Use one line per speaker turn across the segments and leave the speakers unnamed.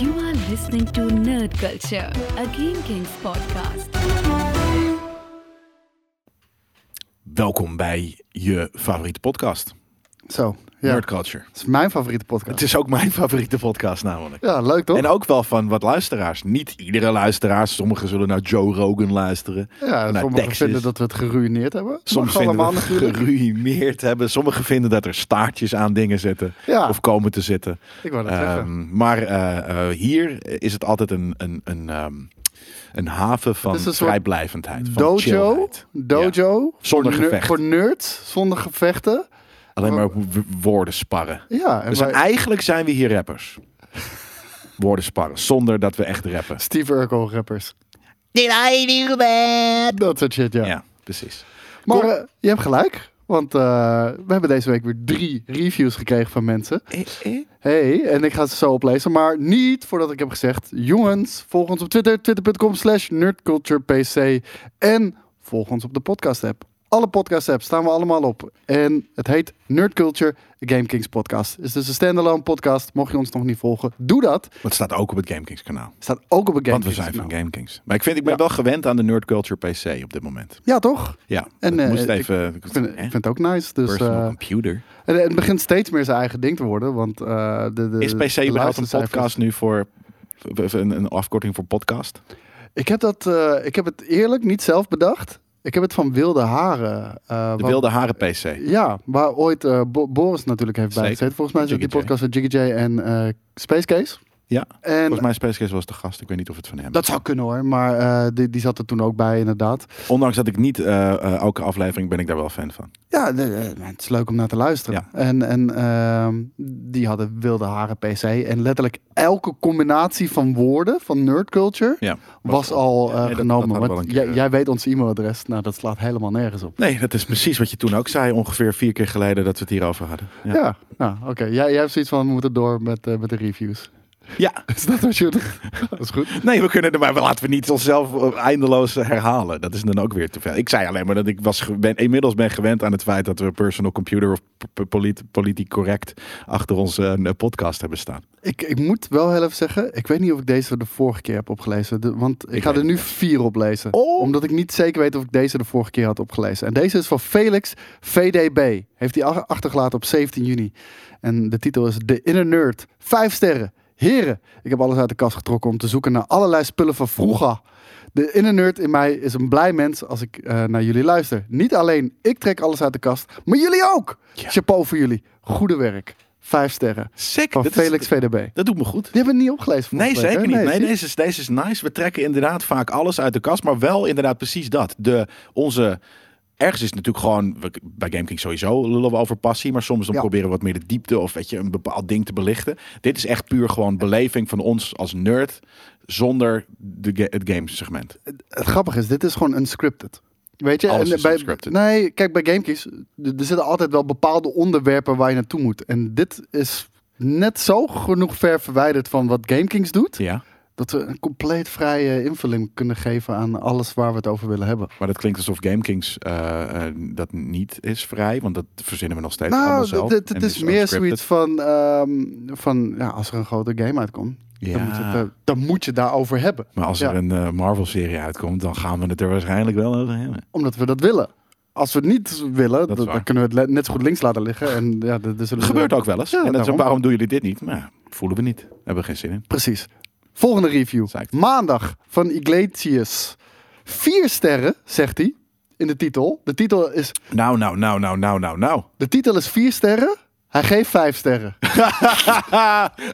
You are listening to Nerd Culture, a Game Kings podcast.
Welkom bij je favoriete podcast,
Zo, ja.
Nerd Culture.
Het is mijn favoriete
Het
podcast.
is ook mijn favoriete podcast namelijk.
Ja, leuk toch?
En ook wel van wat luisteraars. Niet iedere luisteraar. Sommigen zullen naar Joe Rogan luisteren.
ja,
naar
sommigen
Nou, Texas.
vinden dat we het geruineerd hebben.
Soms
Mag
vinden
allemaal
we het
natuurlijk.
geruïneerd hebben. Sommigen vinden dat er staartjes aan dingen zitten.
Ja.
Of komen te zitten.
Ik wou dat zeggen.
Ehm, maar eh, eh, hier is het altijd een, een, een, ehm, een haven van
Het is een soort
vrijblijvendheid. Van
Dojo,
chillheid.
dojo.
Zonder
voor ner-
gevecht.
Voor nerds, zonder gevechten.
Ja, alleen maar wo- wo- woorden sparren.
Ja, en
Dus
wij-
eigenlijk zijn we hier rappers. Woorden sparren, zonder dat we echt rappen.
Steve Urkel rappers. Dat soort shit, ja.
Ja, precies.
Maar eh, je hebt gelijk, want eh, we hebben deze week weer drie reviews gekregen van mensen.
Eh,
Hey, en ik ga ze zo oplezen, maar niet voordat ik heb gezegd... Jongens, volg ons op Twitter, twitter.com slash nerdculturepc. En volg ons op de podcast-app. Alle podcast-apps staan we allemaal op. En het heet Nerd Culture, a Game Kings podcast. Het is dus een standalone podcast. Mocht je ons nog niet volgen, doe dat.
Dat staat ook op het GameKings kanaal.
Staat ook op een Game
Want we
Kings
zijn van
kanaal.
GameKings. Maar ik, vind, ik ben
Ja.
wel gewend aan de Nerd Culture PC op dit moment.
Ja, toch?
Ja,
En,
dat
eh,
moest
ik-
even...
Ik vind, ik vind het ook nice. Dus,
Personal
eh,
computer.
en, en het begint steeds meer zijn eigen ding te worden. Want, eh, de, de,
Is
de
PC überhaupt een
luistercijfers-
podcast nu voor... Een, een afkorting voor podcast?
Ik heb, dat, eh, ik heb het eerlijk niet zelf bedacht. Ik heb het van Wilde Haren. eh,
De
wat-
Wilde Haren PC.
Ja, waar ooit eh, Bo- Boris natuurlijk heeft
Zeker.
bijgezeten. Volgens mij is het die
Jiggy J.
podcast van Jiggy J en eh, Space Case.
Ja,
En
volgens mij Space Case was de gast. Ik weet niet of het van hem
dat zou kunnen hoor, maar eh, die, die zat er toen ook bij inderdaad.
Ondanks dat ik niet eh, eh, elke aflevering ben ik daar wel fan van.
Ja, de- de- eh, het is leuk om naar te luisteren. En, en ehm, die hadden wilde haren PC. En letterlijk elke combinatie van woorden van nerd culture
Ja,
was al eh,
Ja, nee, dat-
genomen.
dat hadden we
Want
al een keer,
jij,
eh.
jij weet ons e-mailadres. Nou, dat slaat helemaal nergens op.
Nee, dat is precies wat je toen ook zei, ongeveer vier keer geleden dat we het hierover hadden. Ja,
Ja, nou oké. Jij, jij hebt zoiets van, we moeten door met, eh, met de reviews.
Ja.
Is dat wat je... dat is goed.
nee, we kunnen er maar laten we niet onszelf eh, eindeloos herhalen. Dat is dan ook weer te veel. Ik zei alleen maar dat ik was, ge- ben, inmiddels ben gewend aan het feit dat we personal computer of p- p- polit, politiek correct achter onze eh, podcast hebben staan.
Ik, ik moet wel heel even zeggen, ik weet niet of ik deze de vorige keer heb opgelezen. De- want ik,
Ik
ga
weet het
er nu vier oplezen.
Oh.
Omdat ik niet zeker weet of ik deze de vorige keer had opgelezen. En deze is van Felix VDB. Heeft hij ach- achtergelaten op 17 juni. En de titel is De Inner Nerd. Vijf sterren. Heren, ik heb alles uit de kast getrokken om te zoeken naar allerlei spullen van vroeger. De inner nerd in mij is een blij mens als ik eh, naar jullie luister. Niet alleen ik trek alles uit de kast, maar jullie ook.
Ja.
Chapeau voor jullie. Goede werk. Vijf sterren.
Sick,
Van
dat is-
Felix VDB.
Dat doet me goed.
Die hebben we niet opgelezen.
Nee,
volgens mij,
zeker
hè?
niet. Nee,
zie je?
deze, is, deze is nice. We trekken inderdaad vaak alles uit de kast, maar wel inderdaad precies dat. De, onze, ergens is het natuurlijk gewoon, we- bij GameKing sowieso lullen we over passie, maar soms dan
Ja.
proberen we wat meer de diepte of weet je, een bepaald ding te belichten. Dit is echt puur gewoon beleving van ons als nerd zonder de, ga- het gamesegment.
Het grappige is, dit is gewoon unscripted. Weet je?
Alles
en
is
bij,
unscripted.
Nee, kijk, bij Gamekeys, d- er zitten altijd wel bepaalde onderwerpen waar je naartoe moet. En dit is net zo genoeg ver verwijderd van wat GameKings doet,
Ja,
dat we een compleet vrije invulling kunnen geven aan alles waar we het over willen hebben.
maar dat klinkt alsof GameKings eh, eh, dat niet is vrij, want dat verzinnen we nog steeds allemaal
nou,
zelf.
d- d-
En
het
dit
is meer
unscripted.
zoiets van, ehm, van ja, als er een grote game uitkomt, dan, moet je het,
Ja.
eh, dan moet je het daarover hebben.
Maar als
Ja.
er een eh, Marvel-serie uitkomt, dan gaan we het er waarschijnlijk wel over hebben.
Omdat we dat willen. Als we het niet willen,
is
dan,
waar.
dan kunnen we het le- net zo goed links laten liggen. En ja, dat is
Dat gebeurt ook wel eens.
Ja,
en dat is,
daarom.
waarom doen jullie dit niet? Maar ja, voelen we niet. Daar hebben we geen zin in.
Precies. Volgende review.
Psyched.
Maandag van Iglesias. Vier sterren, zegt hij in de titel. De titel is,
Nou, nou, nou, nou, nou, nou, nou.
de titel is vier sterren. Hij geeft vijf sterren.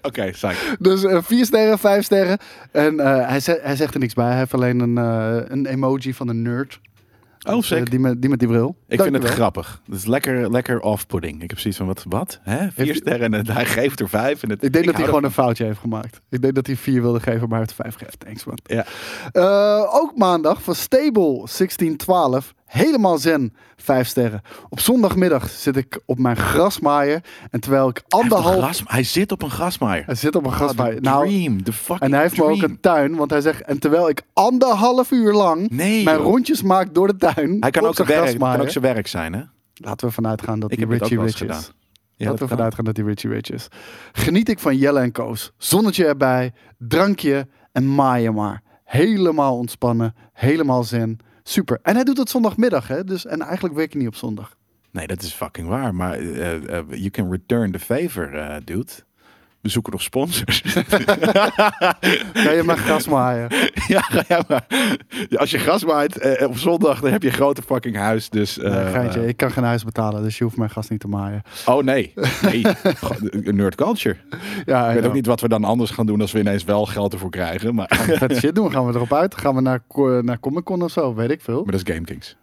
Oké, psych.
Dus eh, vier sterren, vijf sterren. En eh, hij, ze- hij zegt er niks bij. Hij heeft alleen een, eh, een emoji van een nerd.
Oh,
Dus, eh,
sick.
die, met, die met die bril.
Ik
Dank
vind het
u wel.
grappig. Het is lekker, lekker off-pudding. Ik heb zoiets van, wat? wat? Hè? Vier
Heeft-
sterren en hij geeft er vijf. En het,
Ik denk dat hij
hou
gewoon een foutje heeft gemaakt. Ik denk dat hij vier wilde geven, maar hij heeft vijf gegeven. Thanks man.
ervan. Ja.
Eh, ook maandag van Stable 1612. Helemaal zen. Vijf sterren. Op zondagmiddag zit ik op mijn grasmaaier. En terwijl ik
Anderhalf...
anderhalf...
hij zit op een grasmaaier.
Hij zit op een grasmaaier.
Ah,
nou,
dream. De fucking
en hij heeft me ook
dream.
een tuin. Want hij zegt... En terwijl ik anderhalf uur lang
Nee,
mijn
joh.
rondjes maak door de tuin.
Hij kan
op
ook,
zijn
zijn werk,
grasmaaier.
kan ook zijn werk zijn, hè?
Laten we ervan uitgaan dat
Ik
die
heb het ook
Richie
wel eens
Rich
gedaan.
is.
Ja,
Laten
dat
we
kan.
vanuit gaan dat die Richie Rich is. Geniet ik van Jelle en Koos. Zonnetje erbij, drankje en maaien maar. Helemaal ontspannen, helemaal zen. Super. En hij doet het zondagmiddag, hè? Dus, en eigenlijk werk je niet op zondag.
Nee, dat is fucking waar. Maar eh, eh, you can return the favor, eh, dude. We zoeken nog sponsors.
Kan je maar gras maaien.
ja, ja, maar ja, als je gras maait eh, op zondag, dan heb je een grote fucking huis. Dus, eh,
Nee, geintje, ik kan geen huis betalen, dus je hoeft mijn gas niet te maaien.
oh nee, nee. Go- nerd culture. Ik
Ja,
weet ook
niet.
niet wat we dan anders gaan doen als we ineens wel geld ervoor krijgen. Maar, maar
Vet shit doen, gaan we erop uit? Gaan we naar, co- naar Comic Con of zo? Weet ik veel.
dat is Game Kings.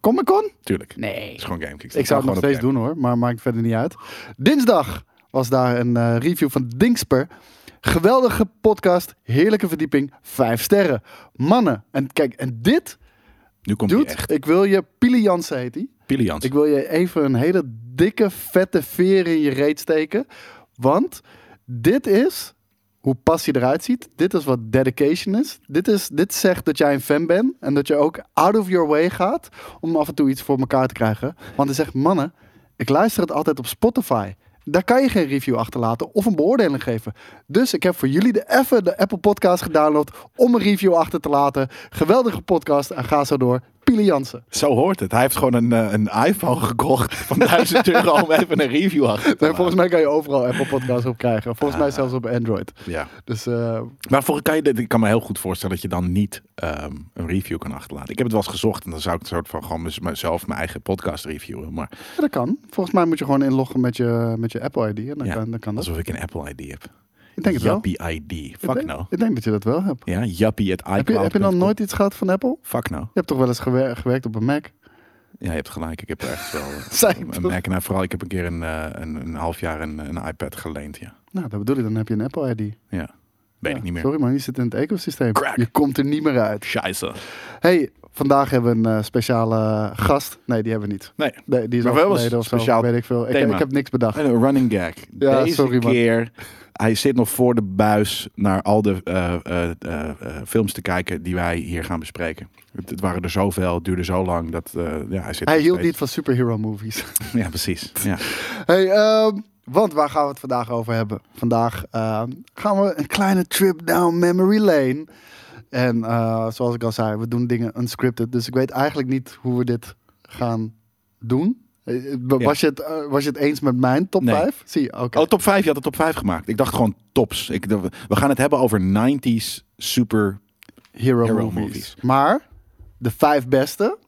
Comic Con?
Tuurlijk.
Nee.
Dat is gewoon Game Kings.
Ik zou het nog steeds
doen.
doen hoor, maar maakt verder niet uit. Dinsdag was daar een eh, review van Dingsper. Geweldige podcast, heerlijke verdieping, vijf sterren. Mannen, en kijk, en dit,
Nu komt hij
dude,
echt.
ik wil je, Pili Jansen heet die.
Pilians.
Ik wil je even een hele dikke, vette veer in je reet steken. Want dit is hoe passie eruit ziet. Dit is wat dedication is. Dit, is. dit zegt dat jij een fan bent. En dat je ook out of your way gaat om af en toe iets voor elkaar te krijgen. Want hij zegt, mannen, ik luister het altijd op Spotify. Daar kan je geen review achterlaten of een beoordeling geven. Dus ik heb voor jullie de, even de Apple Podcast gedownload om een review achter te laten. Geweldige podcast en ga zo door. Pili Jansen.
Zo hoort het. Hij heeft gewoon een, eh, een iPhone gekocht van 1000 euro om even een review achter te
Nee,
laten.
volgens mij kan je overal Apple Podcasts op krijgen. Volgens mij zelfs op Android.
Ah. Ja.
Dus eh,
Maar voor, kan je, ik kan me heel goed voorstellen dat je dan niet ehm, een review kan achterlaten. Ik heb het wel eens gezocht en dan zou ik een soort van gewoon mez- mezelf mijn eigen podcast reviewen. Maar
ja, dat kan. Volgens mij moet je gewoon inloggen met je, met je Apple ID. En dan,
ja,
kan, dan kan dat.
alsof ik een Apple ID heb.
Ik denk het wel.
Yuppie ID.
ik,
Fuck
denk,
nou.
ik denk dat je dat wel hebt.
Ja, yuppie at
Heb je, heb je dan
iCloud.com.
nooit iets gehad van Apple?
Fuck nou.
Je hebt toch wel eens gewer- gewerkt op een Mac?
Ja, je hebt gelijk. Ik heb ergens wel eh,
Zei ik
een
toch?
Mac. Nou, vooral ik heb een keer een, eh, een, een half jaar een, een iPad geleend. Ja.
Nou, dat bedoel ik. Dan heb je een Apple ID.
ja. Weet
Ja,
ik niet meer.
Sorry man, je zit in het ecosysteem.
Crack.
Je komt er niet meer uit.
Scheisse.
Hey, vandaag hebben we een eh, speciale gast. Nee, die hebben we niet.
Nee.
Nee, die is
Maar
al
we hebben
geleden
een
of zo.
speciaal
Weet ik veel. Ik,
thema.
ik heb niks bedacht.
Een running gag.
Ja,
Deze
sorry, man.
keer. Hij zit nog voor de buis naar al de eh, eh, eh, eh, films te kijken die wij hier gaan bespreken. Het, het waren er zoveel, het duurde zo lang dat eh, ja, hij zit.
Hij
nog
hield niet
steeds-
van superhero movies.
Ja, precies. Ja.
Hey, ehm, want waar gaan we het vandaag over hebben? Vandaag ehm, gaan we een kleine trip down memory lane. En eh, zoals ik al zei, we doen dingen unscripted. Dus ik weet eigenlijk niet hoe we dit gaan doen. Eh, eh,
Ja.
Was, je het, eh, was je het eens met mijn top
Nee.
5? Zie je, oké.
Oh, top 5. Je had de top 5 gemaakt. Ik dacht gewoon tops. Ik, dacht, we gaan het hebben over 90s super.
Hero,
hero
movies.
movies.
Maar de vijf beste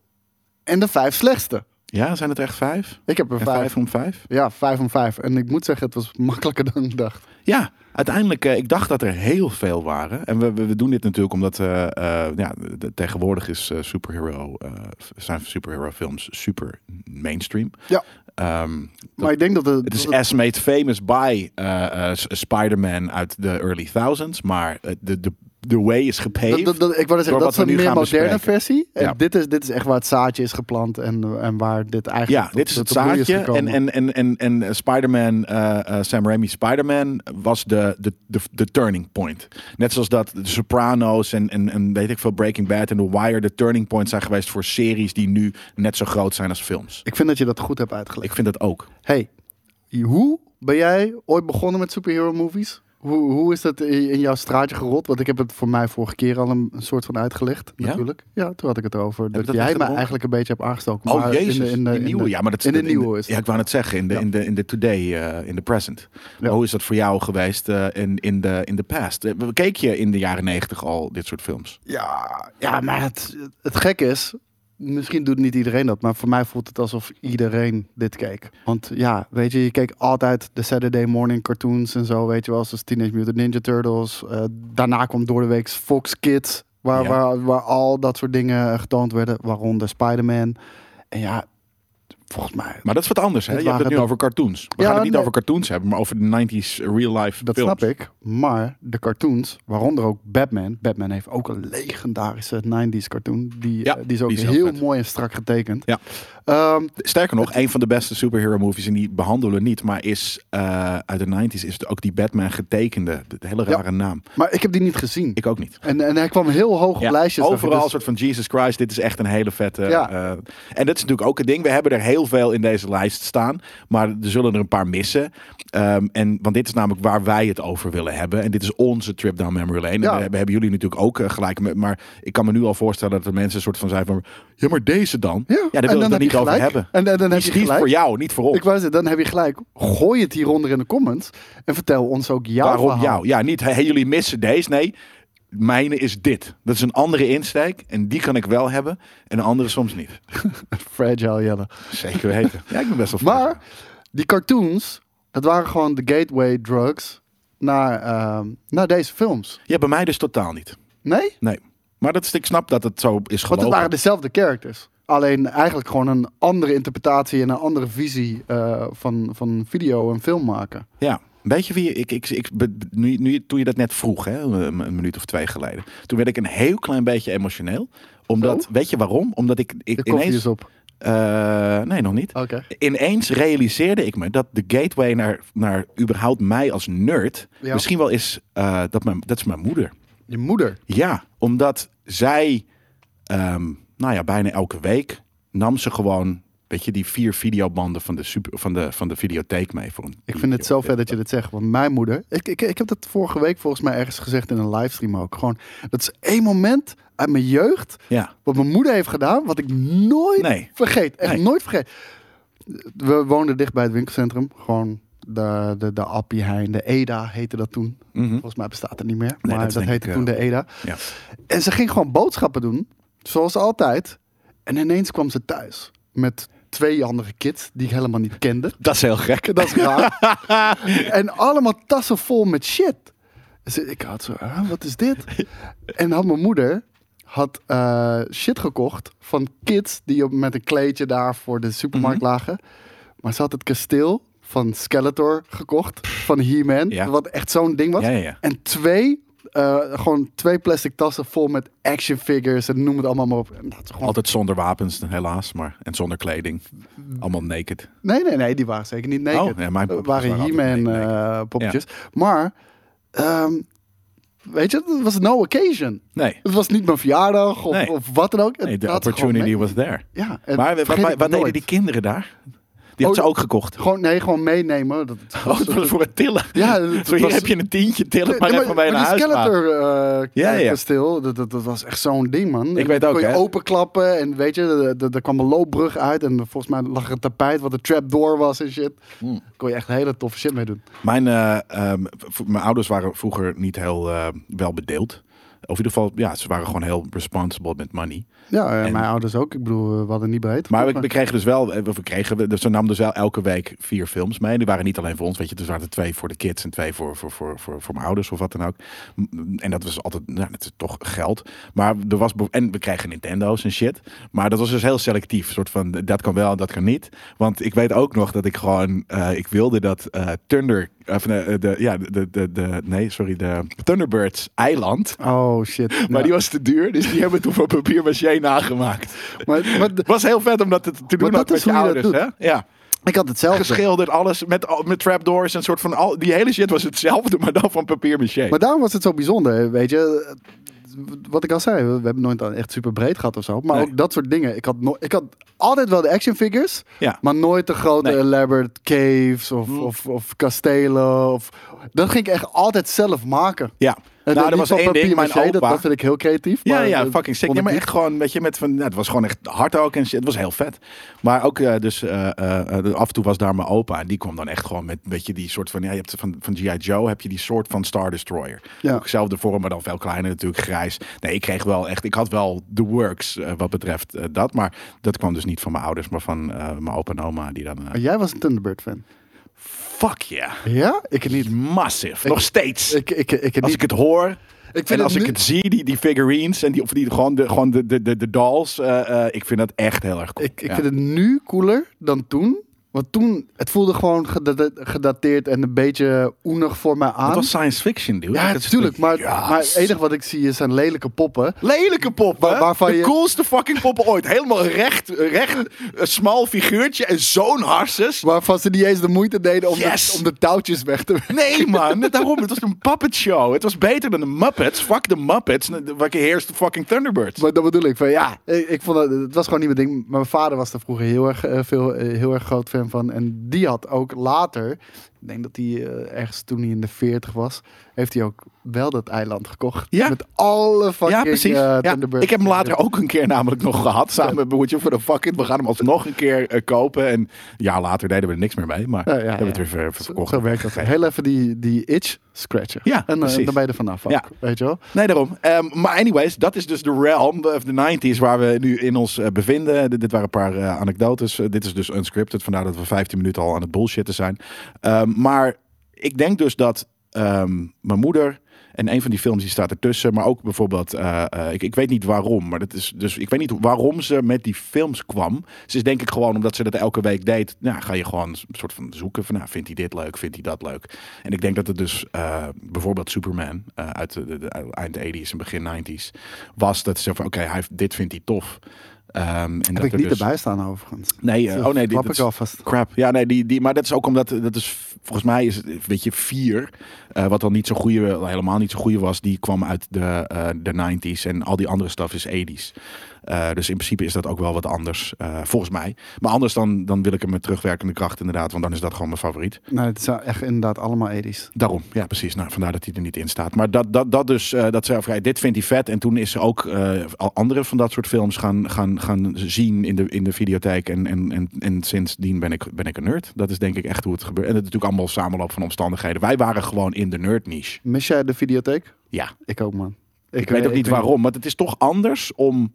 en de vijf slechtste.
Ja, zijn het er echt vijf?
Ik heb er
En
vijf.
vijf om vijf?
Ja, vijf om vijf. En ik moet zeggen, het was makkelijker dan ik dacht.
Ja, uiteindelijk, eh, ik dacht dat er heel veel waren. En we, we, we doen dit natuurlijk omdat eh, eh, ja, de- tegenwoordig is eh, superhero, eh, zijn superhero films super mainstream.
Ja.
Ehm,
Maar ik denk dat het...
het is
dat het-
as made famous by eh, eh, S- Spider-Man uit de early thousands, maar eh, de, de, de way is gepaved.
Dat, dat, dat- ik wou net zeggen,
Door
dat
wat
is een
we nu
meer
gaan
moderne
bespreken.
versie. En
Ja.
dit, is, dit is echt waar het zaadje is geplant en, en waar dit eigenlijk
ja,
tot-
dit is het
tot de bloei
zaadje.
gekomen.
En, en, en, en, en eh, Spider-Man, eh, eh, Sam Raimi Spider-Man was de, de, de, de turning point. Net zoals dat de Sopranos en, en, en weet ik veel, Breaking Bad en The Wire de turning point zijn geweest voor series die nu net zo groot zijn als films.
Ik vind dat je dat goed hebt uitgelegd.
Ik vind dat ook.
Hey, hoe ben jij ooit begonnen met superhero movies? Hoe, hoe is dat in in jouw straatje gerold? Want ik heb het voor mij vorige keer al een, een soort van uitgelegd,
Ja?
natuurlijk. Ja, toen had ik het over. Dat,
dat
jij me
uitgerold?
eigenlijk een beetje hebt aangestoken.
Oh
maar
jezus,
in de, in
die
de, in de-
nieuwe. ja, maar dat
in de
dat-
nieuwe is
Ja, ik wou net zeggen, in de,
Ja.
in de, in de today, eh, in de present. Maar Hoe is dat voor jou geweest eh, in, in, de, in de past? Eh, Keek je in de jaren negentig al dit soort films?
Ja, ja maar het, het gekke is, misschien doet niet iedereen dat, maar voor mij voelt het alsof iedereen dit keek. Want ja, weet je, je keek altijd de Saturday morning cartoons en zo, weet je wel, zoals Teenage Mutant Ninja Turtles. Eh, daarna kwam door de week Fox Kids, waar,
Ja.
waar, waar al dat soort dingen getoond werden, waaronder Spider-Man. En ja, volgens mij,
Maar dat is wat anders. Hè?
Dit
Je hebt het
waren
nu
de-
over cartoons. We
Ja,
gaan het niet
nee.
over cartoons hebben, maar over de 90s real life
dat
films.
snap ik. Maar de cartoons, waaronder ook Batman. Batman heeft ook een legendarische 90s cartoon. Die,
Ja,
eh, die is ook
die is heel
heel
vet.
mooi en strak getekend.
Ja.
Ehm,
Sterker nog, een van de beste superhero movies, en die behandelen we niet, maar is eh, uit de 90s, is ook die Batman getekende. De hele
Ja.
rare naam.
Maar ik heb die niet gezien.
Ik ook niet.
En, en hij kwam heel hoog op
Ja,
lijstjes. zag ik.
overal een
Dus
soort van Jesus Christ, dit is echt een hele vette.
Ja.
eh, en dat is natuurlijk ook het ding. We hebben er heel heel veel in deze lijst staan. Maar er zullen er een paar missen. Ehm, en, want dit is namelijk waar wij het over willen hebben. En dit is onze trip down memory lane. En
Ja.
we hebben, hebben jullie natuurlijk ook eh, gelijk. Met, maar ik kan me nu al voorstellen dat er mensen een soort van zijn van... Ja, maar deze dan?
Ja,
daar
en
wil
dan
ik
heb
het niet
je
over
gelijk.
hebben.
En- en dan
Die
heb
is
je
niet
gelijk.
voor jou, niet voor ons.
Ik wou zeggen, dan heb je gelijk. Gooi het hieronder in de comments en vertel ons ook jouw
Waarom
verhaal.
jou? Ja, niet hey, jullie missen deze. Nee, mijne is dit. Dat is een andere insteek. En die kan ik wel hebben. En de andere soms niet.
Fragile Jelle.
Zeker weten. Ja, ik ben best wel
Maar die cartoons, dat waren gewoon de gateway drugs naar, ehm, naar deze films.
Ja, bij mij dus totaal niet.
Nee?
Nee. Maar dat is, ik snap dat het zo is
Want
gelopen.
het waren dezelfde characters. Alleen eigenlijk gewoon een andere interpretatie en een andere visie eh, van, van video en film maken.
Ja. Weet je wie... Ik, ik, ik, be- nu, nu, toen je dat net vroeg, hè, een, een minuut of twee geleden. Toen werd ik een heel klein beetje emotioneel. Omdat,
Zo?
weet je waarom? Omdat ik, ik
Oh. De koffie
ineens...
is dus op. Oh.
Eh, nee, nog niet.
Oké.
Ineens realiseerde ik me dat de gateway naar, naar überhaupt mij als nerd...
Ja.
misschien wel is... eh, dat, mijn, dat is mijn moeder.
Je moeder.
Ja, omdat zij, ehm, nou ja, bijna elke week nam ze gewoon, weet je, die vier videobanden van de, super, van de, van de videotheek mee. Voor een
Ik vind het zo
zo
ver dat je dit zegt. Want mijn moeder. Ik, ik, ik heb dat vorige week volgens mij ergens gezegd in een livestream ook. Gewoon, dat is één moment uit mijn jeugd.
Ja,
Wat mijn moeder heeft gedaan, wat ik nooit
Nee.
vergeet. Echt
Nee.
nooit vergeet. We woonden dicht bij het winkelcentrum. Gewoon de, de, de Appie Heijn, de EDA heette dat toen. Volgens mij bestaat het niet meer.
Mhm. Nee,
maar
dat is
dat,
denk
heette
ik, eh,
toen de EDA.
ja.
En ze ging gewoon boodschappen doen, zoals altijd. En ineens kwam ze thuis met twee andere kids die ik helemaal niet kende.
Dat is heel gek.
Dat is raar. en allemaal tassen vol met shit. Dus ik had zo, "Huh, wat is dit? En had mijn moeder had, eh, shit gekocht van kids die op, met een kleedje daar voor de supermarkt
Mhm.
lagen. Maar ze had het kasteel van Skeletor gekocht, van He-Man,
Ja.
wat echt zo'n ding was.
Ja, ja, ja.
En twee, eh, gewoon twee plastic tassen vol met action figures en noem het allemaal maar op. En dat is gewoon
Altijd zonder wapens, helaas, maar en zonder kleding. Allemaal naked.
Nee, nee, nee, die waren zeker niet naked.
Oh, ja, mijn
Dat
poppetjes
waren
waren altijd
He-Man
niet
eh, poppetjes. Maar, ehm, weet je, het was no occasion.
Nee.
Het was niet mijn verjaardag of,
Nee.
of wat dan ook. Het
Nee, de
had gewoon
opportunity
mee.
was there.
Ja, en
maar wat,
vergeet
wat-
ik
wat deden
nooit.
die kinderen daar? Die
Oh,
had ze ook gekocht.
Gewoon, nee, gewoon meenemen. Dat,
Oh, dat was voor het tillen.
Ja, dat
Zo, hier
was-
heb je een tientje, tillen maar
Nee,
even mee naar
die
huis. gaan.
Skeletor eh,
Ja, ja.
kasteel, dat, dat, dat was echt zo'n ding, man.
Ik weet ook,
kon je
hè.
openklappen en weet je, er- er- er kwam een loopbrug uit. En volgens mij lag er een tapijt wat een trapdoor was en shit.
Hmm.
Kon je echt hele toffe shit mee doen.
Mijn, eh, ehm, v- mijn ouders waren vroeger niet heel eh welbedeeld. Of in ieder geval, ja, ze waren gewoon heel responsible met money.
Ja, eh,
En-
mijn ouders ook. Ik bedoel, eh, we hadden niet beter.
Maar we, we kregen dus wel, eh, we kregen, we- dus ze nam dus wel elke week vier films mee. En die waren niet alleen voor ons, weet je. Dus er waren er twee voor de kids en twee voor, voor, voor, voor, voor mijn ouders of wat dan ook. M- En dat was altijd, nou, dat is toch geld. Maar er was, be- en we kregen Nintendo's en shit. Maar dat was dus heel selectief. soort van, dat kan wel en dat kan niet. Want ik weet ook nog dat ik gewoon, eh, ik wilde dat eh Thunder, of, eh, de, ja, de, de, de, nee, sorry, de Thunderbirds eiland.
Oh shit.
Maar
Ja.
die was te duur, dus die hebben toen van papier maché nagemaakt.
maar, maar d-
Het was heel vet om dat te te doen
dat
ook met
is
je
hoe je dat
ouders, hè? Ja.
ik had hetzelfde.
Geschilderd, alles met, al- met trapdoors en soort van... Al, die hele shit was hetzelfde, maar dan van papier maché.
Maar daarom was het zo bijzonder, weet je. Wat ik al zei, we we hebben nooit dan echt super breed gehad of zo. Maar
Nee.
ook dat soort dingen. Ik had, no- ik had altijd wel de action figures,
Ja.
maar nooit de grote
Nee. Hm.
elaborate caves of, of, of kastelen. Of, dat ging ik echt altijd zelf maken.
ja.
En
nou,
niet
er was
van
één ding,
papier
mijn
maché, Dat,
opa...
dat vind ik heel creatief.
ja,
maar
ja,
dat
fucking sick.
vond
Ja,
ik
maar
niet.
echt gewoon, weet je, met van, nou, het was gewoon echt hard ook en shit. Het was heel vet. Maar ook, eh, dus eh, eh, eh, af en toe was daar mijn opa en die kwam dan echt gewoon met, weet je, die soort van, ja, je hebt van, van G.I. Joe heb je die soort van Star Destroyer.
Ja.
Ook zelfde vorm, maar dan veel kleiner natuurlijk, grijs. Nee, ik kreeg wel echt, ik had wel de works eh, wat betreft eh, dat, maar dat kwam dus niet van mijn ouders, maar van eh, mijn opa en oma die dan, eh,
Maar jij was een Thunderbird fan.
fuck yeah,
Ja? Ik niet.
massive, nog steeds.
Ik, ik, ik, ik
als
niet.
ik het hoor,
vind
en
het
als ik
nu-
het zie, die, die figurines en die, of die, gewoon, de, gewoon de, de, de, de dolls. eh, eh, ik vind dat echt heel erg cool.
Ik, ik
Ja.
vind het nu cooler dan toen. Want Want toen, het voelde gewoon gedate- gedateerd en een beetje oenig voor mij aan.
Het was science fiction, dude.
ja,
Dat is-
natuurlijk. Maar,
Ja,
maar het enige wat ik zie is zijn lelijke poppen.
Lelijke poppen.
Waar- waarvan
de
je-
coolste fucking poppen ooit. Helemaal recht, recht, een smal figuurtje en zo'n harses.
Waarvan ze niet eens de moeite deden om,
Yes!
de, om de touwtjes weg te
Nee, man. Daarom, het was een puppet show. Het was beter dan de Muppets. Fuck de Muppets. Wat je heerst de fucking Thunderbirds.
Maar dat bedoel ik. Van, ja, ik, ik vond dat, het was gewoon niet mijn ding. Mijn vader was er vroeger heel erg, eh, veel, eh, heel erg groot fan van. En die had ook later, ik denk dat hij eh, ergens toen hij in de 40 was, heeft hij ook wel dat eiland gekocht.
Ja.
Met alle fucking
ja, precies.
eh,
Ja,
Thunderbirds.
ik heb hem later ook een keer namelijk nog gehad. Samen met broertje voor de fuck it. We gaan hem alsnog een keer eh, kopen. En een jaar later deden we er niks meer mee. Maar
Ja, ja,
hebben we het
ja.
weer ver- ver- verkocht.
Zo werkt dat. Heel even die, die itch scratchen.
Ja,
en eh,
precies.
dan ben je er vanaf. ook,
Ja.
Weet je wel?
Nee, daarom. Ehm, maar anyways, dat is dus de realm of the 90s waar we nu in ons eh, bevinden. Dit, dit waren een paar eh, anekdotes. Eh, dit is dus unscripted, vandaar dat we 15 minuten al aan het bullshitten zijn. Ehm, maar ik denk dus dat ehm, mijn moeder en een van die films die staat ertussen, maar ook bijvoorbeeld, eh, eh, ik, ik weet niet waarom, maar dat is dus ik weet niet waarom ze met die films kwam. Ze is denk ik gewoon omdat ze dat elke week deed. Nou, ga je gewoon een soort van zoeken van, nou, vindt hij dit leuk, vindt hij dat leuk. En ik denk dat het dus eh, bijvoorbeeld Superman eh, uit de, de, de eind 80s en begin 90s was dat ze van, oké, hij heeft- dit vindt hij tof. Ehm, en dat
Heb ik
er
niet
dus-
erbij staan overigens.
Nee, eh, oh nee, dit-
die
dat
ik
is-
alvast.
Crap. Ja, nee, die, die, maar dat is ook omdat, eh, dat is, v- volgens mij is het, weet je, vier, eh, wat dan niet zo goede, wel helemaal niet zo goede was, die kwam uit de, eh, de 90s en al die andere stuff is 80s. Eh, dus in principe is dat ook wel wat anders, eh, volgens mij. Maar anders dan, dan wil ik hem met terugwerkende kracht inderdaad, want dan is dat gewoon mijn favoriet.
Nee, het zijn echt inderdaad allemaal edies.
Daarom, ja precies. Nou, vandaar dat hij er niet in staat. Maar dat, dat, dat dus, eh, dat ze van, ja, dit vindt hij vet. En toen is ze ook eh, al andere van dat soort films gaan, gaan, gaan zien in de, in de videotheek. En, en, en, en sindsdien ben ik, ben ik een nerd. Dat is denk ik echt hoe het gebeurt. En dat is natuurlijk allemaal samenloop van omstandigheden. Wij waren gewoon in de nerd niche.
Mis jij de videotheek?
Ja.
Ik ook, man. eh,
Ik, weet ook niet waarom, want het is toch anders om...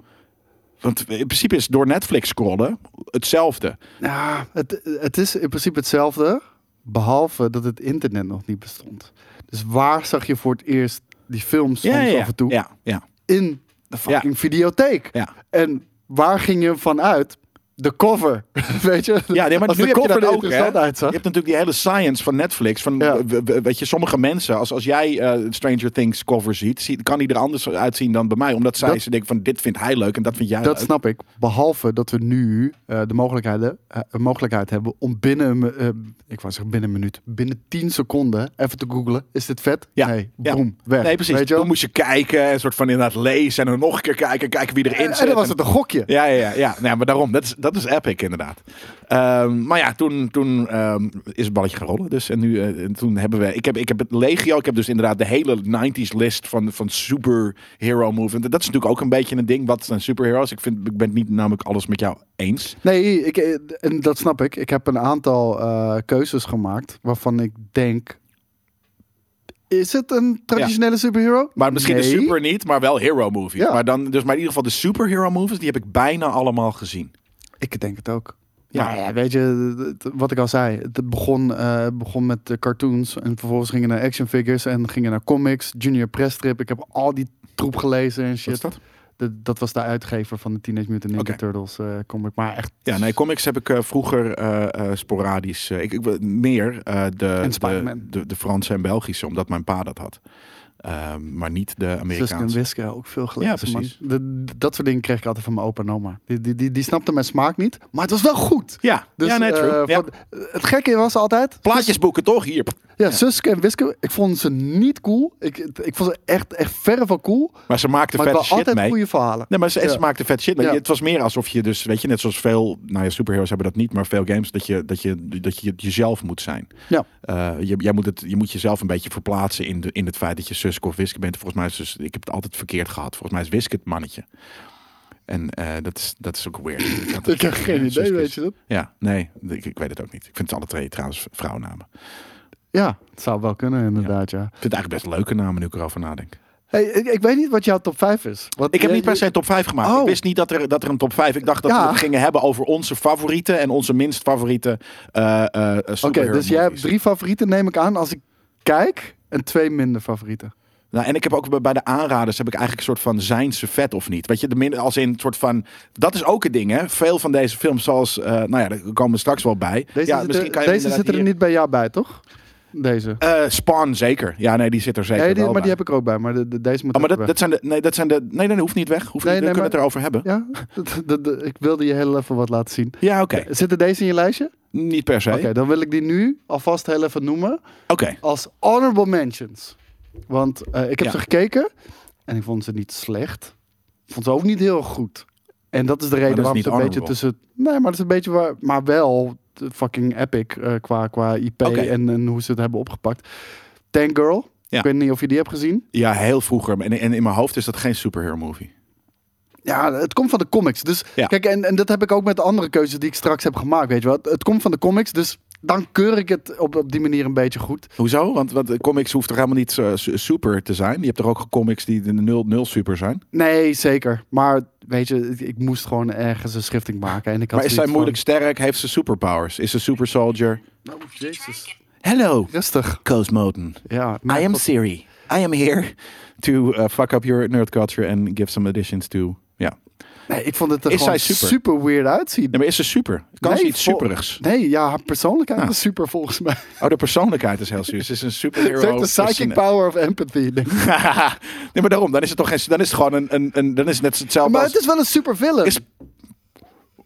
Want in principe is door Netflix scrollen hetzelfde.
Ja, het, het is in principe hetzelfde, behalve dat het internet nog niet bestond. Dus waar zag je voor het eerst die films soms af
ja,
en toe?
ja, ja,
In de fucking videotheek.
ja.
En waar ging je vanuit? De cover, weet je?
Ja, nee, maar
Als
nu
de
heb je
cover
dat
er
ook, hè?
interessant uitzag.
Je hebt natuurlijk die hele science van Netflix. Van,
Ja.
w- w- weet je, sommige mensen, als, als jij eh, Stranger Things cover ziet, ziet, kan die er anders uitzien dan bij mij. Omdat zij
Dat-
ze denken van, dit vindt hij leuk en dat vind jij
Dat
leuk.
snap ik. Behalve dat we nu eh, de mogelijkheden, eh, een mogelijkheid hebben om binnen, een, eh, ik wou zeggen binnen een minuut, binnen 10 seconden even te googlen. Is dit vet?
Ja.
Nee,
Ja.
boem, weg.
Nee, precies.
Weet je wel?
Toen moest je kijken en soort van inderdaad lezen en dan nog een keer kijken, kijken wie erin
en,
zit.
en dan was
En-
het een gokje.
Ja, ja, ja. ja. Nee, maar daarom, dat is, dat is epic inderdaad. Ehm, maar ja, toen, toen ehm, is het balletje gaan rollen. Dus, en nu, eh, en toen hebben we, ik heb, ik heb het legio, ik heb dus inderdaad de hele 90s list van, van superhero movies. En dat is natuurlijk ook een beetje een ding, wat zijn superheroes? Ik, vind, ik ben het niet namelijk alles met jou eens.
Nee, ik, eh, en dat snap ik. Ik heb een aantal eh, keuzes gemaakt waarvan ik denk... Is het een traditionele superhero?
Maar misschien
Nee.
de super niet, maar wel hero movies.
Ja.
Maar, dan, dus, maar in ieder geval de superhero movies, die heb ik bijna allemaal gezien.
Ik denk het ook.
Ja.
Ja, ja, weet je, het- wat ik al zei. Het begon, eh, begon met eh, cartoons en vervolgens gingen naar action figures en gingen naar comics, Junior Press Trip. Ik heb al die troep gelezen en shit.
Wat is dat?
De- dat was de uitgever van de Teenage Mutant Ninja
Oké.
Turtles eh, comic. Maar echt,
Ja, nee, comics heb ik eh, vroeger eh, eh, sporadisch. eh, ik, ik, meer eh, de,
En
de,
Spider-Man.
de, de Franse en Belgische, omdat mijn pa dat had. Ehm, maar niet de
Suske en
Amerikaanse.
Wiske ook veel gelezen,
Ja,
ja,
precies.
man. De- dat soort dingen kreeg ik altijd van mijn opa en oma. Die, die, die, die snapte mijn smaak niet, maar het was wel goed.
Ja,
Dus,
ja, nee, true.
eh, Dus-
Ja.
van- Het gekke was altijd,
Plaatjes boeken toch hier.
ja, Suske en Wiske, ik vond ze niet cool. Ik, ik vond ze echt, echt verre van cool.
Maar ze maakten
Maar het
vette
waren
shit
altijd
mee.
goede verhalen.
Nee, maar ze, en ze
Ja.
maakten vet shit. mee.
Ja.
Het was meer alsof je dus, weet je, net zoals veel, nou ja, superheroes hebben dat niet, maar veel games, dat je, dat je, dat je jezelf moet zijn.
Ja.
Eh, je, jij moet het, je moet jezelf een beetje verplaatsen in, de, in het feit dat je Suske of Wiske bent. Volgens mij is dus, ik heb het altijd verkeerd gehad. Volgens mij is Wiske het mannetje. En eh, dat, is, dat is ook weird. Dat
Ik heb geen idee,
Suske is-
weet je dat?
Ja, nee, ik, ik weet het ook niet. Ik vind het alle twee trouwens vrouwennamen.
Ja, het zou wel kunnen inderdaad, ja.
Ik vind het eigenlijk best leuke namen nu ik erover nadenk.
Hey, ik, ik weet niet wat jouw top 5 is. eh, Want
Ik heb
jij-
niet per se top 5 gemaakt.
Oh.
Ik wist niet dat er, dat er een top 5. Ik dacht dat we
Ja.
het gingen hebben over onze favorieten en onze minst favoriete eh eh
dus Oké, dus jij hebt drie favorieten, neem ik aan, als ik kijk. En twee minder favorieten.
Nou, en ik heb ook bij- bij de aanraders heb ik eigenlijk een soort van zijn ze vet of niet. Weet je, de min, als in een soort van. Dat is ook een ding, hè? Veel van deze films, zoals. eh, nou ja, daar komen we straks wel bij.
Deze,
ja,
zit,
misschien
er,
kan je hem
deze zit er
inderdaad
niet bij jou bij, toch? Deze.
hier- Eh, Spawn zeker. Ja, nee, die zit er zeker.
Nee, die,
wel
maar die
bij.
heb ik ook bij. Maar de, de- deze moet
Oh, maar
ook
dat, dat zijn de. Nee, dat zijn de. Nee, nee, hoeft niet weg. Hoeft
Nee,
niet,
nee,
we kunnen
maar-
het erover hebben. Ja,
weg. Ja, Dat- dat- dat- ik wilde je heel even wat laten zien.
oké.
Zitten deze in je lijstje?
Niet per se.
Oké,
Oké.
dan wil ik die nu alvast heel even noemen als honorable mentions. Want eh, ik heb
Ja.
ze gekeken en ik vond ze niet slecht. Ik vond ze ook niet heel goed. En dat is de reden
dat is
waarom
niet
ze een beetje
honorable.
tussen... Nee, maar dat is een beetje waar... Maar wel de fucking epic eh, qua, qua IP
Oké.
en, en hoe ze het hebben opgepakt. Tank Girl.
Ja.
Ik weet niet of je die hebt gezien.
Ja, heel vroeger. En, en in mijn hoofd is dat geen superhero movie.
Ja, het komt van de comics. Dus
Ja.
kijk, en, en dat heb ik ook met de andere keuzes die ik straks heb gemaakt, weet je wel. Het, het komt van de comics, dus dan keur ik het op, op die manier een beetje goed.
Hoezo? Want, want comics hoeft toch helemaal niet eh, su- super te zijn? Je hebt toch ook comics die de nul, nul super zijn?
Nee, zeker. Maar weet je, ik, ik moest gewoon ergens een schifting maken. En ik had
maar is zij
zoiets
moeilijk sterk? Heeft ze superpowers? Is ze super soldier?
van- Oh, jezus.
Hello,
Rustig.
Cosmoten.
Ja. maar-
I am Siri. I am here to uh, fuck up your nerd culture and give some additions to... Ja.
Nee, ik vond het er
Is
gewoon
zij super?
super? weird uitzien.
Nee, maar is ze super? Kan ze
Nee,
iets
vol-
superigs?
Nee, ja, haar persoonlijkheid is super volgens mij.
Oh, de persoonlijkheid is heel super. Ze is een superhero.
Ze heeft de psychic power of empathy. denk ik.
nee, maar daarom. Dan is het toch geen... Dan is het gewoon een... een, een dan is het net hetzelfde
Maar
als...
het is wel een super villain.
Is-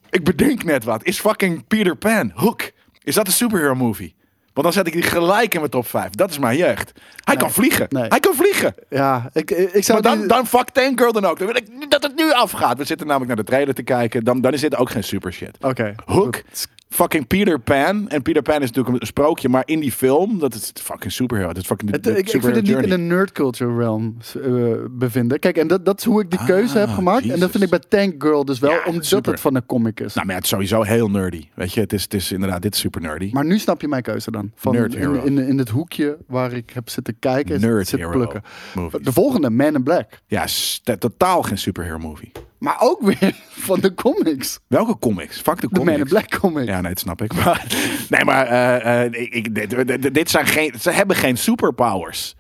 Ik bedenk net wat. Is fucking Peter Pan, Hook. Is dat een superhero movie? Want dan zet ik die gelijk in mijn top 5. Dat is mijn jeugd. Hij kan vliegen.
Nee.
Hij kan vliegen.
Ja, ik, ik zou
Maar dan,
die-
dan fuck Tank Girl dan ook. Dan wil ik niet dat het nu afgaat. We zitten namelijk naar de trailer te kijken. Dan, dan is dit ook geen super shit.
Oké.
Hook, fucking Peter Pan. En Peter Pan is natuurlijk een sprookje. Maar in die film, dat is fucking superhero. Dat is fucking de,
Het- eh,
de
ik, ik vind
superhero
het niet in
journey.
de nerd culture realm eh, bevinden. Kijk, en dat, dat is hoe ik die keuze heb gemaakt. En dat
Jesus.
vind ik bij Tank Girl dus wel,
Ah, Ja,
omdat
super.
het van een comic is.
Nou, maar ja, het is sowieso heel nerdy. Weet je, het is, het is inderdaad, dit is super nerdy.
Maar nu snap je mijn keuze dan. Van
Nerd
in,
hero.
in, in het hoekje waar ik heb zitten kijken en
Nerd
zitten
hero
plukken.
movies.
De volgende, Man in Black.
Ja, s- t- totaal geen superhero movie.
Maar ook weer van de comics.
Welke comics? Fuck de
De
comics.
Man in Black comic.
Ja, nee, dat snap ik. Maar, nee, maar eh, eh, ik, ik- dit, dit- dit zijn geen, ze hebben geen superpowers.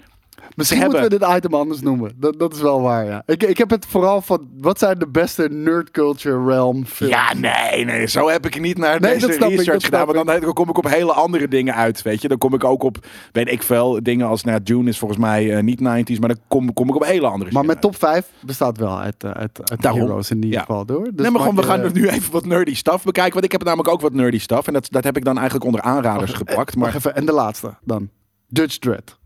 Misschien
Ze
moeten we
hebben-
dit item anders noemen. Dat, dat is wel waar, ja. Ik, ik heb het vooral van, wat zijn de beste nerd culture realm films?
Ja, nee, nee, zo heb ik niet naar
Nee,
deze
dat snap ik,
research
dat
gedaan.
snap
Want dan, dan kom ik op hele andere dingen uit, weet je. Dan kom ik ook op, weet ik veel, dingen als, nou, June is volgens mij eh, niet 90s, maar dan kom, kom ik op hele andere
Maar
shit uit.
mijn top 5 bestaat wel uit, eh, uit, uit de
Daarom.
heroes in ieder
Ja.
geval, hoor. Dus
nee, maar
maak
gewoon, we
je-
gaan nu even wat nerdy stuff bekijken. Want ik heb namelijk ook wat nerdy stuff. En dat, dat heb ik dan eigenlijk onder aanraders gepakt. Maar
Wacht even, en de laatste dan. Judge Dredd.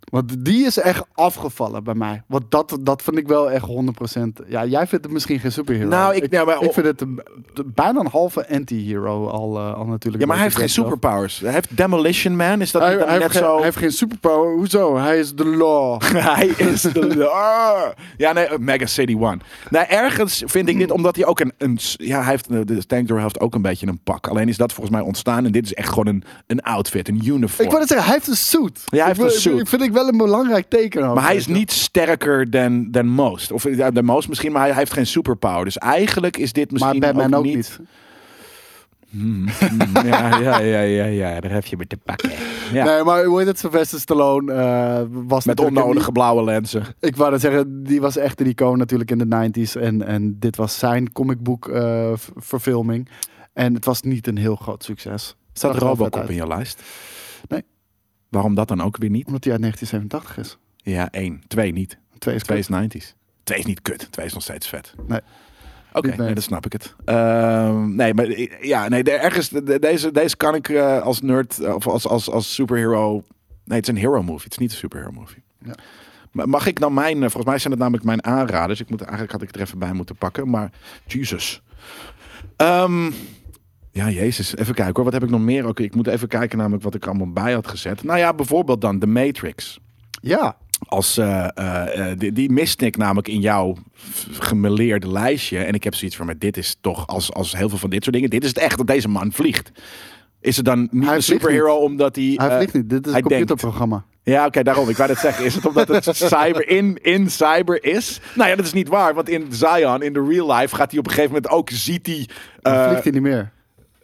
Want die is echt afgevallen bij mij. Want dat, dat vind ik wel echt 100%. Ja, jij vindt het misschien geen superhero.
Nou, ik- nou, maar-
ik vind het een- bijna een halve anti-hero al, eh, al natuurlijk.
ja, maar hij heeft
Weet
geen
ik zelf.
superpowers. Hij heeft Demolition Man, is dat
Hij,
niet dan
hij
net
heeft geen,
zo...
hij heeft geen superpower. Hoezo? Hij is de law.
Hij is de... Arr! Ja, nee, eh, Mega City One. Nou, ergens vind ik dit, omdat hij ook een... een ja, hij heeft, eh, de Tank Door heeft ook een beetje een pak. Alleen is dat volgens mij ontstaan. En dit is echt gewoon een, een outfit, een uniform.
Ik wou net zeggen, hij heeft een suit.
hij heeft
Ik wil-
een suit.
Ik vind ik wel een belangrijk teken. ook,
maar hij
weet
is
je wel.
niet sterker dan, dan most. Of ja, dan most misschien, maar hij, hij heeft geen superpower. Dus eigenlijk is dit
Maar
misschien
Batman
ook,
ook
niet...
niet.
Mm, Ja, ja, ja, ja, ja, daar heb je me te pakken. Ja.
Nee, maar hoe heet het? Sylvester Stallone eh, was
Met
natuurlijk een-
onnodige blauwe lenzen.
Ik wou dat zeggen, die was echt een icoon natuurlijk in de 90s. En, en dit was zijn comicboek eh, v- verfilming. En het was niet een heel groot succes.
Staat
Zag er wel vet
Robocop
uit.
in je lijst?
Nee.
Waarom dat dan ook weer niet?
Omdat hij uit 1987 is.
Ja, één. Twee niet.
Twee is
Twee
kut.
is 90s. Twee is niet kut. Twee is nog steeds vet.
Nee.
Oké,
Niet mee.
nee, dan snap ik het. Ehm, nee, maar eh, ja, nee, de- ergens, de- de- deze, deze kan ik eh, als nerd eh, of als, als, als superhero. Nee, het is een hero movie. Het is niet een superhero movie.
Ja.
Maar Mag ik dan mijn, eh, volgens mij zijn het namelijk mijn aanraders. Ik moet, eigenlijk had ik het er even bij moeten pakken, maar Jesus. Ehm, ja, Jezus. Even kijken hoor. Wat heb ik nog meer? Oké, ik moet even kijken namelijk wat ik er allemaal bij had gezet. Nou ja, bijvoorbeeld dan The Matrix.
Ja,
Als, eh, eh, eh, die, die miste ik namelijk in jouw f- gemeleerde lijstje. En ik heb zoiets van, maar dit is toch, als, als heel veel van dit soort dingen, dit is het echt dat deze man vliegt. Is het dan niet
Hij
een
vliegt
superhero omdat hij...
hij
eh,
vliegt niet. Dit is een
hij denkt.
computerprogramma.
Ja, oké, daarom. Ik wou dat zeggen. Is het omdat het cyber in, in cyber is? Nou ja, dat is niet waar. Want in Zion, in de real life, gaat hij op een gegeven moment ook, ziet hij...
Dan
eh,
vliegt hij niet meer.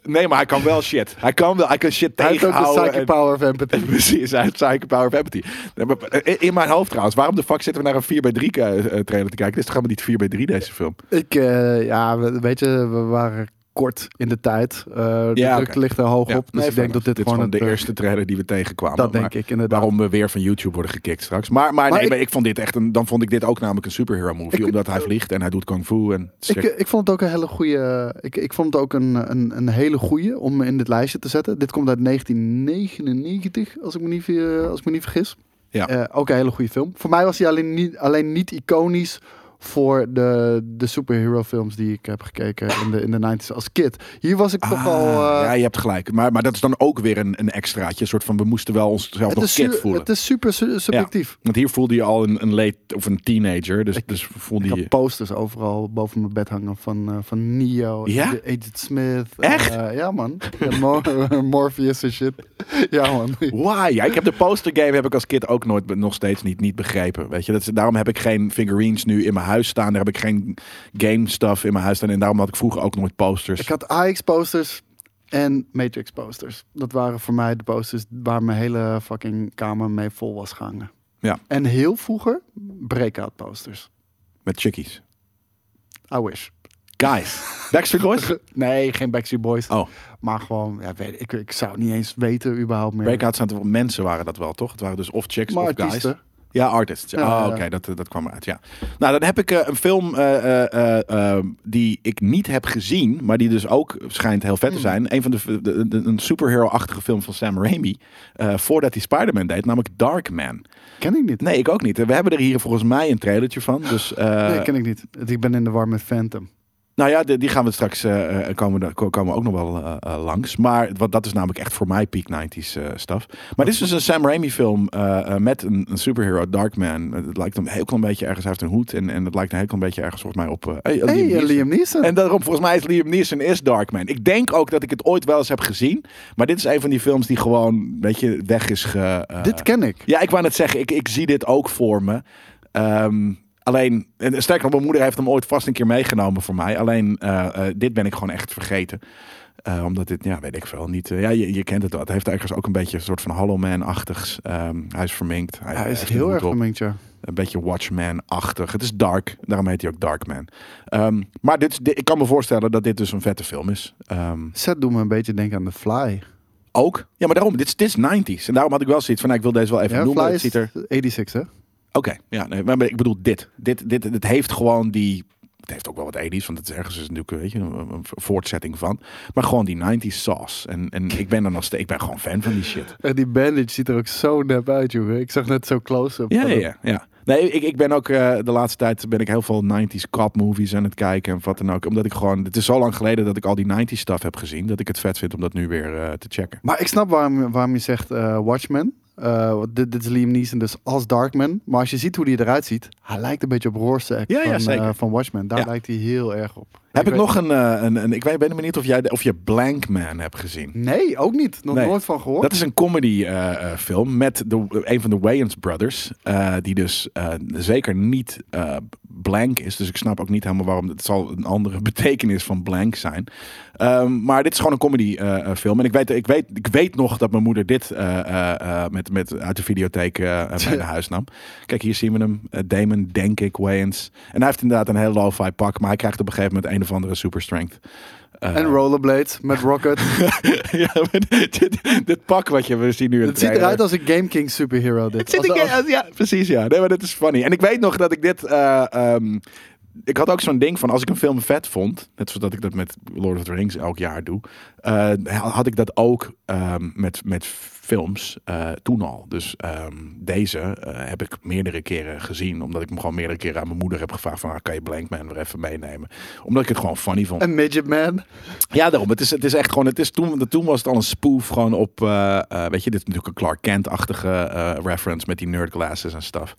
Nee, maar hij kan wel shit. Hij kan wel. Hij kan shit
Hij heeft ook de
tegenhouden.
psychic
en-
power of empathy.
Precies, hij heeft psychic power of empathy. Nee, maar, eh, In mijn hoofd trouwens. Waarom de fuck zitten we naar een 4x3 ke- eh, trailer te kijken? Dit is toch helemaal niet 4x3 deze film?
Ik, eh, ja, we- weet je, we waren kort in de tijd. Eh, de
Ja,
druk
oké.
ligt er hoog
Ja,
op. Dus
nee,
ik denk dat dit,
is
gewoon
de
het, eh,
eerste trailer die we tegenkwamen.
Dat
maar
denk ik inderdaad.
Waarom we weer van YouTube worden gekikt straks. Maar, maar, nee,
ik-
maar ik vond dit echt een, dan vond ik dit ook namelijk een superhero movie.
Ik-
omdat hij vliegt en hij doet kung fu. En het is
Ik, eh,
gek.
ik vond het ook een hele goede. Ik, ik vond het ook een, een, een hele goede om in dit lijstje te zetten. Dit komt uit 1999, als ik me niet, ver- als ik me niet vergis.
Ja.
Eh, ook een hele goede film. Voor mij was hij alleen niet, alleen niet iconisch voor de, de superhero films die ik heb gekeken in de, in de 90s als kid. Hier was ik toch
Ah,
wel. eh,
ja, je hebt gelijk. Maar, maar dat is dan ook weer een, een extraatje. Een soort van, we moesten wel onszelf
het,
nog
is
kid
su-
voelen.
het is super su- subjectief.
Want hier voelde je al een, een late of een teenager. Dus, dus voelde
Ik
je...
had posters overal boven mijn bed hangen van, eh, van Neo, en
Ja?
de Agent Smith.
Echt?
Eh, ja man. Ja, Mor- Morpheus en shit. ja man.
Why? Ja, ik heb de poster game heb ik als kid ook nooit, nog steeds niet, niet begrepen. Weet je? Dat is, daarom heb ik geen figurines nu in mijn huis staan. Daar heb ik geen game stuff in mijn huis staan. En daarom had ik vroeger ook nooit posters.
Ik had AX posters en Matrix posters. Dat waren voor mij de posters waar mijn hele fucking kamer mee vol was gehangen.
Ja.
En heel vroeger breakout posters.
Met chickies.
I wish.
Guys. Backstreet Boys?
Nee, geen Backstreet Boys.
Oh,
Maar gewoon, ja, weet, ik, ik zou het niet eens weten überhaupt meer.
breakouts aan het mensen waren dat wel, toch? Het waren dus of chicks
maar
of
artiesten.
guys. Ja, artists.
Ja,
oh,
ja,
oké,
ja.
dat, eh, dat kwam eruit, ja. Nou, dan heb ik eh, een film eh, eh, eh, eh, die ik niet heb gezien, maar die dus ook schijnt heel
Hmm.
vet te zijn. Een van de, de- de- een superhero-achtige film van Sam Raimi, eh, voordat hij Spider-Man deed, namelijk Darkman.
Ken ik niet.
Nee, ik ook niet. We hebben er hier volgens mij een trailertje van, dus... eh,
nee, ken ik niet. Ik ben in de war met Phantom.
Nou ja, de- die gaan we straks eh, eh, komen, we- ko- komen we ook nog wel eh, eh, langs. Maar wat, dat is namelijk echt voor mij peak 90s eh stuff. Maar dit is dus een Sam Raimi film eh, eh, met een, een superhero, Darkman. Eh, Het lijkt hem heel klein beetje ergens, hij heeft een hoed. En, en het lijkt een heel klein beetje ergens volgens mij op... eh, hey, eh,
Hey,
Liam
eh,
Neeson.
Liam Neeson.
En daarom, volgens mij is Liam Neeson is Darkman. Ik denk ook dat ik het ooit wel eens heb gezien. Maar dit is een van die films die gewoon, weet je, weg is ge... eh,
Dit ken ik.
ja, ik wou net zeggen, ik, ik zie dit ook voor me. Ehm, alleen, en sterker nog, mijn moeder heeft hem ooit vast een keer meegenomen voor mij. Alleen, eh, eh, dit ben ik gewoon echt vergeten. Eh, omdat dit, ja, weet ik veel, niet... eh, ja, je, je kent het wel. Het heeft ergens ook een beetje een soort van Hollow Man-achtigs. Ehm, hij is verminkt. Hij,
Hij is
heeft een
heel
hoed
erg
op.
gemengd, ja.
Een beetje Watchman-achtig. Het is dark, daarom heet hij ook Darkman. Ehm, maar dit, is- dit- ik kan me voorstellen dat dit dus een vette film is. Ehm,
Set doet me een beetje denken aan The Fly.
ook. Ja, maar daarom, dit is, dit is 90s. En daarom had ik wel zoiets van, nou, ik wil deze wel even
Ja,
noemen.
Fly
Het
is
ziet er
86, hè?
Oké, ja, nee, maar ik bedoel dit. Dit, dit. dit heeft gewoon die. Het heeft ook wel wat 80s, want het is ergens is natuurlijk weet je, een, een voortzetting van. Maar gewoon die 90s sauce. En, en ik ben er nog steeds. Ik ben gewoon fan van die shit.
En die bandage ziet er ook zo nep uit, jongen. Ik zag net zo close-up.
Ja,
van
ja,
hem.
ja. ja. Nee, ik, ik ben ook eh, de laatste tijd ben ik heel veel 90s cop movies aan het kijken en wat dan ook. Omdat ik gewoon. Het is zo lang geleden dat ik al die 90s stuff heb gezien. Dat ik het vet vind om dat nu weer eh, te checken.
Maar ik snap waarom, waarom je zegt eh, Watchmen. Eh, want dit, dit is Liam Neeson dus als Darkman. Maar als je ziet hoe hij eruit ziet, hij lijkt een beetje op Rorschach
Ja, ja,
van,
zeker.
eh, van Watchmen. Daar
Ja.
lijkt hij heel erg op.
Heb ik,
weet-
nog een, eh, een, een. Ik weet- ben benieuwd of jij de- of je Blank Man hebt gezien.
Nee, ook niet. Nog
Nee.
nooit van gehoord.
Dat is een comedy eh, eh, film met de, een van de Wayans brothers. eh, die dus eh, zeker niet eh, blank is. Dus ik snap ook niet helemaal waarom. Het zal een andere betekenis van blank zijn. Ehm, maar dit is gewoon een comedy eh, eh, film. En ik weet, ik, weet, ik weet nog dat mijn moeder dit eh, eh, eh, met, met, uit de videotheek eh eh, bij naar huis nam. Kijk, hier zien we hem. Eh, Damon, denk ik, Wayans. En hij heeft inderdaad een heel lo-fi pak. Maar hij krijgt op een gegeven moment een of andere super strength. Eh,
En Rollerblades met Rocket.
ja, maar dit, dit pak wat je we zien nu in de
het ziet
trailer.
eruit als een Game King superhero dit.
Het zit
Als-
een keer-
als-
ja, precies ja. Nee, maar dit is funny. En ik weet nog dat ik dit... eh, ehm, ik had ook zo'n ding van, als ik een film vet vond... Net zoals dat ik dat met Lord of the Rings elk jaar doe... eh, had ik dat ook ehm, met, met films eh, toen al. Dus ehm, deze eh, heb ik meerdere keren gezien. Omdat ik hem gewoon meerdere keren aan mijn moeder heb gevraagd... van, ah, kan je Blankman weer even meenemen? Omdat ik het gewoon funny vond.
Een Midget Man.
Ja, daarom. Het is, het is echt gewoon. Het is toen, toen was het al een spoof gewoon op. eh, eh, weet je, dit is natuurlijk een Clark Kent-achtige eh, reference met die nerd glasses en stuff.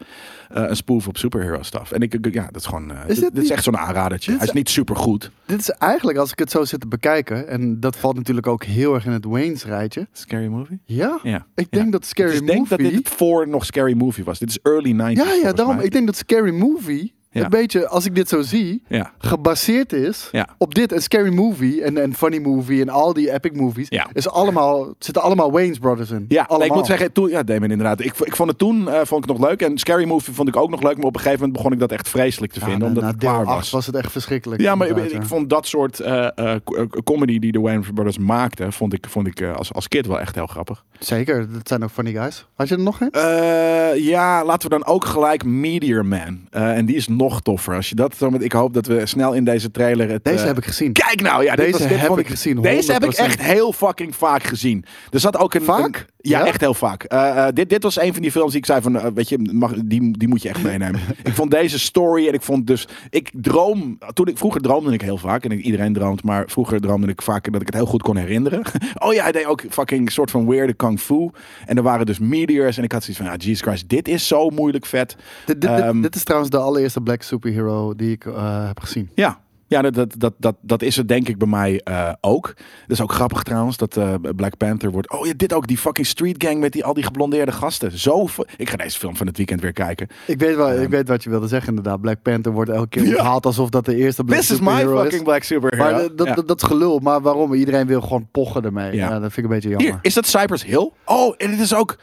Eh, een spoof op superhero stuff. En ik, ik- ja, dat is gewoon. eh,
dit
dit, dit is
niet-
echt zo'n aanradertje.
dit
Hij
is-
is niet supergoed.
Dit is eigenlijk, als ik het zo zit te bekijken, en dat valt natuurlijk ook heel erg in het Wayne's rijtje.
Scary movie.
Ja,
Ja.
ik denk
Ja.
dat Scary
Dus ik denk
Movie...
dat dit voor nog Scary Movie was. Dit is early 90s.
ja, ja,
volgens
daarom.
mij.
Ik denk dat Scary Movie
Ja.
een beetje, als ik dit zo zie,
Ja.
gebaseerd is
Ja.
op dit. En Scary Movie en, en Funny Movie en al die epic movies
Ja.
is allemaal, het zitten allemaal Wayne's Brothers in.
Ja,
allemaal.
nee, ik moet zeggen, toen, ja, Damon inderdaad. Ik, ik vond het toen eh, vond ik het nog leuk. En Scary Movie vond ik ook nog leuk. Maar op een gegeven moment begon ik dat echt vreselijk te
Ja,
vinden.
na-
omdat
na
het
deel
klaar
8
was.
was het echt verschrikkelijk.
Ja, maar ik,
inderdaad,
ik
ja.
vond dat soort eh, eh, co- eh, comedy die de Wayans Brothers maakten, vond ik, vond ik eh, als, als kid wel echt heel grappig.
Zeker, dat zijn ook funny guys. Had je er nog een?
Eh, ja, laten we dan ook gelijk Meteor Man. Eh, en die is nog toffer. Als je dat zo met, ik hoop dat we snel in deze trailer. Het,
Deze
eh,
heb ik gezien.
Kijk nou, ja,
Deze
dit was, dit
heb
vond
ik gezien,
Deze heb ik
100%.
echt heel fucking vaak gezien. Er zat ook een.
Vaak?
een- ja,
Ja?
echt heel vaak. Eh, eh, dit, dit was een van die films die ik zei van, eh, weet je, mag, die, die moet je echt meenemen. ik vond deze story en ik vond dus, ik droom, toen ik vroeger droomde ik heel vaak en ik, iedereen droomt, maar vroeger droomde ik vaak dat ik het heel goed kon herinneren. oh ja, hij deed ook fucking soort van weirde kung fu en er waren dus meteors en ik had zoiets van, ja, Jesus Christ, dit is zo moeilijk vet.
Dit, dit, dit-
Ehm,
dit is trouwens de allereerste black superhero die ik eh, heb gezien.
Ja. Ja, dat, dat, dat, dat, dat is het denk ik bij mij eh, ook. Dat is ook grappig trouwens, dat eh, Black Panther wordt... Oh ja, dit ook, die fucking street gang met die, al die geblondeerde gasten. Zo fu- ik ga deze film van het weekend weer kijken.
Ik weet, wel, ik weet wat je wilde zeggen inderdaad. Black Panther wordt elke keer
Ja.
onthaald alsof dat de eerste black
This is my
superhero
fucking black superhero.
Maar eh, dat,
Ja.
dat, dat is gelul. Maar waarom? Iedereen wil gewoon pochen ermee.
Ja.
Ja. dat vind ik een beetje jammer.
Hier, is dat Cypress Hill? Oh, en dit is ook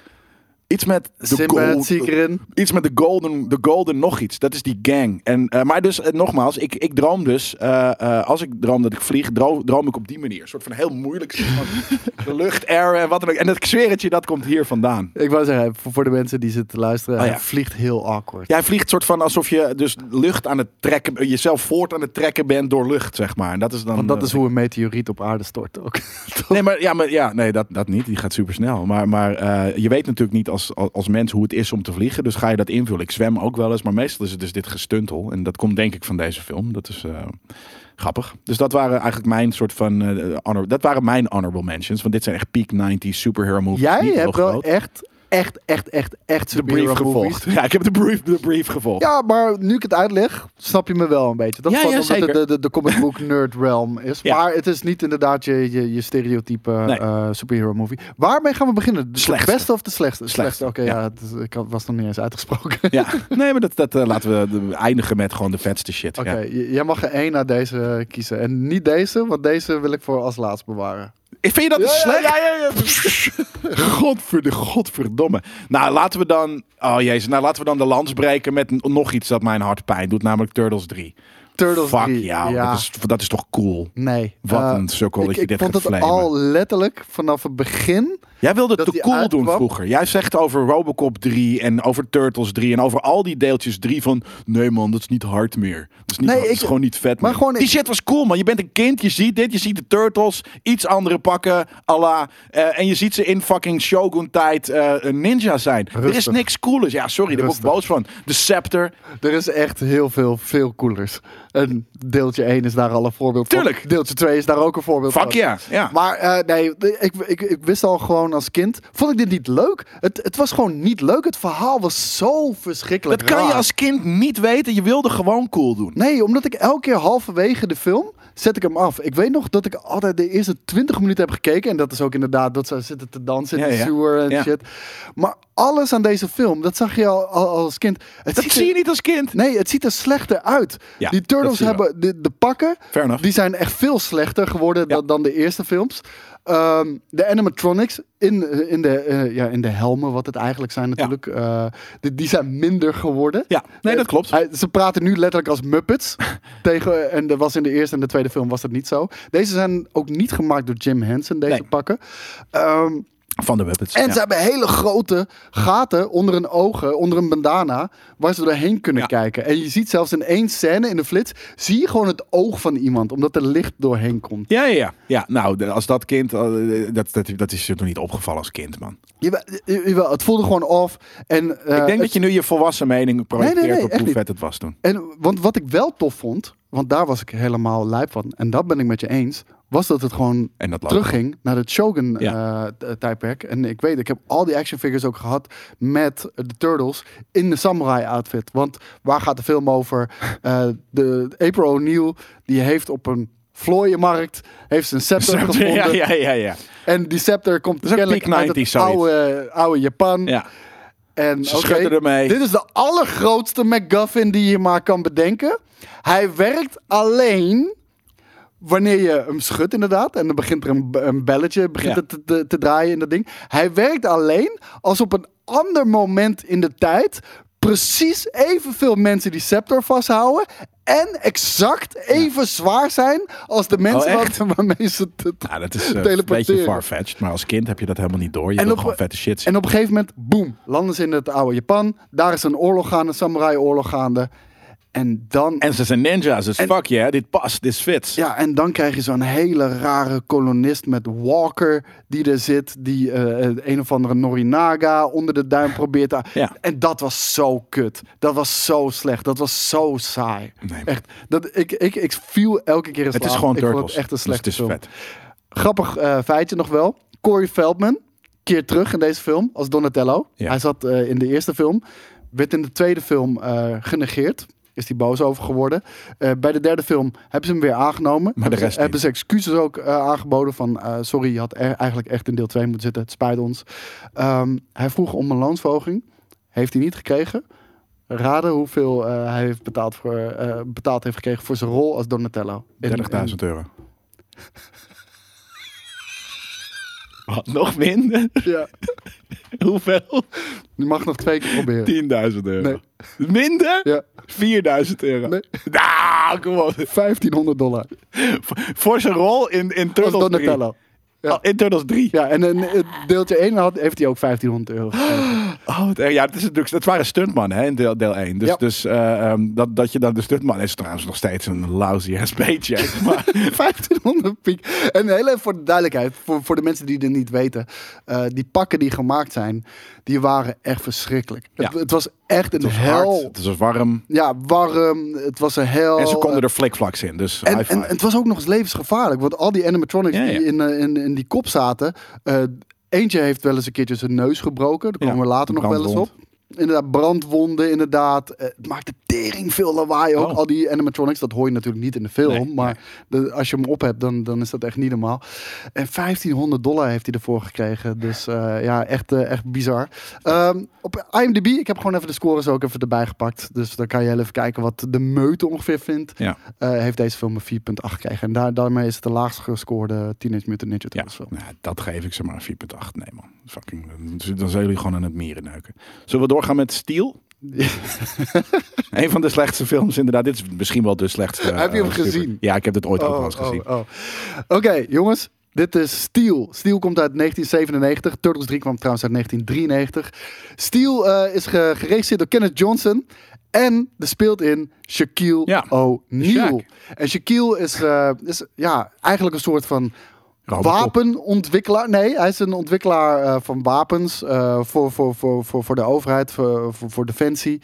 iets met... de
Sinbad
gold-
zie ik erin.
Iets met de golden, de golden nog iets. Dat is die gang. En, eh, maar dus, eh, nogmaals, ik, ik droom dus... eh, eh, als ik droom dat ik vlieg, droom, droom ik op die manier. Een soort van heel moeilijk... soort van de lucht, air en wat dan ook. En dat, ik zweer het je, dat komt hier vandaan.
Ik wou zeggen, voor, voor de mensen die zitten te luisteren,
Oh,
hij
ja.
vliegt heel awkward.
Jij vliegt soort van alsof je dus lucht aan het trekken, jezelf voort aan het trekken bent door lucht, zeg maar. En dat is dan.
Want dat is
eh,
hoe een meteoriet op aarde stort ook.
Nee, maar ja, maar, ja nee, dat, dat niet. Die gaat super snel. Maar, maar eh, je weet natuurlijk niet als, als- als mens hoe het is om te vliegen. Dus ga je dat invullen. Ik zwem ook wel eens, maar meestal is het dus dit gestuntel. En dat komt denk ik van deze film. Dat is. eh, Grappig. Dus dat waren eigenlijk mijn soort van. eh, honor, dat waren mijn honorable mentions. Want dit zijn echt peak 90 superhero movies.
Jij
niet heel
hebt wel
groot.
echt, echt, echt, echt, echt
de brief
superhero movies.
gevolgd. Ja, ik heb de brief, de brief gevolgd.
Ja, maar nu ik het uitleg, snap je me wel een beetje. Dat
Ja,
is gewoon
ja,
omdat het
zeker.
de, de, de comic book nerd realm is.
Ja.
Maar het is niet inderdaad je, je, je stereotype
Nee.
eh, superhero movie. Waarmee gaan we beginnen? De
Slechtste.
beste of de slechtste?
Slechtste,
Oké,
ja.
ja. het is- ik had- was nog niet eens uitgesproken.
Ja, nee, maar dat, dat eh, laten we de- eindigen met gewoon de vetste shit.
Oké,
Ja.
j- jij mag er één naar deze kiezen. En niet deze, want deze wil ik voor als laatst bewaren.
Ik vind je dat dus
Ja, ja,
slecht? Godverd- godverdomme. Nou, laten we dan... Oh jezus, nou laten we dan de lans breken met n- nog iets dat mijn hart pijn doet. Namelijk Turtles 3.
Turtles
Fuck
3,
jou,
ja.
dat, is, dat is toch cool?
Nee.
Wat
eh,
een sukkel dat
ik,
je
ik
dit
vond
gaat
het
flamen.
al letterlijk vanaf het begin.
Jij wilde het
dat
te
die
cool doen
uitkwam.
vroeger. Jij zegt over Robocop 3 en over Turtles 3 en over al die deeltjes 3 van... Nee man, dat is niet hard meer. Dat is, niet,
Nee,
dat is
ik-
gewoon niet vet
maar
meer.
gewoon-
die shit was cool man. Je bent een kind, je ziet dit, je ziet de Turtles, iets andere pakken, ala. eh, en je ziet ze in fucking Shogun tijd eh, een ninja zijn. Er is
Rustig.
niks coolers. Ja, sorry, daar word ik
Rustig.
boos van. De scepter.
Er is echt heel veel, veel coolers. En deeltje 1 is daar al een voorbeeld
Tuurlijk.
van. Deeltje 2 is daar ook een voorbeeld
Fuck
van.
ja. ja.
Maar eh, nee, ik, ik, ik wist al gewoon als kind. Vond ik dit niet leuk? Het, het was gewoon niet leuk. Het verhaal was zo verschrikkelijk.
Dat kan je
raar.
als kind niet weten. Je wilde gewoon cool doen.
Nee, omdat ik elke keer halverwege de film zet ik hem af. Ik weet nog dat ik altijd de eerste 20 minuten heb gekeken. En dat is ook inderdaad dat ze zitten te dansen in
Ja,
de
ja.
sewer en
Ja.
shit. Maar alles aan deze film, dat zag je al, al- al als kind. Het
Dat
ziet
zie
er-
je niet als kind.
Nee, het ziet er slechter uit.
Ja,
die
dat
Turtles
zie je wel.
hebben de, de pakken.
Fair enough.
Die zijn echt veel slechter geworden
Ja.
dan, dan de eerste films. Ehm, de animatronics in, in, de, eh, ja, in de helmen, wat het eigenlijk zijn natuurlijk. eh, die, die zijn minder geworden. Eh,
Ja, nee, dat klopt.
Hij- ze praten nu letterlijk als Muppets. tegen, en dat was in de eerste en de tweede film was dat niet zo. Deze zijn ook niet gemaakt door Jim Henson, deze
Nee.
pakken. Ehm,
Van de Muppets.
en
ja.
ze hebben hele grote gaten onder hun ogen, onder een bandana, waar ze doorheen kunnen
Ja.
kijken. En je ziet zelfs in één scène in de flits, zie je gewoon het oog van iemand, omdat er licht doorheen komt.
Ja, ja, ja. ja nou, de- als dat kind, eh, dat, dat, dat is je nog niet opgevallen als kind, man.
Jawel, jawel, het voelde gewoon af. En, eh,
ik denk
het-
dat je nu je volwassen mening projecteert
nee, nee,
op
echt
hoe
niet.
vet het was toen.
en, want wat ik wel tof vond, want daar was ik helemaal lijp van, en dat ben ik met je eens, was dat het gewoon
En dat logo.
terugging naar het Shogun
Ja.
eh, t- eh, tijdperk. En ik weet, ik heb al die action figures ook gehad met de Turtles in de samurai outfit. Want waar gaat de film over? Eh, de April O'Neil die heeft op een vlooienmarkt heeft zijn scepter gevonden.
Ja, ja, ja, ja.
En die scepter komt
Dat is ook
kennelijk
peak
uit het
90s zoiets.
oude, oude Japan.
ja.
En
Ze
oké,
schudden ermee.
dit is de allergrootste MacGuffin die je maar kan bedenken. Hij werkt alleen wanneer je hem schudt inderdaad. En dan begint er een, b- een belletje begint
Ja.
het te, te, te draaien in dat ding. Hij werkt alleen als op een ander moment in de tijd... precies evenveel mensen die Scepter vasthouden... en exact even zwaar zijn als de mensen
Oh,
waar-
echt?
waarmee ze te, te-
Ja, dat is eh, een beetje
Teleporteren.
farfetched, maar als kind heb je dat helemaal niet door. Je
En
wil
op-
gewoon vette shit zien.
En op een gegeven moment, boem, landen ze in het oude Japan. Daar is een oorlog gaande, een samurai-oorlog gaande. En dan,
En ze zijn ninja's, dus fuck yeah, dit past, dit fits.
ja, en dan krijg je zo'n hele rare kolonist met Walker die er zit. Die eh, een of andere Norinaga onder de duim probeert te...
Ja.
En dat was zo kut. Dat was zo slecht. Dat was zo saai.
Nee.
Echt, dat, ik, ik, ik viel elke keer in
het
slaap.
is gewoon
ik
Turtles.
Vond het echt een
dus
slechte
het
film.
is vet.
Grappig eh, feitje nog wel. Corey Feldman keert terug in deze film als Donatello.
Ja.
Hij zat eh, in de eerste film. Werd in de tweede film eh, genegeerd. Is hij boos over geworden. Eh, bij de derde film hebben ze hem weer aangenomen.
Maar de
Hebben ze-
rest
hebben ze excuses ook eh, aangeboden van... eh, sorry, je had e- eigenlijk echt in deel 2 moeten zitten. Het spijt ons. Ehm, hij vroeg om een loonsverhoging. Heeft hij niet gekregen. Raden hoeveel eh, hij heeft betaald, voor, eh, betaald heeft gekregen voor zijn rol als Donatello. In- in-
30.000 euro. Wat, nog minder?
Ja.
Hoeveel?
Je mag nog twee keer proberen.
10.000 euro.
Nee.
Minder?
Ja,
4.000 euro.
Nee.
Nou, kom op.
1500 dollar.
Voor- Voor zijn rol in, in
Dat was
Turtles 3.
Donatello. Ja.
Oh, in Turtles 3.
Ja, en in eh, deeltje 1 had, heeft hij ook 1500 euro. gekregen.
Oh, het, ja, het, is natuurlijk, het waren stuntmannen hè, in deel, deel 1. Dus,
Ja.
dus eh, ehm, dat, dat je dan de stuntman is trouwens nog steeds een lousy ass beetje. Maar
1500 piek. En heel even voor de duidelijkheid, voor, voor de mensen die dit niet weten. eh, die pakken die gemaakt zijn, die waren echt verschrikkelijk.
Ja.
Het, het was echt een
het is hard,
hel.
het is warm.
Ja, warm. Het was een hel.
En ze
Eh,
konden er flikvlaks in, dus
En,
high
en,
five.
en het was ook nog eens levensgevaarlijk. Want al die animatronics
Ja, ja.
die in, eh, in, in die kop zaten. eh, eentje heeft wel eens een keertje zijn neus gebroken. Daar komen
Ja,
we later nog wel eens op.
brandwond.
Inderdaad, brandwonden, inderdaad. Eh, het maakte tering veel lawaai ook.
Oh.
Al die animatronics, dat hoor je natuurlijk niet in de film.
Nee,
maar de- als je hem op hebt, dan, dan is dat echt niet normaal. En 1500 dollar heeft hij ervoor gekregen. Dus eh, ja, echt, eh, echt bizar. Ehm, op IMDb, ik heb gewoon even de scores ook even erbij gepakt. Dus dan kan je heel even kijken wat de meute ongeveer vindt.
Ja,
Eh, heeft deze film een 4.8 gekregen. En daar, daarmee is het de laagst gescoorde Teenage Mutant Ninja
ja.
Turtles film.
Nou, dat geef ik ze maar een 4.8. Nee man, fucking, dan zijn jullie gewoon aan het mieren neuken. Zullen we doorgaan met Steel? een van de slechtste films inderdaad. Dit is misschien wel de slechtste.
Heb je hem
eh, super-
gezien?
Ja, ik heb dit ooit ook wel eens gezien.
oh. Oké, jongens. Dit is Steel. Steel komt uit 1997. Turtles 3 kwam trouwens uit 1993. Steel eh, is ge- geregisseerd door Kenneth Johnson. En er speelt in Shaquille
Ja,
O'Neal.
Shaq.
En Shaquille is, eh, is ja, eigenlijk een soort van
Robocop.
wapenontwikkelaar. Nee, hij is een ontwikkelaar eh, van wapens eh, voor, voor, voor, voor, voor de overheid, voor, voor, voor defensie.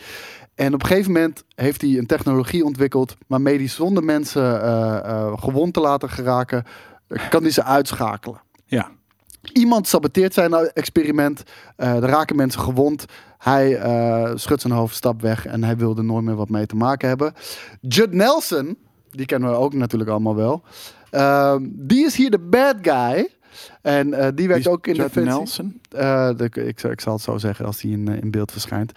En op een gegeven moment heeft hij een technologie ontwikkeld waarmee hij zonder mensen eh, eh, gewond te laten geraken, eh, kan hij ze uitschakelen.
Ja.
Iemand saboteert zijn experiment, eh er raken mensen gewond. Hij eh, schudt zijn hoofd, stap weg en hij wil er nooit meer wat mee te maken hebben. Judd Nelson, die kennen we ook natuurlijk allemaal wel. Ehm, die is hier de bad guy. En eh, die werkt ook in de
Judd
defensie.
Nelson?
Eh, de- ik, zal- ik zal het zo zeggen als hij in, eh, in beeld verschijnt.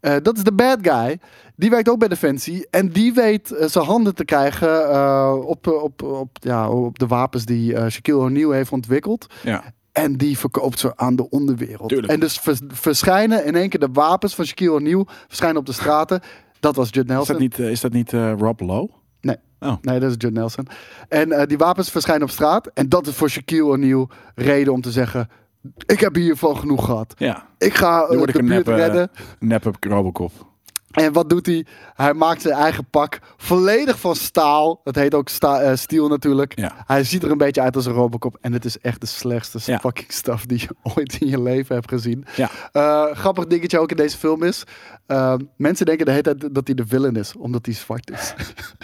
Eh, dat is de bad guy. Die werkt ook bij Defensie. En die weet eh, zijn handen te krijgen eh, op, op, op, ja, op de wapens die eh, Shaquille O'Neal heeft ontwikkeld.
Ja.
En die verkoopt ze aan de onderwereld.
Tuurlijk.
En dus vers- verschijnen in één keer de wapens van Shaquille O'Neal. Verschijnen op de straten. Dat was Judd
Is
Nelson.
dat niet, eh, is dat niet eh, Rob Lowe?
Nee.
Oh.
Nee, dat is Judd Nelson. En eh, die wapens verschijnen op straat. En dat is voor Shaquille O'Neal reden om te zeggen... Ik heb hiervan genoeg gehad.
Ja.
Ik ga eh,
Nu word ik
de
een
buurt
neppe, eh,
redden.
neppe Robocop.
En wat doet hij? Hij maakt zijn eigen pak volledig van staal. Dat heet ook sta eh, steel natuurlijk.
Ja.
Hij ziet er een beetje uit als een Robocop. En het is echt de slechtste
Ja.
fucking stuff die je ooit in je leven hebt gezien.
Ja.
Eh, grappig dingetje ook in deze film is... ehm, eh, mensen denken de hele tijd dat hij de villain is, omdat hij zwart is.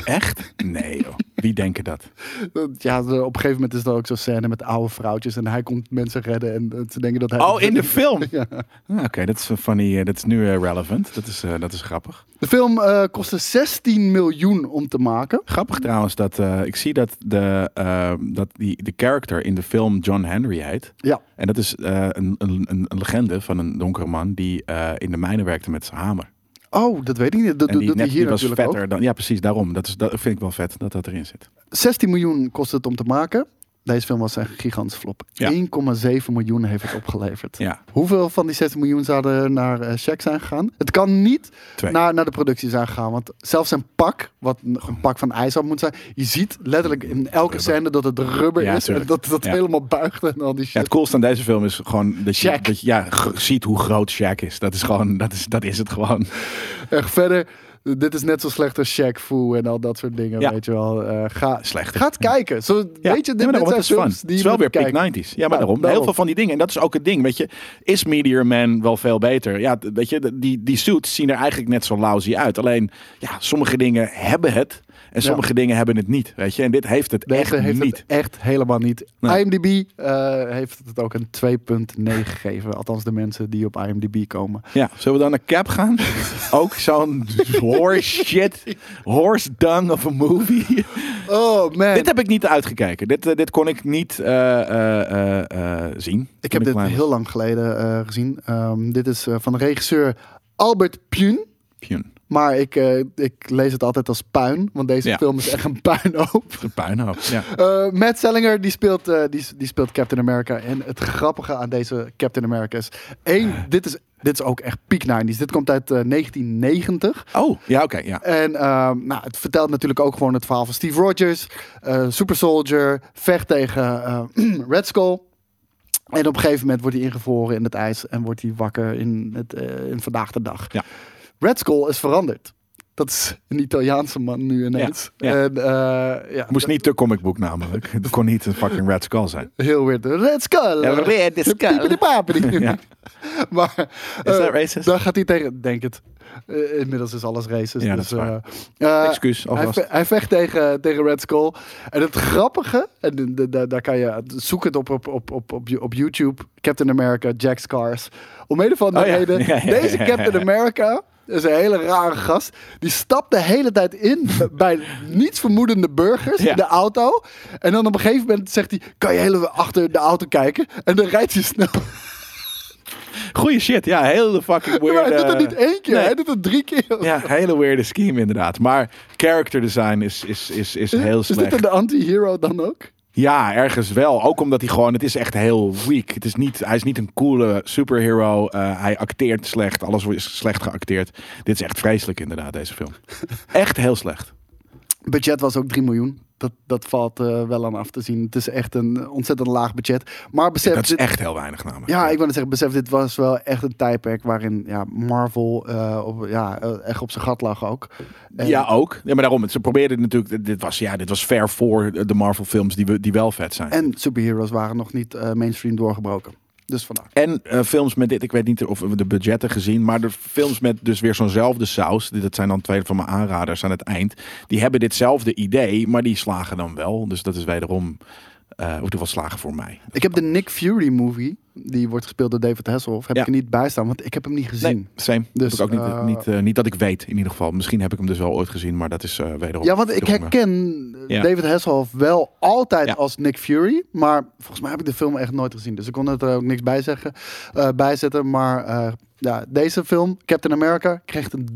Echt? Nee, joh. Wie denken dat?
Dat- Ja, op een gegeven moment is er ook zo'n scène met oude vrouwtjes. En hij komt mensen redden en eh, ze denken dat hij...
Oh, in de film!
Ja.
Ah, Oké, dat is een funny. eh, Dat is nu eh, relevant. Dat is, eh, dat is grappig.
De film eh, kostte 16 miljoen om te maken.
Grappig trouwens dat eh, ik zie dat, de, eh, dat die, de character in de film John Henry heet.
Ja.
En dat is eh, een, een, een een legende van een donkere man die eh, in de mijnen werkte met zijn hamer.
Oh, dat weet ik niet. Dat
En
doet
die,
hij
net, die
hier
was
natuurlijk ook.
vetter dan. Ja, precies, daarom. Dat, is, dat vind ik wel vet dat dat erin zit.
16 miljoen kost het om te maken. Deze film was een gigantische flop.
Ja.
1,7 miljoen heeft het opgeleverd.
Ja.
Hoeveel van die 16 miljoen zouden naar eh check zijn gegaan? Het kan niet
Twee.
naar, naar de productie zijn gegaan. Want zelfs zijn pak, wat een een pak van ijs had moeten zijn. Je ziet letterlijk in elke scène dat het rubber
Ja,
is.
tuurlijk.
En dat dat
Ja.
helemaal buigt en al die
Ja,
shit.
het coolste aan deze film is gewoon dat je,
Shaq.
dat je ja, g- ziet hoe groot Shaq is. Dat is gewoon, dat is, dat is het gewoon.
Echt verder, dit is net zo slecht als Shaq Fu en al dat soort dingen,
Ja.
weet je wel. Eh, ga,
Slechter.
Ga het kijken. Zo,
Ja,
weet je,
nee,
dit,
maar
dit
daarom, het
zijn
is fun.
films
Het
die
is
je
wel weer
moet
pick 90s. Ja,
kijken. Nou,
maar daarom. Heel veel van die dingen. En dat is ook het ding, weet je. Is Meteor Man wel veel beter? Ja, t- weet je, d- die, die suits zien er eigenlijk net zo lousy uit. Alleen, ja, sommige dingen hebben het. En sommige dingen hebben het niet, weet je. En dit heeft het
Deze
echt
heeft
niet.
het echt helemaal niet.
Nee.
IMDb eh, heeft het ook een 2.9 gegeven. Althans, de mensen die op IMDb komen.
Ja, zullen we dan naar Cap gaan? ook zo'n horse shit, horse dung of a movie.
Oh man.
dit heb ik niet uitgekeken. Dit, eh, dit kon ik niet eh, eh, eh, eh, zien.
ik heb dit heel lang geleden eh, gezien. Ehm, dit is eh, van de regisseur Albert Pune.
Pjun,
Maar ik, eh, ik lees het altijd als puin. Want deze
Ja.
film is echt een puinhoop.
de puinhoop. Ja.
Eh, Matt Sellinger die speelt, eh, die, die speelt Captain America. En het grappige aan deze Captain America is... één, dit is, dit is ook echt peak 90s. Dit komt uit eh, 1990.
Oh, ja, oké. ja.
En ehm, nou, het vertelt natuurlijk ook gewoon het verhaal van Steve Rogers. eh, Super Soldier. Vecht tegen eh, Red Skull. En op een gegeven moment wordt hij ingevroren in het ijs. En wordt hij wakker in, het, eh, in vandaag de dag.
Ja.
Red Skull is veranderd. Dat is een Italiaanse man nu ineens.
ja.
En, eh, ja,
Het moest niet de comic book namelijk. Het kon niet een fucking Red Skull zijn.
Heel weird. Red Skull.
Ja, Red Skull.
Piepidi-papidi.
Ja.
Maar
Is
eh,
dat racist?
dan gaat hij tegen... Denk het. Eh, inmiddels is alles racist.
Ja,
dus,
dat is waar.
eh, eh,
Excuus,
hij,
alvast.
ve- hij vecht tegen, tegen Red Skull. En het grappige, en de- de- de- daar kan je zoek het op, op, op, op, op, op YouTube. Captain America, Jack Scars. Om een of andere
Oh ja.
reden.
Ja, ja, ja,
Deze
ja,
Captain
ja.
America is een hele rare gast. Die stapt de hele tijd in bij niets vermoedende burgers
Ja.
in de auto. En dan op een gegeven moment zegt hij: Kan je heel achter de auto kijken? En dan rijdt hij snel.
Goeie shit. Ja, hele fucking weird.
maar hij doet dat
eh,
niet één keer,
nee.
hij doet dat drie keer.
Ja, hele weirde scheme inderdaad. Maar character design is, is, is, is heel
is dit
slecht.
dan de anti-hero dan ook?
Ja, ergens wel. Ook omdat hij gewoon, het is echt heel weak. Het is niet, hij is niet een coole superhero. Eh, hij acteert slecht. Alles is slecht geacteerd. Dit is echt vreselijk inderdaad, deze film. Echt heel slecht.
budget was ook 3 miljoen. Dat, dat valt eh, wel aan af te zien. Het is echt een ontzettend laag budget. Maar besef,
Dat is
dit-
echt heel weinig namelijk.
ja, ik wil net zeggen, besef, dit was wel echt een tijdperk waarin ja, Marvel eh, op, ja, eh, echt op zijn gat lag ook. En-
Ja, ook. Ja, maar daarom. Ze probeerden natuurlijk. Dit was, ja, dit was ver voor de Marvel-films die, we- die wel vet zijn. En,
En superheroes waren nog niet eh, mainstream doorgebroken. Dus vandaar.
eh, films met dit. Ik weet niet of we de budgetten gezien. Maar de films met dus weer zo'nzelfde saus. die- Dat zijn dan twee van mijn aanraders aan het eind. Die hebben ditzelfde idee. Maar die slagen dan wel. Dus dat is wederom. eh hoe wat slagen voor mij.
Ik heb de Nick Fury movie, die wordt gespeeld door David Hasselhoff, heb
Ja.
ik er niet bij staan, want ik heb hem niet gezien.
Nee, same.
Dus,
Dus, ik ook niet,
eh,
niet, eh, niet dat ik weet in ieder geval. Misschien heb ik hem dus wel ooit gezien. Maar dat is eh, wederom.
Ja, want ik
wederom, eh,
herken
Ja.
David Hasselhoff wel altijd
Ja.
als Nick Fury. Maar volgens mij heb ik de film echt nooit gezien. Dus ik kon er ook niks bij, zeggen, eh, bij zetten. Maar eh, ja, deze film, Captain America, kreeg een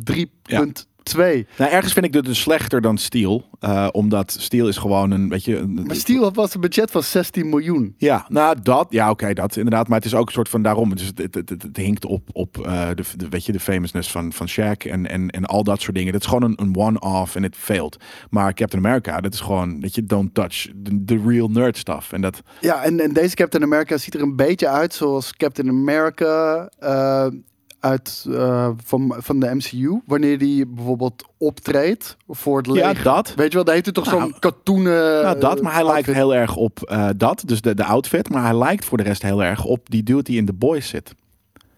3.2.
Nou, ergens vind ik dit dus slechter dan Steel. eh, omdat Steel is gewoon een. Weet je, een,
Maar Steel was een budget van 16 miljoen.
Ja, nou dat, ja oké, dat inderdaad. Maar het is ook een soort van daarom. Dus het, het, het, het- het hinkt op, op eh, de, de, weet je, de famousness van, van Shaq en, en, en al dat soort dingen. Dat is gewoon een, een one-off en het failed. Maar Captain America, dat is gewoon, weet je, don't touch the, the real nerd stuff. En dat,
Ja, en, en deze Captain America ziet er een beetje uit zoals Captain America eh, uit, eh, van, van de MCU. Wanneer die bijvoorbeeld optreedt voor het leger.
dat.
Weet je wel, daar heeft hij toch
Nou,
zo'n katoenen...
nou dat, maar hij
eh,
lijkt heel erg op eh, dat, dus de, de outfit. Maar hij lijkt voor de rest heel erg op die dude die in The Boys zit.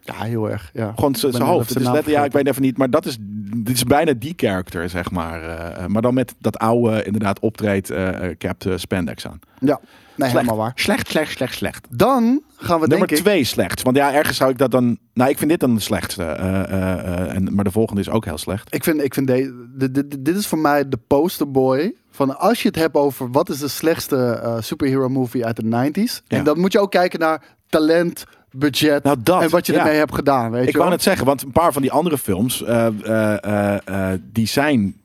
Ja, heel erg. Ja.
Gewoon z-
Ik ben
zijn
heel
hoofd.
even
Het is
zijn naam
net, ja, ik
vergeten.
weet even niet, maar dat is, dit is bijna die character, zeg maar. eh, maar dan met dat oude, inderdaad, optreed eh, eh, Cap eh, Spandex aan.
Ja, nee,
Slecht.
helemaal waar.
Slecht, slecht, slecht, slecht.
Dan gaan we
Nummer
denk ik...
twee slecht. Want ja, ergens zou ik dat dan... Nou, ik vind dit dan de slechtste. eh, eh, eh, en, maar de volgende is ook heel slecht.
Ik vind, ik vind de, de- de- dit is voor mij de posterboy. Van als je het hebt over wat is de slechtste eh, superhero movie uit de 90s.
Ja.
En dan moet je ook kijken naar talent, budget
Nou, dat,
en wat je
ja.
ermee hebt gedaan. Weet
Ik
je wel?
wou net zeggen, want een paar van die andere films, eh, eh, eh, eh, die zijn...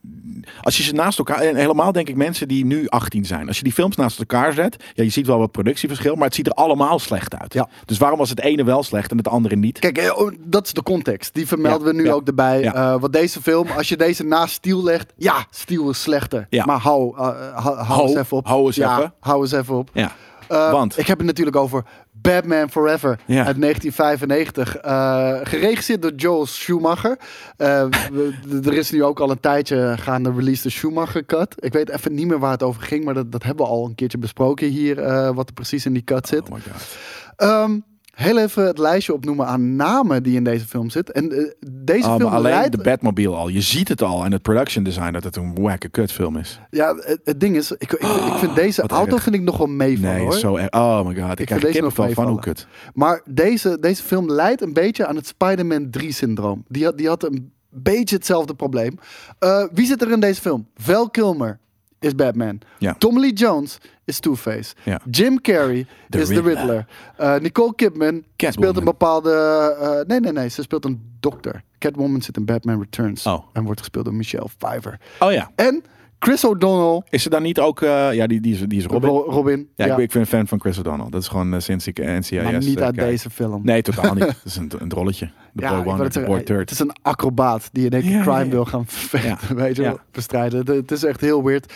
Als je ze naast elkaar... En helemaal denk ik mensen die nu 18 zijn. Als je die films naast elkaar zet... Ja, je ziet wel wat productieverschil, maar het ziet er allemaal slecht uit.
Ja.
Dus waarom was het ene wel slecht en het andere niet?
Kijk, eh, oh, dat is de context. Die vermelden
Ja,
we nu
ja,
ook erbij.
ja.
Eh, want deze film, als je deze naast Steel legt... Ja, Steel is slechter.
Ja.
Maar hou, eh, eh, hou, hou
Hou-
eens even op.
hou eens
ja,
even.
Hou eens even op.
Ja.
Eh,
Want?
Ik heb het natuurlijk over Batman Forever
Ja.
uit 1995. eh, geregisseerd door Joel Schumacher. Eh, we- d- er is nu ook al een tijdje gaande release de Schumacher cut. Ik weet even niet meer waar het over ging, maar dat, dat hebben we al een keertje besproken hier. eh, wat er precies in die cut zit.
Oh my god.
Ehm, heel even het lijstje opnoemen aan namen die in deze film zitten. En eh, deze
Oh, maar
film
alleen
leidt...
de Batmobile al. Je ziet het al en het production design dat het een wacke kutfilm is.
Ja, het, het ding is, ik, ik, ik vind deze
wat
auto
erg.
vind ik nog wel meevallen
Nee,
hoor.
zo erg. Oh my god, ik,
Ik
krijg
vind deze nog
kippenvel van hoe
meevallen.
kut.
Maar deze, deze film leidt een beetje aan het Spider-Man 3-syndroom. Die had, die had een beetje hetzelfde probleem. Eh, wie zit er in deze film? Val Kilmer is Batman.
Ja.
Tommy Lee Jones is Two-Face.
Ja.
Jim Carrey
The
is The
Riddler.
Riddler. Eh, Nicole Kidman speelt een
Catwoman.
bepaalde... eh, nee, nee, nee. Ze speelt een dokter. Catwoman zit in Batman Returns.
Oh.
En wordt gespeeld door Michelle Pfeiffer.
Oh ja.
En Chris O'Donnell...
Is er dan niet ook... eh, ja, die, die, is, die is Robin.
Ro- Robin.
Ja, Ik, ben- ik ben een fan van Chris O'Donnell. Dat is gewoon eh, sinds ik eh, NCIS...
maar niet
eh,
uit
kijk.
deze film.
Nee, totaal niet. Dat is een, een rolletje. De
Ja, ik eh,
boy
wou
one,
net
de
zeggen,
boy
hij-
third.
Het is een acrobaat die in één keer
Ja,
crime
ja,
wil gaan vechten,
Ja,
weet je
ja.
wel, bestrijden. Het- Het is echt heel weird.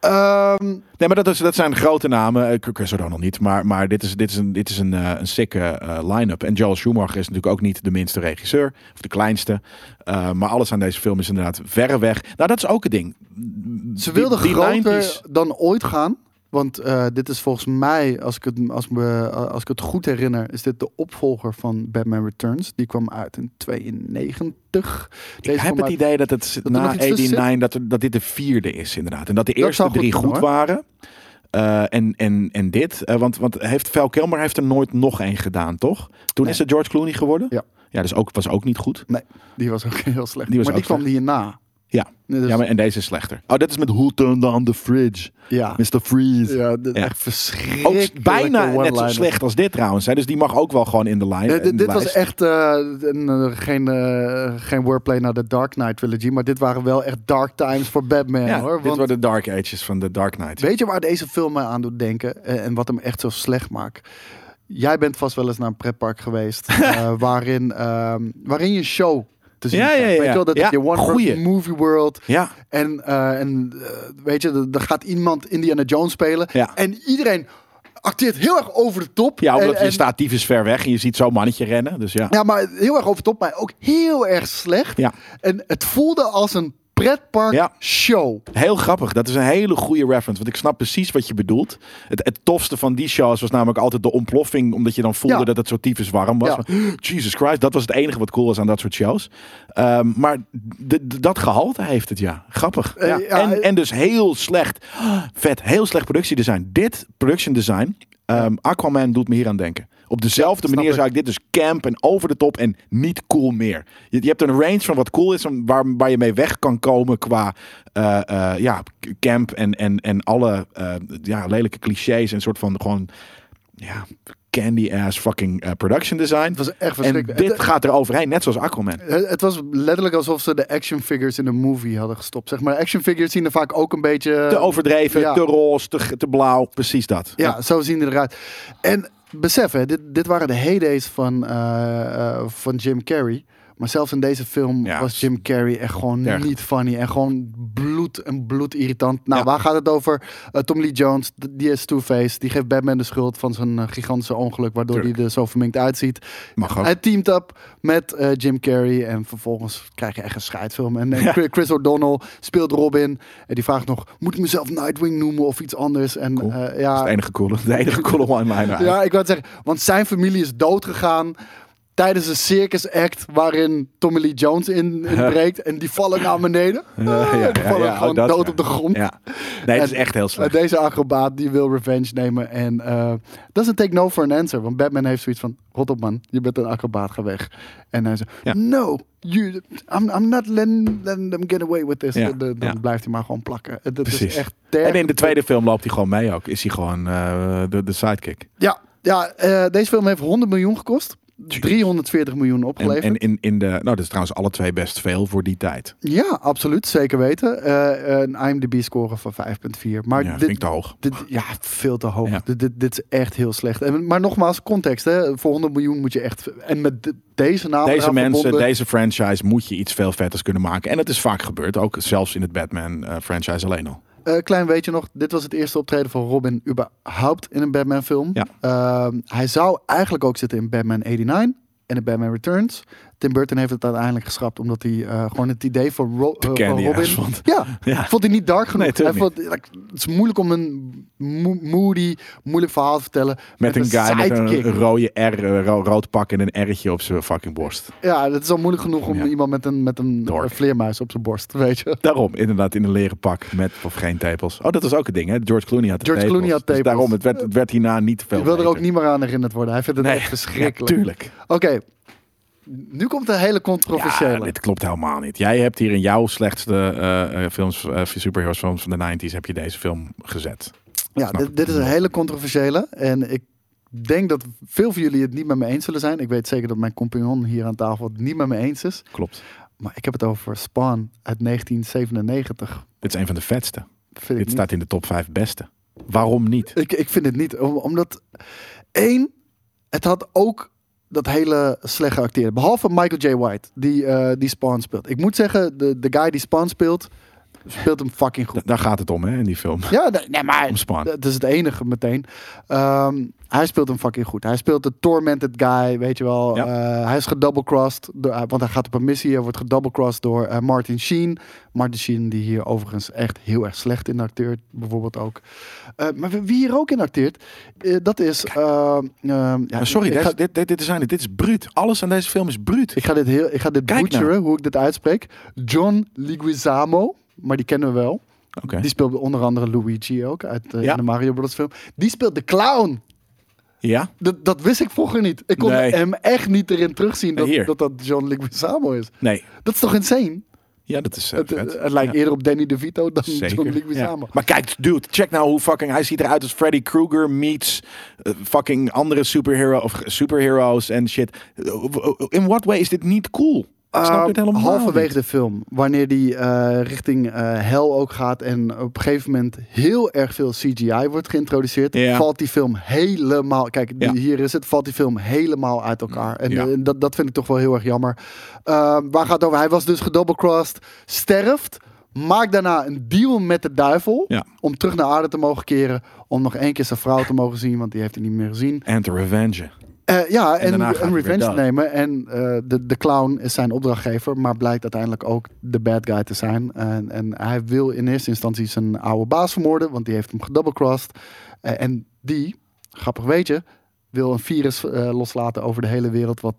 Ehm,
Nee, maar dat, is, dat zijn grote namen. Eh, Chris O'Donnell niet. Maar, maar dit is, dit is een, dit is een, eh, een sikke eh, line-up. En Joel Schumacher is natuurlijk ook niet de minste regisseur. Of de kleinste. Eh, maar alles aan deze film is inderdaad verreweg. Nou, dat is ook het ding.
ze
Die-
wilden
die
groter
90s
dan ooit gaan. Want eh, dit is volgens mij, als ik, het, als, me, als ik het goed herinner, is dit de opvolger van Batman Returns. Die kwam uit in 92. Deze
Ik heb
kwam
het
uit-
idee dat het
er
na
nog iets tussen
89 dat, er- dat dit de vierde is, inderdaad. En dat de
Dat
eerste
zou goed
drie
kunnen,
goed
hoor.
waren. Eh, en, en, en dit. Eh, want want heeft Val Kilmer heeft er nooit nog één gedaan, toch? Toen
Nee.
is het George Clooney geworden.
Ja.
Ja, dus ook, was ook niet goed.
Nee, die was ook heel slecht.
Die was
maar die
ook
kwam hierna.
Ja.
Nee, dus-
ja maar, en deze is slechter. Oh, dit is met Who Turned On The Fridge?
ja.
Mr. Freeze.
Ja, dit-
Ja.
echt verschrikkelijk.
Ook bijna net zo slecht als dit trouwens. Hè? Dus die mag ook wel gewoon in de lijn.
Nee,
in de
dit dit was
lijst.
echt eh, een, eh, geen, eh, geen wordplay naar de Dark Knight trilogy. Maar dit waren wel echt dark times voor Batman
Ja,
hoor.
dit
Want
waren de Dark Ages van de Dark Knight.
weet je waar deze film mij aan doet denken? eh, En wat hem echt zo slecht maakt? Jij bent vast wel eens naar een pretpark geweest. eh, waarin, ehm, waarin je show te zien
Ja,
krijgt.
ja, ja.
Weet je wel, dat
Ja,
heb je One
goeie.
World Movie World.
Ja.
En, eh, en eh, weet je, er- er gaat iemand Indiana Jones spelen.
Ja.
En iedereen acteert heel erg over de top.
Ja, omdat
en,
je
en-
staat tyfus ver weg en je ziet zo'n mannetje rennen. Dus ja.
Ja, maar heel erg over de top, maar ook heel erg slecht.
Ja.
En het voelde als een pretpark
Ja.
show.
Heel grappig. Dat is een hele goede reference. Want ik snap precies wat je bedoelt. Het, het tofste van die shows was namelijk altijd de ontploffing. Omdat je dan voelde
Ja.
dat het zo tyfus warm was.
Ja.
Maar, Jesus Christ. Dat was het enige wat cool was aan dat soort shows. Ehm, maar d- d- dat gehalte heeft het, ja. Grappig.
Eh,
Ja.
ja,
en,
eh.
en dus heel slecht. Vet. Heel slecht productiedesign. Dit production design. ehm, Aquaman doet me hier aan denken. Op dezelfde
Ja, snap
manier
ik.
zou ik dit dus camp en over de top en niet cool meer. Je, je hebt een range van wat cool is en waar, waar je mee weg kan komen qua eh, eh, ja, k- camp en, en, en alle eh, ja, lelijke clichés en soort van gewoon ja, candy ass fucking eh, production design.
Het was echt
en
verschrikkelijk.
dit
Het-
gaat er overheen, net zoals Aquaman.
Het, het was letterlijk alsof ze de action figures in de movie hadden gestopt. Zeg maar, action figures zien er vaak ook een beetje...
Te overdreven,
Eh, ja.
te roze, te, ge- te blauw, precies dat.
Ja, zo zien die eruit. En besef, hè, dit, dit waren de heydays van, eh, eh, van Jim Carrey. Maar zelfs in deze film
Ja,
was Jim Carrey echt gewoon
erg.
niet funny. En gewoon bloed en bloedirritant. Nou,
Ja.
waar gaat het over? Eh, Tom Lee Jones, d- die is Two-Face. Die geeft Batman de schuld van zijn eh, gigantische ongeluk. Waardoor hij
Tuurlijk.
er zo verminkt uitziet.
Mag ook.
Hij teamt up met eh, Jim Carrey. En vervolgens krijg je echt een scheidfilm. En, en
Ja.
Chris- Chris O'Donnell speelt Robin. En die vraagt nog, moet ik mezelf Nightwing noemen of iets anders? En
Cool.
eh,
Dat
ja,
is de enige coole, de enige coole one-liner.
ja, ik wou het zeggen, want zijn familie is doodgegaan. tijdens een circus act waarin Tommy Lee Jones in, inbreekt en die vallen naar beneden. Ah,
ja,
die
ja,
vallen
ja, oh,
gewoon
dat,
dood
ja.
op de grond.
Ja. Nee, het is echt heel
Uh,
slecht.
Deze acrobaat die wil revenge nemen. En eh, dat is een take no for an answer. Want Batman heeft zoiets van: Rot op man, je bent een acrobaat, ga weg. En hij zegt:
Ja.
No, you, I'm, I'm not letting, letting them get away with this.
Ja,
Dan- dan
ja.
blijft hij maar gewoon plakken. Het dat is
Precies.
echt terg.
En in de tweede film loopt hij gewoon mee ook. Is hij gewoon eh, de, de sidekick.
Ja, ja eh, deze film heeft 100 miljoen gekost. 340 miljoen
En,
opgeleverd.
en in, in de... Nou, dat is trouwens alle twee best veel voor die tijd.
Ja, absoluut. Zeker weten. Eh, een IMDb-score van 5,4. Maar
ja, vind ik
dit,
te hoog.
dit, ja, veel te hoog.
Ja.
Dit, dit, dit is echt heel slecht. En, maar nogmaals, context. Hè. Voor 100 miljoen moet je echt... En met de- deze naam
Deze
eraan
mensen,
verbonden-
deze franchise moet je iets veel vetters kunnen maken. En dat is vaak gebeurd. Ook zelfs in het Batman eh, franchise alleen al.
Eh, klein weetje nog. Dit was het eerste optreden van Robin überhaupt in een Batman film.
Ja.
Ehm, hij zou eigenlijk ook zitten in Batman 89 en in Batman Returns. Tim Burton heeft het uiteindelijk geschrapt omdat hij eh, gewoon het idee van, Ro- eh,
candy
van Robin...
ass vond.
Ja,
Ja.
vond hij niet dark genoeg.
Nee,
hij
tuurlijk
vond, like, het is moeilijk om een mo- moody, moeilijk verhaal te vertellen
Met, een guy met
sidekick.
een rode R, eh, ro- rood pak en een R'tje op zijn fucking borst.
Ja, dat is al moeilijk genoeg om
Ja.
iemand met een, met een
Dork.
vleermuis op zijn borst, weet je.
Daarom, inderdaad, in een leren pak met of geen tepels. Oh, dat was ook een ding, hè? George Clooney had de
George
tepels.
Clooney had
Dus
tepels.
daarom, het werd, het werd hierna niet veel
Ik wil er ook
beter.
niet meer aan herinnerd worden. Hij vindt het echt verschrikkelijk.
Ja, tuurlijk.
Oké, nu komt een hele
Ja,
controversiële.
dit klopt helemaal niet. Jij hebt hier in jouw slechtste eh, eh, films, eh, superheroes films van de 90s, heb je deze film gezet.
Ja,
Snap
dit,
ik.
dit is een hele controversiële. En ik denk dat veel van jullie het niet met me eens zullen zijn. Ik weet zeker dat mijn compagnon hier aan tafel het niet met me eens is.
Klopt.
Maar ik heb het over Spawn uit 1997.
Dit is een van de vetste.
Vind ik
Dit
niet.
staat in de top 5 beste. Waarom niet?
Ik, ik vind het niet. om- Omdat, één, het had ook dat hele slecht geacteerd. Behalve Michael J. White, die, eh, die Spawn speelt. Ik moet zeggen, de, de guy die Spawn speelt, speelt hem fucking
Da-
goed.
daar gaat het om, hè, in die film.
Ja, nee, nee, maar
Om Spawn.
dat is het enige meteen. Ehm, hij speelt hem fucking goed. Hij speelt de tormented guy, weet je wel.
Ja.
Eh, hij is gedoublecrossed, door- eh, want hij gaat op een missie. Hij wordt gedoublecrossed door eh, Martin Sheen. Martin Sheen, die hier overigens echt heel erg slecht in acteert, bijvoorbeeld ook. Eh, maar wie- wie hier ook in acteert, eh, dat is... ehm, ehm, ja,
Ja, Eh, sorry,
ik
dit,
ga,
dit, dit, dit, is, eigenlijk- dit is bruut. Alles aan deze film is bruut.
ik ga dit, heel, ik ga dit
Kijk nou.
butcheren, hoe ik dit uitspreek. John Liguizamo, maar die kennen we wel.
Oké.
Die speelt onder andere Luigi ook uit eh,
Ja.
de Mario Bros. film. Die speelt de clown.
Ja?
Dat, dat wist ik vroeger niet. Ik kon
Nee.
hem echt niet erin terugzien dat
Hier.
dat, dat John Leguizamo is.
Nee.
Dat is toch insane?
Ja, dat is eh,
Het,
vet.
het lijkt
Ja.
eerder op Danny DeVito dan John
Zeker. Ja.
Leguizamo.
Maar kijk, dude, check nou hoe fucking hij ziet eruit als Freddy Krueger meets eh, fucking andere superhero of superheroes en shit. Eh, In what way is dit niet cool? Ik snap dit
Ehm,
helemaal
halverwege
niet.
de film, wanneer die eh, richting eh, hel ook gaat en op een gegeven moment heel erg veel CGI wordt geïntroduceerd,
Ja.
valt die film helemaal. Kijk, die-
Ja.
hier is het, valt die film helemaal uit elkaar. En
Ja.
eh, dat, dat vind ik toch wel heel erg jammer. Ehm, waar gaat het over? Hij was dus gedoublecrossed, sterft, maakt daarna een deal met de duivel
Ja.
om terug naar aarde te mogen keren, om nog één keer zijn vrouw te mogen zien, want die heeft hij niet meer gezien.
En te revengen.
Eh, ja, en,
daarna gaat
en,
hij weer
revenge te
dood.
nemen. En eh, de, de clown is zijn opdrachtgever, maar blijkt uiteindelijk ook de bad guy te zijn. En, en hij wil in eerste instantie zijn oude baas vermoorden, want die heeft hem gedoublecrossed. Eh, en die, grappig weet je, wil een virus eh, loslaten over de hele wereld, wat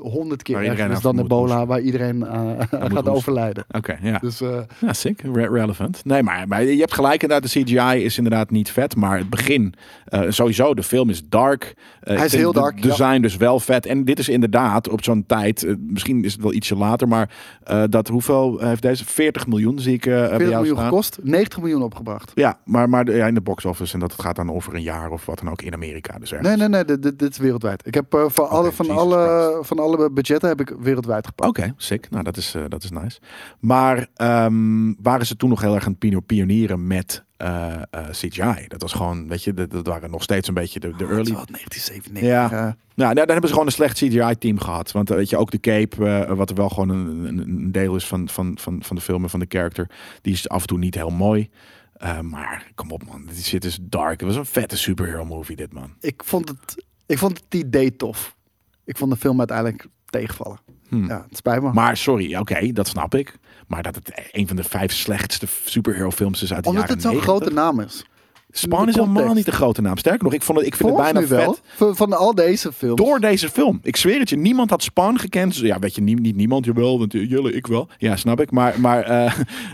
honderd keer
Waar iedereen
erger is
aan
dan
moet
ebola,
hoesten.
waar iedereen aan gaat
hoesten.
overlijden.
Oké, ja.
Dus eh,
Ja, sick. Re- relevant. Nee, maar, maar je hebt gelijk inderdaad, de CGI is inderdaad niet vet. Maar het begin, eh, sowieso, de film is dark. Eh, ik
is
vind
heel
de-
dark,
De
ja.
design dus wel vet. En dit is inderdaad op zo'n tijd, eh, misschien is het wel ietsje later, maar eh, dat hoeveel heeft deze? 40 miljoen zie ik eh, bij
40
jou
miljoen
staan.
gekost, 90 miljoen opgebracht.
Ja, maar, maar de- ja, in de box office en dat het gaat dan over een jaar of wat dan ook in Amerika. Dus ergens. Oh,
Nee, nee, nee, dit, dit- dit is wereldwijd. Ik heb eh, van, alle, van,
Jesus
alle,
Christ.
van alle budgetten heb ik wereldwijd gepakt.
Oké, sick. Nou, dat is, eh, dat is nice. Maar ehm, waren ze toen nog heel erg aan het pino- pionieren met eh, eh, CGI? Dat was gewoon, weet je, dat, dat waren nog steeds een beetje de, de
Het Oh, is
early
wel eh. 1997.
Ja.
Ja.
Nou, daar, daar hebben ze gewoon een slecht CGI-team gehad. Want eh, weet je, ook de cape, eh, wat er wel gewoon een, een, een deel is van, van, van, van de film en van de character, die is af en toe niet heel mooi. Eh, maar kom op man, dit shit is dark. Het was een vette superhero movie dit man.
ik vond het, ik vond het idee tof. Ik vond de film uiteindelijk tegenvallen.
Hmm.
Ja, het spijt me.
Maar sorry, oké, dat snap ik. Maar dat het een van de vijf slechtste superhero films is uit de
Omdat
jaren
het zo'n
90.
grote naam is.
Spawn is
de
helemaal
context.
niet de grote naam. Sterker nog, ik, vond het, ik vind
Volgens
het
nu
bijna
wel.
vet.
Van, van al deze films.
Door deze film. Ik zweer het je, niemand had Spawn gekend. Dus Ja, weet je, nie- niet niemand. Jawel, want j- jullie, ik wel. Ja, snap ik. Maar, maar eh,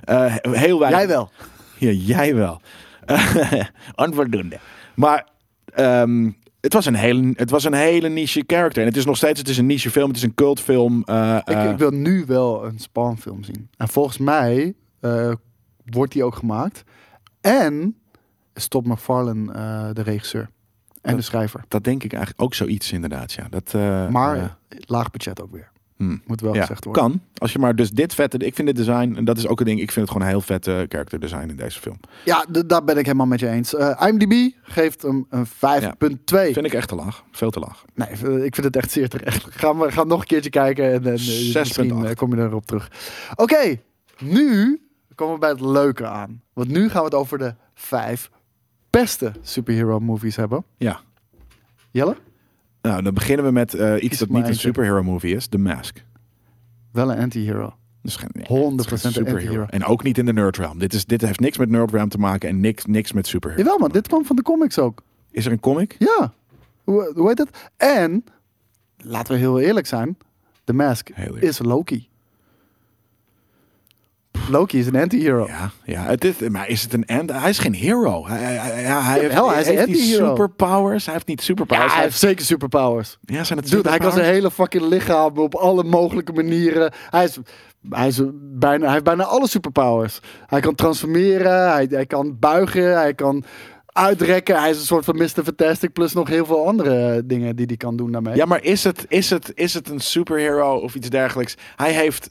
eh, heel weinig.
Jij wel.
Ja, jij wel. Eh, Onvoldoende. Maar ehm, het, was een hele, het was een hele niche character. En het is nog steeds, het is een niche film. Het is een cultfilm. eh, eh,
Ik, ik wil nu wel een Spawn-film zien. En volgens mij eh, wordt die ook gemaakt. En is Todd McFarlane eh, de regisseur en de schrijver.
dat denk ik eigenlijk ook zoiets inderdaad, ja. Dat, eh,
Maar
eh,
laag budget ook weer.
hmm.
Moet wel
ja,
gezegd worden.
kan. Als je maar dus dit vette... Ik vind het design, en dat is ook een ding... Ik vind het gewoon een heel vette character design in deze film.
Ja, d- daar ben ik helemaal met je eens. Eh, IMDb geeft hem een 5.2.
Vind ik echt te laag. Veel te laag.
Nee, v- ik vind het echt zeer terecht. Gaan we gaan nog een keertje kijken en, en eh,
6,8.
misschien eh, kom je erop terug. Oké, nu komen we bij het leuke aan. Want nu gaan we het over de vijf beste superhero movies hebben.
Ja.
Jelle?
Nou, dan beginnen we met eh, iets
Kies
dat
maar
niet een
eentje.
superhero movie is. The Mask.
Wel een anti-hero.
Dat is geen- nee,
100%
het is geen
een anti-hero.
En ook niet in de nerd realm. Dit, is, dit heeft niks met nerd realm te maken en niks, niks met superhero.
Jawel man, dit kwam van de comics ook.
Is er een comic?
Ja, hoe, hoe heet dat? En, laten we heel eerlijk zijn, The Mask
Heel eerlijk.
is Loki. Loki is een anti-hero.
Ja, ja het is, maar is het een end? Hij is geen hero. Hij, hij, hij, hij heeft,
Jawel, hij is een
heeft die
anti-hero.
superpowers. Hij heeft niet superpowers.
Ja, hij heeft
heeft,
zeker superpowers.
ja zijn het
Dude, hij kan
superpowers?
zijn hele fucking lichaam op alle mogelijke manieren. Hij, is, hij, is bijna, hij heeft bijna alle superpowers. Hij kan transformeren, hij, hij kan buigen, hij kan uitrekken. Hij is een soort van Mr. Fantastic plus nog heel veel andere eh, dingen die hij kan doen daarmee.
Ja, maar is het, is, het, is het een superhero of iets dergelijks? Hij heeft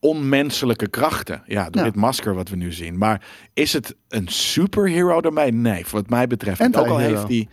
onmenselijke krachten. Ja, door
Ja.
dit masker wat we nu zien. Maar is het een superhero daarmee? Nee, wat mij betreft. niet. Ook al
Anti-hero.
heeft hij... Nee,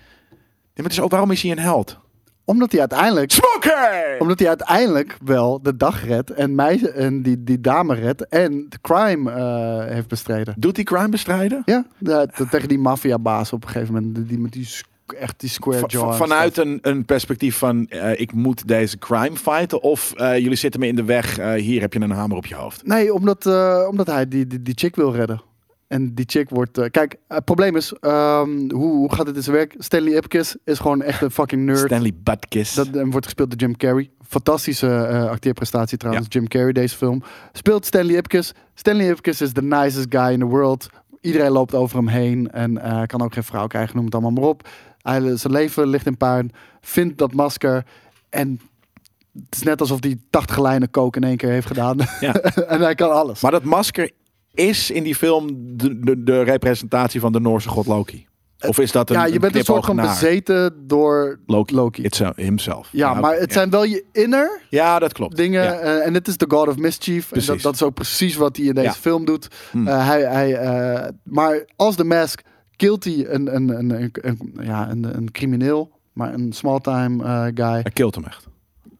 maar het is ook, waarom is hij een held?
Omdat hij uiteindelijk...
Smoker!
Omdat hij uiteindelijk wel de dag redt en, mij, en die, die dame redt en de crime eh, heeft bestreden.
Doet hij crime bestrijden?
Ja, de- de- tegen die maffiabaas op een gegeven moment. die- Die met die, squ- echt die square
Va-
jaw. en
vanuit een, een perspectief van eh, ik moet deze crime fighten of eh, jullie zitten me in de weg, eh, hier heb je een hamer op je hoofd.
Nee, omdat, eh, omdat hij die, die, die chick wil redden. En die chick wordt... eh, kijk, het probleem is, ehm, hoe, hoe gaat dit in zijn werk? Stanley Ipkiss is gewoon echt een fucking nerd.
Stanley Butkus.
Dat en wordt gespeeld door Jim Carrey. Fantastische eh, acteerprestatie trouwens, Jim Carrey, deze film. Speelt Stanley Ipkiss. Stanley Ipkiss is the nicest guy in the world. Iedereen loopt over hem heen en eh, kan ook geen vrouw krijgen, noem het allemaal maar op. Hij, zijn leven ligt in puin. Vindt dat masker en... Het is net alsof hij 80 lijnen coke in één keer heeft gedaan.
Ja.
en hij kan alles.
Maar dat masker is in die film de, de, de representatie van de Noorse god Loki. Of is dat een
ja, je bent een soort
knipoog
van
naar
bezeten door
Loki.
Loki.
It's uh, himself.
ja,
oké,
maar het zijn wel je inner
Ja, dat klopt.
dingen.
Ja.
eh, en dit is de God of Mischief.
Precies.
En dat, dat is ook precies wat hij in deze
Ja. Hmm.
film doet. Eh, hij, hij, eh, maar als de mask kilt hij een, een, een, een, een- ja, een, een crimineel. Maar een small-time eh, guy.
Hij kilt hem echt.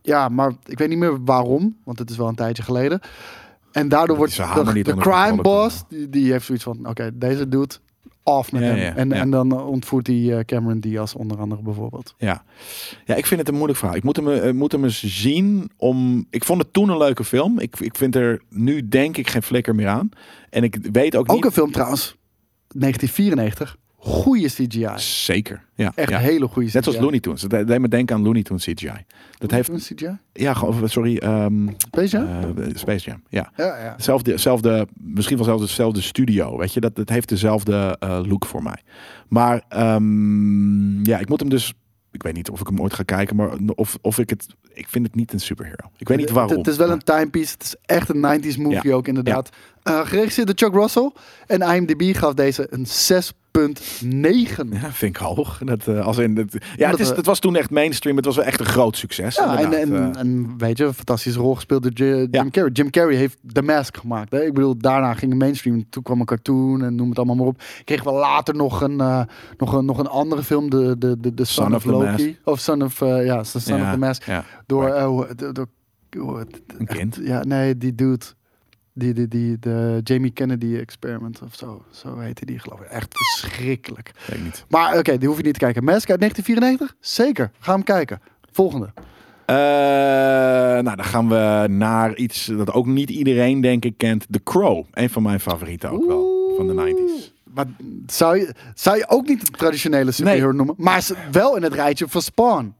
Ja, maar ik weet niet meer waarom. Want het is wel een tijdje geleden. En daardoor wordt
is een hamer
de,
niet
de
onder
crime
controle
boss... Die, die heeft zoiets van... Oké, deze doet af met
Ja,
hem.
ja,
en,
ja.
en dan ontvoert hij eh, Cameron Diaz onder andere bijvoorbeeld.
Ja. ja, ik vind het een moeilijk verhaal. Ik moet hem, eh, moet hem eens zien om... Ik vond het toen een leuke film. Ik, ik vind er nu denk ik geen flikker meer aan. En ik weet ook,
Ook
niet...
een film trouwens, 1994. Goeie CGI.
Zeker. Ja,
Echt
ja.
hele goede CGI.
Net zoals Looney Tunes. Dat deed me denken aan Looney Tunes CGI. Dat heeft...
Een CGI?
Ja, gewoon- sorry. ehm,
Space Jam?
eh, Space Jam. Ja.
ja, ja.
Zelfde, zelfde, misschien wel zelfs hetzelfde studio. Weet je, dat, dat heeft dezelfde eh, look voor mij. Maar ehm, ja, ik moet hem dus. Ik weet niet of ik hem ooit ga kijken, maar of, of ik het. Ik vind het niet een superhero. Ik weet niet
Het-
waarom.
Het is wel
maar-
een timepiece. Het is echt een 90s movie
Ja.
ook inderdaad. Eh, geregisseerd door Chuck Russell. En IMDb gaf deze een 6.9.
Ja, vind ik hoog. Dat, eh, als in, dat, ja, het,
Omdat
is,
we-
het was toen echt mainstream. Het was wel echt een groot succes.
Ja, en, en,
inderdaad. Eh,
en weet je, een fantastische rol gespeeld door J- Jim
Ja.
Carrey. Jim Carrey heeft The Mask gemaakt. Hè? Ik bedoel, daarna ging de mainstream. Toen kwam een cartoon en noem het allemaal maar op. Kregen we later nog een, eh, nog een, nog een andere film, de, de, de, de Son,
Son
of,
of the
Loki. Of Son of, eh, ja, The Son
ja,
of the Mask.
ja,
Door,
right.
eh, hoe- door, door- hoe het-
een kind.
ja, nee, die dude. Die, die, die, de Jamie Kennedy Experiment of zo. Zo heette die, geloof ik. Echt verschrikkelijk.
Weet ik niet.
Maar oké, die hoef je niet te kijken. Mask uit 1994? Zeker. Ga hem kijken. Volgende.
Eh, nou, dan gaan we naar iets dat ook niet iedereen, denk ik, kent. The Crow. Een van mijn favorieten ook wel. Van de 90s.
Maar zou je, zou je ook niet een traditionele superhero
Nee.
noemen? Maar ze- wel in het rijtje van Spawn.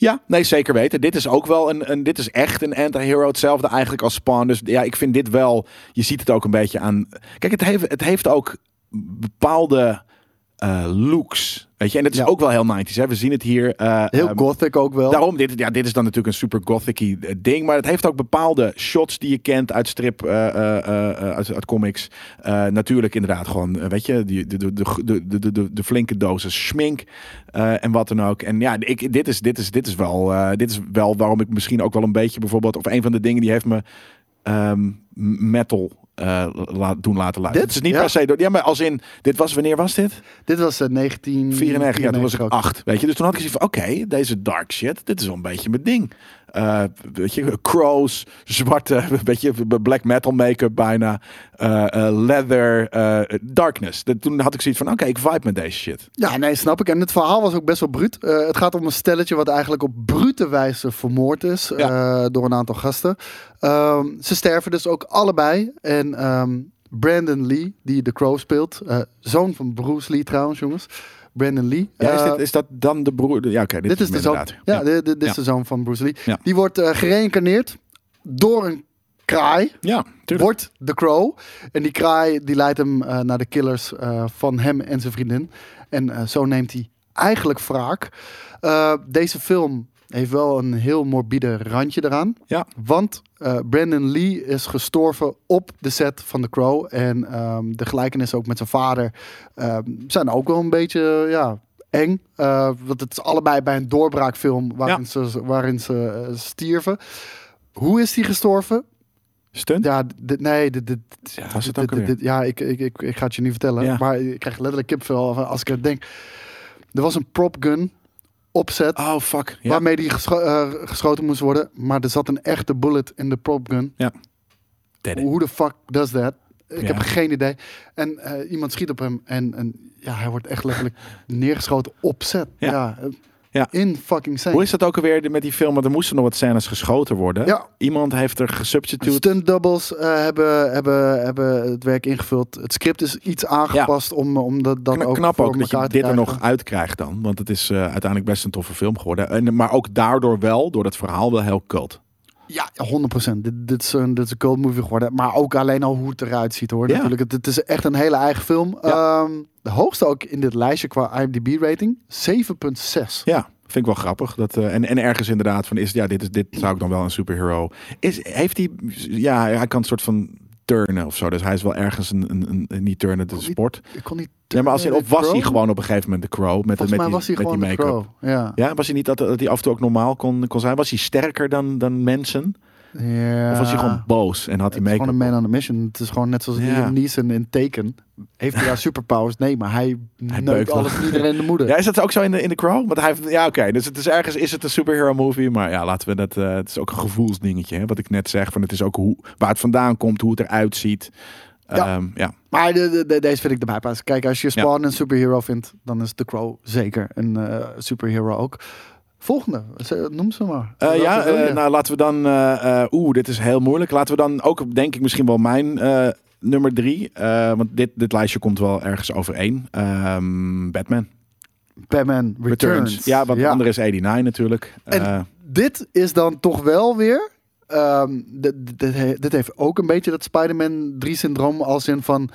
Ja, nee, zeker weten. Dit is ook wel een, een dit is echt een anti-hero. Hetzelfde eigenlijk als Spawn. Dus ja, ik vind dit wel, je ziet het ook een beetje aan. Kijk, het heeft, het heeft ook bepaalde eh, looks. Weet je, en dat is
Ja.
ook wel heel 90s. Hè? We zien het hier. eh,
Heel
ehm,
gothic ook wel.
Daarom, dit, ja, dit is dan natuurlijk een super gothicy eh, ding. Maar het heeft ook bepaalde shots die je kent uit strip, eh, eh, eh, eh, uit, uit comics. Eh, natuurlijk inderdaad gewoon, eh, weet je, die, de, de, de, de, de, de, de flinke dozen schmink eh, en wat dan ook. En ja, ik, dit, is, dit, is, dit, is wel, eh, dit is wel waarom ik misschien ook wel een beetje bijvoorbeeld... of een van de dingen die heeft me ehm, metal eh, la- doen laten luisteren.
Dit?
Het is niet
Ja.
per se... door- Ja, maar als in, dit was, wanneer was dit?
Dit was eh, 1994.
94, ja, toen was ik
ook.
8. Weet je, dus toen had ik zoiets van: oké, deze dark shit, dit is wel een beetje mijn ding. Eh, weet je, crows, zwarte, een beetje black metal make-up bijna, eh, eh, leather, eh, darkness. Dat- toen had ik zoiets van: oké, ik vibe met deze shit.
Ja, nee, snap ik. En het verhaal was ook best wel bruut. Eh, het gaat om een stelletje wat eigenlijk op brute wijze vermoord is eh, door een aantal gasten. Ehm, ze sterven dus ook allebei. En ehm, Brandon Lee, die de Crow speelt, eh, zoon van Bruce Lee trouwens, jongens. Brandon Lee.
Ja, is,
eh,
dit, is dat dan de broer? Ja, oké, dit,
dit,
is,
is
hem
de zoon. Ja,
inderdaad.
Dit, dit is
Ja.
de zoon van Bruce Lee.
Ja.
Die wordt eh, gereïncarneerd door een kraai.
ja, tuurlijk.
Wordt de Crow. En die kraai die leidt hem eh, naar de killers eh, van hem en zijn vriendin. En eh, zo neemt hij eigenlijk wraak. Eh, deze film heeft wel een heel morbide randje eraan.
Ja.
Want eh, Brandon Lee is gestorven op de set van The Crow. En ehm, de gelijkenissen ook met zijn vader ehm, zijn ook wel een beetje eh, ja, eng. Eh, want het is allebei bij een doorbraakfilm waarin ze, waarin ze eh, stierven. Hoe is hij gestorven?
Stunt?
Ja, dit, nee, dit, dit,
Ja, was het
dit-
ook
dit-
alweer?
dit- ja ik, ik, ik, ik ga het je niet vertellen.
Ja.
Maar ik krijg letterlijk kipvel als ik het denk. Er was een prop gun opzet
Oh, fuck. Ja.
waarmee die gescho- eh, geschoten moest worden. Maar er zat een echte bullet in de prop gun.
Dead it.
Hoe de fuck does that? Ik
Ja.
heb geen idee. En eh, iemand schiet op hem en, en ja, hij wordt echt letterlijk neergeschoten opzet.
Ja.
Ja.
Ja.
In fucking scène.
Hoe is dat ook alweer met die film? Want er moesten nog wat scènes geschoten worden.
Ja.
Iemand heeft er gesubstitute.
Stunt doubles eh, hebben, hebben, hebben het werk ingevuld. Het script is iets aangepast om, eh, om dat, dat
Kna-
ook
knap
voor
ook dat je
elkaar
dit
te
er
krijgen.
nog uit krijgt dan. Want het is eh, uiteindelijk best een toffe film geworden. En, maar ook daardoor wel, door dat verhaal, wel heel cult.
Ja, 100%. Dit, dit, is een, dit is een cult movie geworden. Maar ook alleen al hoe het eruit ziet hoor.
Ja.
Natuurlijk, het, het is echt een hele eigen film.
Ja.
Ehm, de hoogste ook in dit lijstje qua IMDb rating. 7,6.
Ja, vind ik wel grappig. Dat, eh, en, en ergens inderdaad van, is, ja, dit, is, dit zou ik dan wel een superhero... Is, heeft hij... Ja, hij kan een soort van turnen of zo. Dus hij is wel ergens een... een, een- een niet turnen, de
Niet-
sport.
Ik kon niet...
Ja, maar als hij,
eh,
of was hij
Crow?
gewoon op een gegeven moment de crow? Met,
Volgens
met
mij
die,
was hij
met die
gewoon de
make-up.
crow. Ja.
Ja, was hij niet dat, dat hij af en toe ook normaal kon, kon zijn? Was hij sterker dan, dan mensen?
ja.
Of was hij gewoon boos en had hij
Het is
make-up?
gewoon een
op?
man on a mission. Het is gewoon net zoals
Ja.
Liam Neeson in Taken. Heeft hij daar superpowers? Nee, maar hij, neukt
beukt wel.
alles en iedereen in de moeder.
Ja, is dat ook zo in de, in de Crow? Want hij heeft, ja, oké. Dus het is ergens is het een superhero movie, maar ja, laten we dat. eh, het is ook een gevoelsdingetje, hè, wat ik net zeg. Van het is ook hoe, waar het vandaan komt, hoe het eruit ziet.
Ja.
Ehm, ja.
Maar de, de- de- deze vind ik de bijpaas. Kijk, als je Spawn een superhero vindt, dan is The Crow zeker een eh, superhero ook. Volgende, Ze- noem ze maar.
Eh,
Welke
ja,
wil je?
eh, nou laten we dan. eh, eh, Oeh, dit is heel moeilijk. Laten we dan ook, denk ik, misschien wel mijn eh, nummer drie. eh, want dit, dit lijstje komt wel ergens overeen. Ehm, Batman
Batman Returns.
Ja, want de andere is 89 natuurlijk.
En-
Eh,
Dit is dan toch wel weer... ehm, dit, dit, he- dit heeft ook een beetje dat Spider-Man 3-syndroom als in van...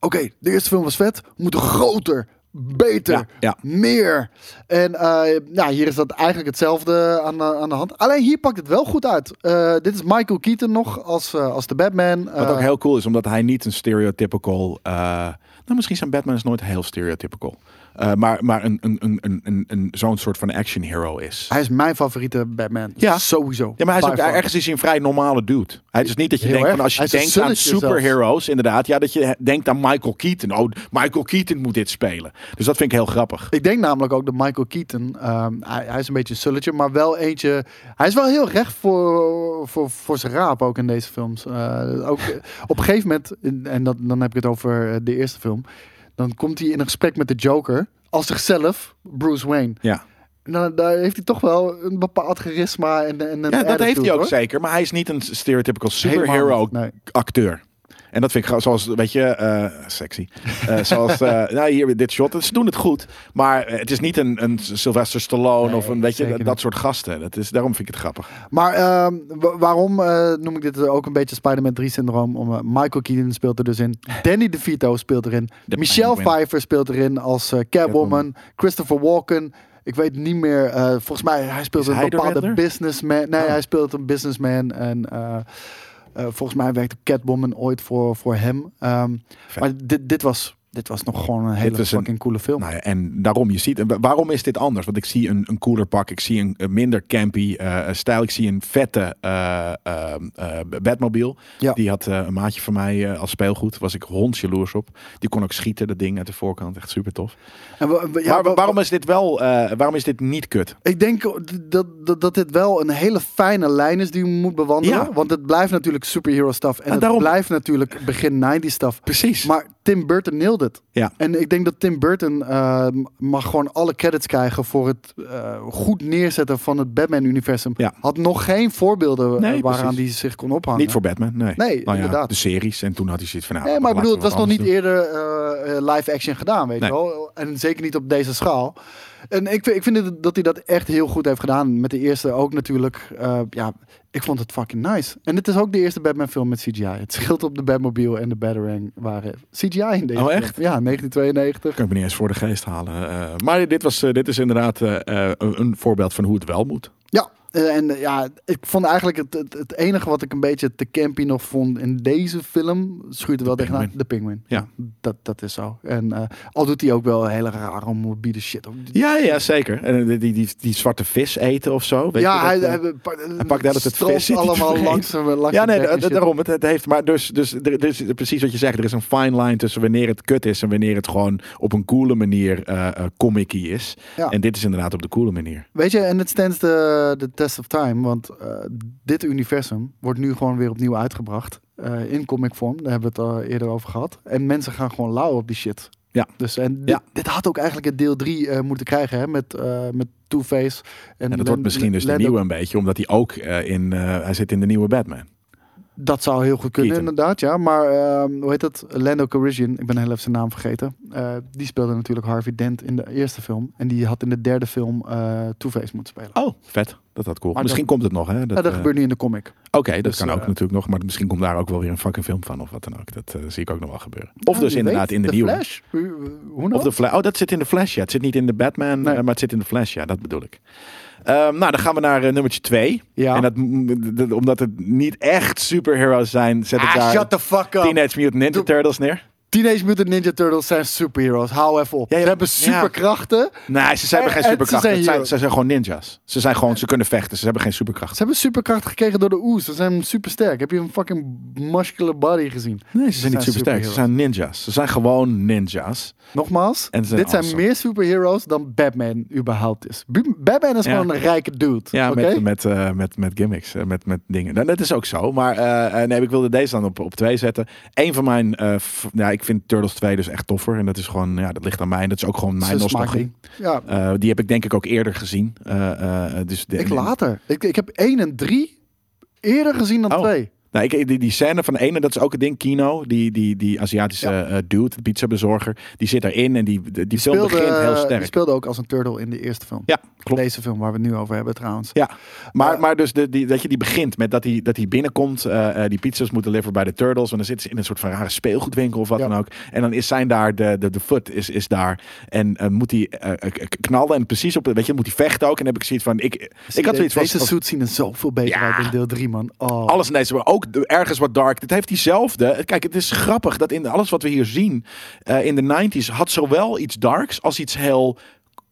Oké, de eerste film was vet. We moeten groter, beter,
Ja, ja.
meer. En eh, nou, hier is dat eigenlijk hetzelfde aan, de- aan de hand. Alleen hier pakt het wel goed uit. Eh, dit is Michael Keaton nog als, eh, als de Batman.
Wat
Eh,
ook heel cool is, omdat hij niet een stereotypical. eh, nou, misschien zijn Batman's nooit heel stereotypical. eh, maar maar een, een, een, een, een, een- zo'n soort van action hero is.
Hij is mijn favoriete Batman.
Ja.
Sowieso.
Ja, maar hij is
By
ook,
far.
ergens is hij een vrij normale dude. Hij is dus niet dat je
Heel
denkt,
erg.
van als je
Hij is een
denkt aan
sulletje zelfs.
superheroes, inderdaad, ja, dat je he- denkt aan Michael Keaton. Oh, Michael Keaton moet dit spelen. Dus dat vind ik heel grappig.
Ik denk namelijk ook dat Michael Keaton, ehm, hij, hij is een beetje een sulletje, maar wel eentje. Hij is wel heel recht voor, voor, voor zijn raap ook in deze films. Eh, ook, eh, op een gegeven moment, in- en dat, dan heb ik het over eh, de eerste film, dan komt hij in een gesprek met de Joker als zichzelf, Bruce Wayne.
Ja,
Nou, daar heeft hij toch wel een bepaald charisma en, en
ja
een
dat
attitude,
heeft hij ook
hoor.
zeker. Maar hij is niet een stereotypical
Helemaal
superhero
niet, nee.
acteur. En dat vind ik gewoon zoals, weet je, eh, sexy. Eh, zoals, eh, nou hier, dit shot. Ze doen het goed. Maar eh, het is niet een, een Sylvester Stallone of een, weet je,
zeker
dat, dat soort gasten. Dat is, daarom vind ik het grappig.
Maar ehm, wa- waarom eh, noem ik dit ook een beetje Spider-Man 3-syndroom? Om, eh, Michael Keaton speelt er dus in. Danny DeVito speelt erin.
De
Michelle
Penguin.
Pfeiffer speelt erin als eh, Catwoman.
Catwoman.
Christopher Walken. Ik weet niet meer. eh, volgens mij, hij speelt
Is
een
hij de
bepaalde
Riddler?
businessman. Nee,
Oh.
hij speelt een businessman. En eh, eh, volgens mij werkte Catwoman ooit voor, voor hem. Ehm,
Vet.
maar dit, dit, was, dit was nog gewoon een hele
was een-
fucking coole film.
Nou ja, en daarom, je ziet, en wa- waarom is dit anders? Want ik zie een, een cooler pak, ik zie een, een minder campy eh, stijl, ik zie een vette eh, ehm, eh, Batmobile.
Ja.
Die had eh, een maatje van mij eh, als speelgoed, was ik hondsjaloers op. Die kon ook schieten, dat ding uit de voorkant, echt super tof.
En wa- wa- ja,
maar
wa-
waarom is dit wel, eh, waarom is dit niet kut?
Ik denk dat, dat, dat dit wel een hele fijne lijn is die we moeten bewandelen.
Ja.
Want het blijft natuurlijk superhero stuff. En, het
daarom-
blijft natuurlijk begin 90 stuff.
Precies.
Maar Tim Burton nailed het.
Ja.
En ik denk dat Tim Burton eh, mag gewoon alle credits krijgen voor het eh, goed neerzetten van het Batman-universum.
Ja.
Had nog geen voorbeelden eh,
Nee,
waaraan
precies.
die zich kon ophangen.
Niet voor Batman, nee.
Nee,
Nou ja,
inderdaad.
De series, en toen had hij zoiets van... Nou,
Nee, maar ik bedoel,
laten
het
we
was nog
wat
niet
anders
eerder eh, eh, live action gedaan, weet
Nee.
je wel. En zeker niet op deze schaal. En ik, vind- ik vind het- dat hij dat echt heel goed heeft gedaan. Met de eerste ook natuurlijk. Eh, ja, ik vond het fucking nice. En het is ook de eerste Batman film met CGI. Het scheelt op de Batmobile en de Batarang eh, waren CGI in deze
Oh,
film.
echt?
Ja, 1992.
doen. Kan ik me niet eens voor de geest halen. eh, maar dit, was, eh, dit is inderdaad eh, eh, een een voorbeeld van hoe het wel moet.
Ja, eh, en eh, ja, ik vond eigenlijk het, het, het enige wat ik een beetje te campy nog vond in deze film, schuurt er wel tegenaan,
Penguin.
de penguin.
Ja.
Dat, dat is zo. En eh, al doet hij ook wel hele rare onmorbide shit.
Ja, ja, zeker. En eh, die, die, die, die zwarte vis eten of zo. Weet
ja,
je,
hij,
dat, eh,
hij, pakt
pakt net het vis, zit hij te
allemaal
vreten.
langs, langs
ja,
de
nee,
bek en
da- da-
shit.
daarom. Het, het heeft, maar dus, dus er, er is precies wat je zegt. Er is een fine line tussen wanneer het kut is en wanneer het gewoon op een coole manier eh eh, comicky is.
Ja.
En dit is inderdaad op de coole manier.
Weet je, en het stands de, de test of time, want eh, dit universum wordt nu gewoon weer opnieuw uitgebracht eh, in comic vorm. Daar hebben we het al eerder over gehad. En mensen gaan gewoon lauw op die shit.
Ja.
Dus en dit,
Ja.
dit had ook eigenlijk het deel 3 moeten krijgen hè, met, eh, met Two-Face.
En dat
Lan-
wordt misschien dus de
Lando.
nieuwe een beetje, omdat hij ook eh, in... eh, hij zit in de nieuwe Batman.
Dat zou heel goed kunnen,
Keaton.
inderdaad. Ja, maar ehm, hoe heet dat? Lando Calrissian, ik ben heel even zijn naam vergeten. Eh, die speelde natuurlijk Harvey Dent in de eerste film. En die had in de derde film eh Two-Face moeten spelen.
Oh, vet. Dat had cool.
Maar
misschien komt het nog, hè?
Ja, dat
eh,
gebeurt nu in de comic.
Oké, dat
Dus,
kan ook
eh,
natuurlijk nog. Maar misschien komt daar ook wel weer een fucking film van of wat dan ook. Dat eh, zie ik ook nog wel gebeuren. Of
Ja,
dus
wie
inderdaad
weet.
in de,
The
nieuwe.
Flash? Hoe- hoe nou?
Of de Flash. Oh, dat zit in de Flash, ja. Het zit niet in de Batman,
Nee.
eh, maar het zit in de Flash, ja. Dat bedoel ik. Ehm, nou, dan gaan we naar eh, nummertje 2.
Ja.
En dat, m- dat- omdat het niet echt superheroes zijn, zet ik daar
Ah, the fuck
Teenage Mutant Ninja
Doe-
Turtles neer.
Teenage Mutant Ninja Turtles zijn superheroes. Hou even op.
Ja, ja,
Ze hebben
ja.
superkrachten.
Nee, ze zijn
En-
geen
en ze
superkrachten.
zijn
Het zijn,
heroes.
ze zijn gewoon ninjas. Ze zijn gewoon, ze kunnen vechten. Ze hebben geen superkrachten.
Ze hebben superkrachten gekregen door de Oes. Ze zijn supersterk. Heb je een fucking muscular body gezien?
Nee, ze zijn niet supersterk. Ze
superheroes.
zijn ninjas. Ze zijn gewoon ninjas.
Nogmaals,
En ze zijn
dit zijn
awesome.
meer superheroes dan Batman überhaupt is. Bu- Batman is
Ja.
gewoon een rijke dude.
Ja,
oké?
met, met, eh, met, met gimmicks, eh, met, met dingen. Nou, dat is ook zo. Maar eh, eh, nee, ik wilde deze dan op, op twee zetten. Eén van mijn, eh, f- ja, ik vind Turtles 2 dus echt toffer. En dat is gewoon, ja, dat ligt aan mij. En dat is ook gewoon
Dat is
mijn
een smaak
nostalgie.
ding. Ja,
Eh, die heb ik denk ik ook eerder gezien. Eh, eh, dus de-
ik later. Ik, ik heb 1 en 3 eerder gezien dan
Oh.
2.
Nou, ik, die, die scène van de ene, dat is ook het ding. Kino, die, die, die Aziatische eh dude, de pizzabezorger, die zit daarin en die, die, film begint heel
Die
sterk.
speelde ook als een turtle in de eerste film.
Ja, klopt.
Deze film waar we het nu over hebben trouwens.
Ja, maar,
Eh,
maar dus de, die, dat je die begint met dat hij dat die binnenkomt. eh, eh, die pizza's moeten leveren bij de Turtles. En dan zitten ze in een soort van rare speelgoedwinkel of wat
Ja.
dan ook. En dan is zijn daar, de, de, de foot is, is daar. En eh, moet hij eh, eh, k- knallen en precies op, weet je, moet hij vechten ook. En dan heb ik zoiets van, ik, ik had zoiets van...
Deze
als-
suits zien er zoveel beter
Ja.
uit in deel 3, man. Oh.
alles in deze, maar ook de- ergens wat dark. Dit heeft diezelfde. Kijk, het is grappig dat in alles wat we hier zien eh, in de 90s had zowel iets darks als iets heel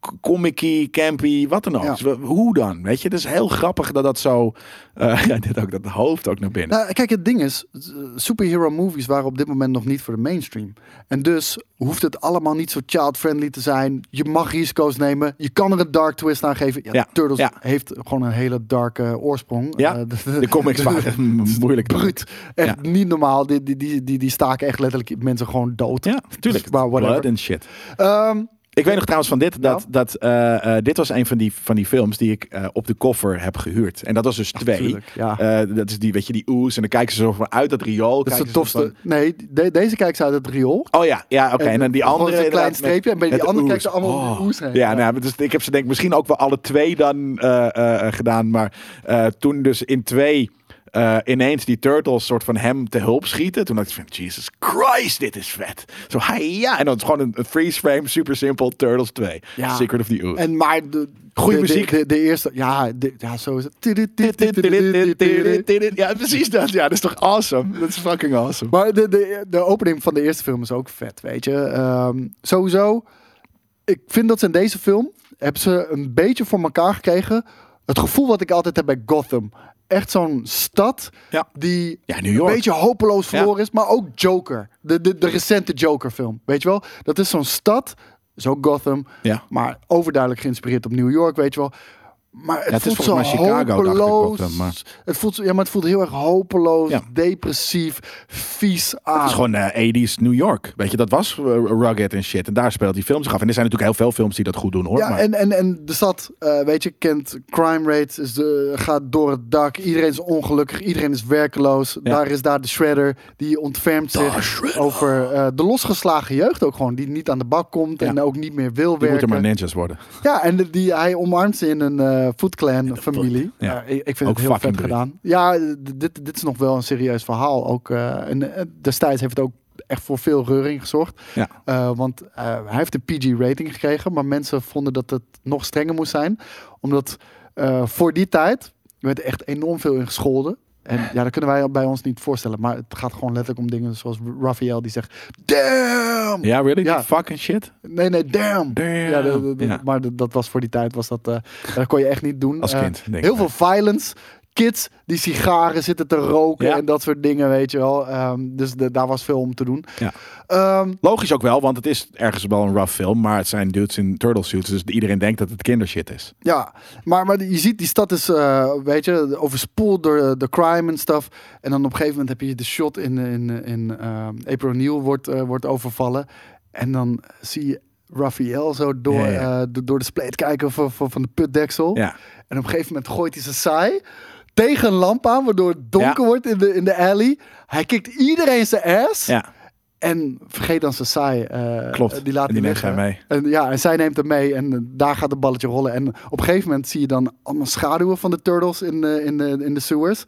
k- comicky, campy, wat dan ook.
Ja.
Dus we- hoe dan? Weet je, het is heel grappig dat dat zo. eh, ja, dit ook, dat hoofd ook naar binnen.
Nou, kijk, het ding is, eh, superhero movies waren op dit moment nog niet voor de mainstream. En dus hoeft het allemaal niet zo child-friendly te zijn. Je mag risico's nemen. Je kan er een dark twist aan geven. Ja,
Ja,
Turtles
ja.
heeft gewoon een hele dark eh, oorsprong.
ja,
Eh,
de comics waren moeilijk.
Bruut. Echt
Ja.
niet normaal. Die, die, die, die, die staken echt letterlijk mensen gewoon dood.
Ja, tuurlijk.
Maar Dus whatever.
Blood and shit.
Ehm,
Ik weet nog trouwens van dit, dat,
Ja.
dat eh, eh, dit was een van die, van die films die ik eh, op de koffer heb gehuurd. En dat was dus twee.
tuurlijk, ja.
Eh, dat is die, weet je, die oes. En dan kijken ze zo van uit dat riool.
Dat is
kijken
de
ze
tofste.
van-
Nee, de- deze kijkt ze uit het riool.
oh ja, ja oké. En dan die
gewoon
andere.
zo'n klein
inderdaad met-
streepje. En bij die
met de
andere
oes.
kijkt ze allemaal oh. oes heen.
Ja, nou, dus ik heb ze denk ik misschien ook wel alle twee dan eh, eh, eh, gedaan. Maar eh, toen dus in twee eh, ineens die turtles soort van hem te hulp schieten. Toen dacht ik van, Jesus Christ, dit is vet. Zo, hi, ja. En dan is het gewoon een, een freeze frame, super simpel, Turtles 2.
Ja.
Secret of the Ooze.
En maar de,
Goeie
de- de-
muziek.
De, de eerste, ja, de- ja, zo is het.
Ja, precies dat. Ja, dat is toch awesome? Dat is fucking awesome.
Maar de, de, de opening van de eerste film is ook vet, weet je. Ehm, sowieso, ik vind dat ze in deze film hebben ze een beetje voor elkaar gekregen. Het gevoel wat ik altijd heb bij Gotham. Echt zo'n stad
Ja.
die
Ja, New York.
een beetje hopeloos
Ja.
verloren is. Maar ook Joker. De, de, de recente Joker film. Weet je wel? Dat is zo'n stad. Zo Gotham.
Ja.
Maar overduidelijk geïnspireerd op New York, weet je wel. Maar het,
het is
voelt zo
volgens mij Chicago, dacht ik,
hopeloos.
Gotham, maar-
Het voelt, zo- ja, maar het voelt heel erg hopeloos,
Ja.
depressief, vies aan.
Het is gewoon eh, 80s New York. Weet je, dat was eh, rugged en shit. En daar speelt die film zich af. En er zijn natuurlijk heel veel films die dat goed doen, hoor.
ja,
maar...
en, en, en de stad, eh, weet je, kent crime rates, is de, gaat door het dak. Iedereen is ongelukkig, iedereen is werkeloos.
Ja.
Daar is daar de shredder, die ontfermt
De
zich
Shredder.
over eh, de losgeslagen jeugd ook gewoon. Die niet aan de bak komt
Ja.
en ook niet meer wil
Die moeten
werken.
maar ninjas worden.
Ja, en de- die, hij omarmt ze in een eh Foot Clan familie.
Ja.
Ja. ik, ik vind
Ook
het heel vet
fucking bruut.
gedaan. Ja, d- dit, dit is nog wel een serieus verhaal. Ook, eh, en eh, destijds heeft het ook echt voor veel reuring gezorgd.
Ja.
Eh, want eh, hij heeft een PG-rating gekregen, maar mensen vonden dat het nog strenger moest zijn. Omdat eh, voor die tijd werd echt enorm veel in gescholden. En ja, dat kunnen wij bij ons niet voorstellen. Maar het gaat gewoon letterlijk om dingen zoals Raphael die zegt... Damn!
Ja, really?
Ja.
Fucking shit.
Nee, nee, damn.
Damn.
Ja, de- de- de-
Ja.
Maar de- dat was voor die tijd, was dat, eh, dat kon je echt niet doen.
Als
Eh,
kind, denk ik.
heel veel violence. Kids die sigaren zitten te roken
Ja.
en dat soort dingen, weet je wel. Ehm, dus de- daar was veel om te doen.
Ja.
Ehm,
Logisch ook wel, want het is ergens wel een rough film, maar het zijn dudes in turtle suits, dus iedereen denkt dat het kindershit is.
ja. Maar, maar je ziet, die stad is, eh, weet je, overspoeld door eh, de crime en stuff. En dan op een gegeven moment heb je de shot in, in, in ehm, April O'Neil wordt, eh, wordt overvallen. En dan zie je Raphael zo door,
Ja, ja.
eh, do- door de spleet kijken van, van, van de putdeksel.
Ja.
En op een gegeven moment gooit hij zijn saai tegen een lamp aan, waardoor het donker
Ja.
wordt in de, in de alley. Hij kikt iedereen zijn ass.
Ja.
En vergeet dan zijn saai. eh,
Klopt.
Die laat
En die
hij
neemt
liggen.
hij mee.
En, ja, en zij neemt hem mee en eh, daar gaat het balletje rollen. En op een gegeven moment zie je dan allemaal schaduwen van de turtles in de, in de, in de sewers.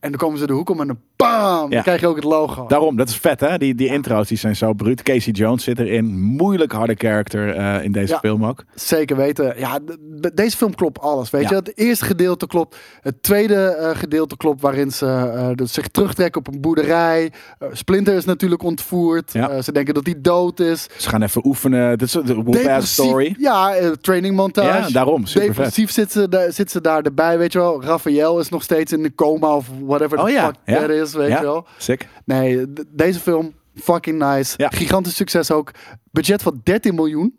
En dan komen ze de hoek om en dan bam!
Ja.
Dan krijg je ook het logo.
Daarom, dat is vet hè, die, die intro's die zijn zo bruut. Casey Jones zit erin, moeilijk harde character eh, in deze
Ja.
film ook.
Zeker weten. Ja, de- de- deze film klopt alles. Weet
Ja.
je, het eerste gedeelte klopt. Het tweede eh, gedeelte klopt, waarin ze eh, dat zich terugtrekken op een boerderij. Eh, Splinter is natuurlijk ontvoerd.
Ja.
Eh, ze denken dat hij dood is.
Ze gaan even oefenen, dit is een whoop-ass
Depressief-
story.
Ja, eh, training montage.
Ja, daarom. Supervet.
Depressief zit ze, daar, zit ze daar erbij, weet je wel. Raphaël is nog steeds in de coma of whatever the
Oh ja,
fuck
ja.
that is, weet
ja.
je wel.
Sick.
Nee, d- deze film, fucking nice.
Ja.
Gigantisch succes ook. Budget van 13 miljoen,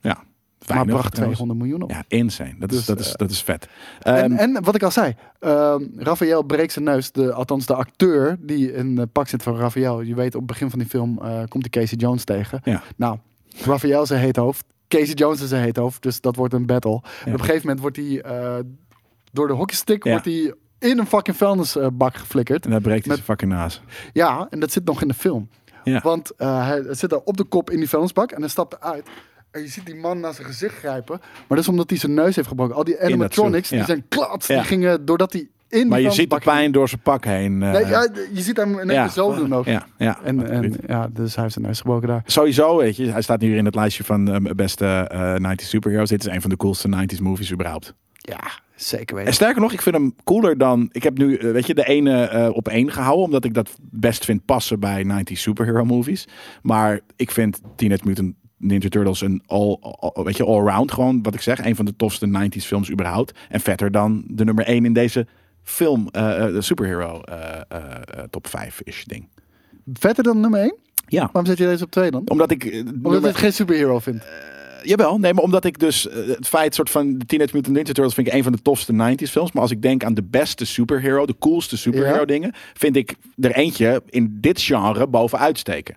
Ja.
maar
Weinig,
bracht
trouwens.
200 miljoen op.
Ja, insane. Dat is,
Dus,
dat is, dat is vet.
En,
Ehm,
en wat ik al zei, ehm Raphaël breekt zijn neus. De, althans, de acteur die in het pak zit van Raphaël. Je weet, op het begin van die film eh, komt die Casey Jones tegen.
ja.
Nou, Raphaël zijn heet hoofd. Casey Jones is zijn heet hoofd. Dus dat wordt een battle. En op een gegeven moment wordt hij eh, door de hockeystick
Ja.
wordt hij in een fucking vuilnisbak geflikkerd.
En daar breekt hij
Met-
zijn fucking naast.
Ja, en dat zit nog in de film.
Ja.
Want eh, hij zit daar op de kop in die vuilnisbak en hij stapt eruit. En je ziet die man naar zijn gezicht grijpen. Maar dat is omdat hij zijn neus heeft gebroken. Al die animatronics,
zoek, ja.
die zijn klats.
Ja.
Die gingen doordat hij in die
Maar je ziet de
vuilnisbak ging.
pijn door zijn pak heen. eh,
Nee, ja, je ziet hem in één
ja.
keer zo doen ook.
Ja, ja.
En,
Wat goed.
en, ja, dus hij heeft zijn neus gebroken daar.
Sowieso, weet je, hij staat nu weer in het lijstje van eh, beste eh 90 superheroes. Dit is een van de coolste 90s movies überhaupt.
Ja, zeker weten.
En sterker nog, ik vind hem cooler dan. Ik heb nu, eh, weet je, de ene eh, op één gehouden, omdat ik dat best vind passen bij 90s superhero movies. Maar ik vind Teenage Mutant Ninja Turtles een all, all- weet je, allround gewoon, wat ik zeg, een van de tofste 90s films überhaupt. En vetter dan de nummer één in deze film, eh, eh, de superhero eh, eh, eh, top 5 is ding.
Vetter dan nummer 1?
Ja.
Waarom zet je deze op 2 dan?
Omdat ik. eh,
Omdat
nummer-
je het geen superhero vindt.
Eh, Jawel, nee, maar omdat ik dus eh, het feit soort van de Teenage Mutant Ninja Turtles vind ik een van de tofste 90s films. Maar als ik denk aan de beste superhero, de coolste superhero
Ja.
dingen, vind ik er eentje in dit genre bovenuit steken.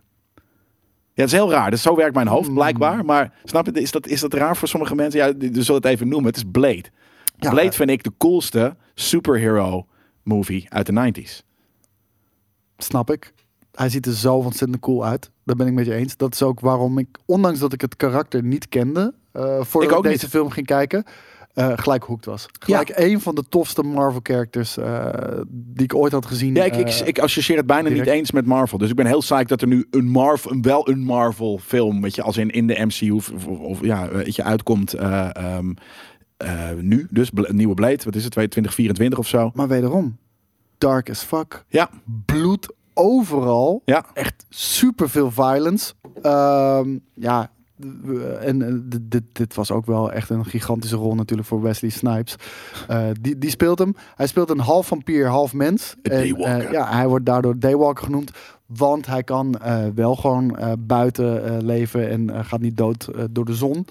Ja, het is heel raar. Dus zo werkt mijn
Hmm.
hoofd blijkbaar. Maar snap je, is dat, is dat raar voor sommige mensen? Ja, die- die zullen het even noemen. Het is Blade.
Ja,
Blade
maar-
vind ik de coolste superhero movie uit de 90s.
Snap ik. Hij ziet er zo ontzettend cool uit. Daar ben ik met je eens. Dat is ook waarom ik, ondanks dat ik het karakter niet kende, eh voordat
ook
ik deze
niet.
film ging kijken, eh, gelijk hoekt was. Gelijk een van de tofste Marvel characters eh, die ik ooit had gezien.
Ja, ik, ik,
eh,
ik associeer het bijna
direct.
niet eens met Marvel. Dus ik ben heel psyched dat er nu een Marvel, een- wel een Marvel film, weet je, als in, in de MCU of, of- of- ja, weet je, uitkomt eh, ehm, eh, nu. Dus Bla- nieuwe Blade, wat is het, 2024 of zo.
Maar wederom, dark as fuck.
Ja,
Bloed overal.
ja.
echt super veel violence. Ehm, ja, eh, en eh, dit- dit, dit was ook wel echt een gigantische rol natuurlijk voor Wesley Snipes. Eh, die, die speelt hem. Hij speelt een half vampier, half mens.
Een
En,
daywalker.
eh, ja, hij wordt daardoor Daywalker genoemd. Want hij kan eh, wel gewoon eh, buiten eh, leven en eh, gaat niet dood eh, door de zon.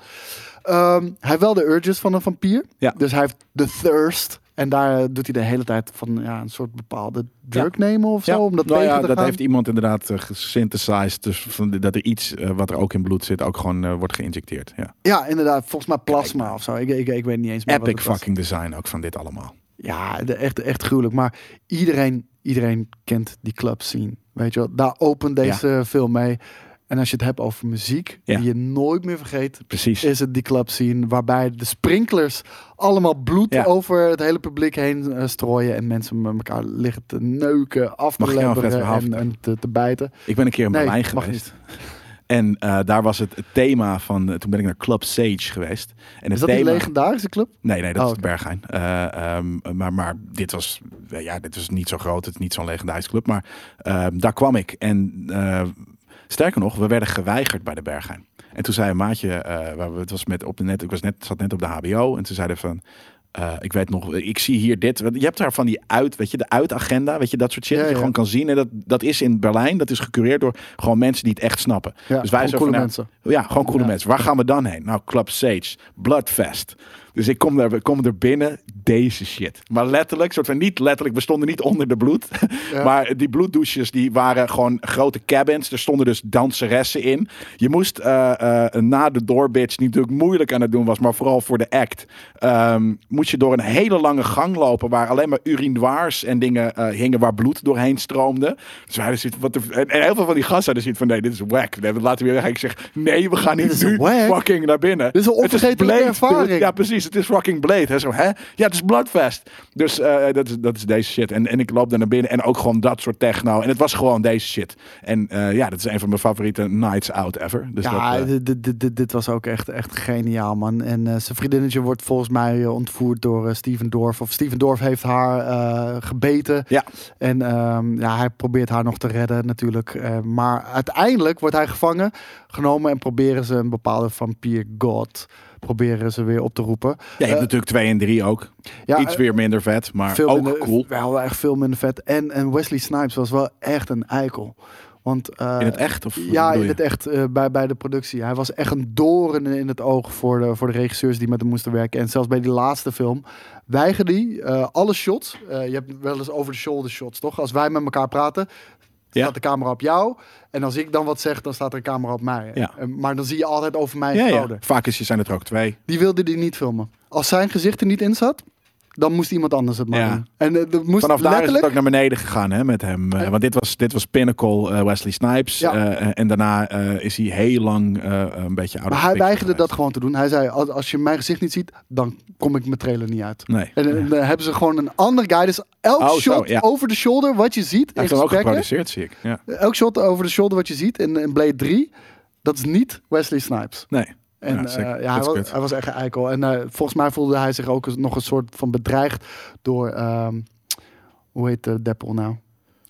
Ehm, hij heeft wel de urges van een vampier.
Ja.
Dus hij heeft de thirst. En daar eh, doet hij de hele tijd van ja, een soort bepaalde drug nemen of zo.
ja.
Om dat
nou
tegen
ja,
te
dat
gaan.
heeft iemand inderdaad eh, gesynthesized. Dus van, dat er iets eh, wat er ook in bloed zit, ook gewoon eh, wordt geïnjecteerd. Ja.
Ja, inderdaad. Volgens mij plasma of zo. Ik, ik, ik weet niet eens meer wat
Epic
het was.
fucking design ook van dit allemaal.
Ja, de- echt, echt gruwelijk. Maar iedereen, iedereen kent die club scene. Weet je wel? Daar opent deze film mee. En als je het hebt over muziek,
Ja.
die je nooit meer vergeet,
Precies.
is het die club scene waarbij de sprinklers allemaal bloed
Ja.
over het hele publiek heen eh, strooien en mensen met elkaar liggen te neuken, af
Mag
te
ik jou een
lebberen
vet verhaal
en, en te, te bijten.
Ik ben een keer in
Nee,
Berlijn
mag
geweest. En eh, daar was het, het thema van. eh, toen ben ik naar Club Sage geweest. En het
Is dat
thema,
die legendarische club?
Nee, nee, dat
Oh,
is de Bergheim. Eh, ehm, maar, maar dit was, eh, ja, dit was niet zo groot. Het is niet zo'n legendarische club. Maar ehm, daar kwam ik. En eh, sterker nog, we werden geweigerd bij de Bergheim. En toen zei een maatje, eh, waar we, het was met op de net, ik was net, zat net op de HBO. En toen zeiden van, eh, ik weet nog, ik zie hier dit. Want Je hebt daar van die uit, weet je, de uitagenda, weet je, dat soort shit.
Ja,
dat je
ja.
gewoon kan zien. En dat, dat is in Berlijn, dat is gecureerd door gewoon mensen die het echt snappen.
Ja,
dus wij
gewoon
zo
coole
van, nou,
mensen.
ja, gewoon coole
Ja.
mensen. Waar gaan we dan heen? Nou, Club Sage, Bloodfest. Dus ik kom, daar, ik kom er binnen, deze shit. Maar letterlijk, soort van niet letterlijk, we stonden niet onder de bloed.
Ja.
Maar die bloeddouches, die waren gewoon grote cabins. Er stonden dus danseressen in. Je moest eh, eh, na de doorbitch, die natuurlijk moeilijk aan het doen was, maar vooral voor de act, ehm, moest je door een hele lange gang lopen waar alleen maar urinoirs en dingen eh, hingen waar bloed doorheen stroomde. Dus wij hadden zoiets van, wat de- en, en heel veel van die gasten hadden zoiets van, nee, dit is whack. Nee, we laten weer weg. Ik zeg, nee, we gaan
Dit
niet
is
nu
whack.
fucking naar binnen.
Dit is een
Het
onvergetelijke
Blade, dude.
ervaring.
Ja, precies. Het is fucking Blade. Hè? Zo, hè? Ja, het is Bloodfest. Dus eh, dat, is, dat is deze shit. En, en ik loop daar naar binnen en ook gewoon dat soort techno. En het was gewoon deze shit. En eh, ja, dat is een van mijn favoriete nights out ever. Dus
ja,
dat, eh,
dit- dit, dit, dit, dit was ook echt, echt geniaal, man. En eh, zijn vriendinnetje wordt volgens mij eh, ontvoerd door eh, Steven Dorff. Of Steven Dorff heeft haar eh, gebeten.
ja.
En ehm, ja, hij probeert haar nog te redden natuurlijk. Eh, maar uiteindelijk wordt hij gevangen genomen en proberen ze een bepaalde vampier god proberen ze weer op te roepen.
ja, je hebt
Eh,
natuurlijk 2 en 3 ook.
ja,
Iets
eh,
weer minder vet, maar
veel
ook
minder,
cool.
Wel echt veel minder vet. En, en Wesley Snipes was wel echt een eikel. Want, eh,
In het echt? Of, wat
ja,
bedoel
in
je?
het echt eh, bij, bij de productie. Hij was echt een doorn in het oog voor de, voor de regisseurs die met hem moesten werken. En zelfs bij die laatste film weigerde hij eh, alle shots. eh, je hebt wel eens over-the-shoulder shots, toch? Als wij met elkaar praten,
Ja.
staat de camera op jou. En als ik dan wat zeg, dan staat er een camera op mij.
Ja.
Eh, maar dan zie je altijd over mij
ja, ja.
schouder.
Vaak is, zijn het er ook twee.
Die wilde hij niet filmen. Als zijn gezicht er niet in zat, dan moest iemand anders het
Ja.
maken. En eh, dat
Vanaf
moest
daar is het
letterlijk...
ook naar beneden gegaan hè, met hem. Eh,
Ja.
want dit was, dit was Pinnacle eh, Wesley Snipes.
Ja.
Eh, en daarna eh, is hij heel lang eh, een beetje ouder.
Maar hij weigerde dat gewoon te doen. Hij zei, als als je mijn gezicht niet ziet, dan kom ik mijn trailer niet uit.
Nee.
En eh, dan dan hebben ze gewoon een ander guy. Dus elk
Oh, zo,
shot
ja.
over de shoulder wat je ziet.
Hij
in
heeft dan ook
gesprekken,
geproduceerd, zie ik. Ja.
elk shot over de shoulder wat je ziet in, in Blade 3. Dat is niet Wesley Snipes.
Nee.
En
Ja,
eh,
sick.
ja,
Dat
hij,
is
was,
kut.
hij was echt een eikel. En eh, volgens mij voelde hij zich ook eens- nog een soort van bedreigd door... ehm, hoe heet de Deppel nou?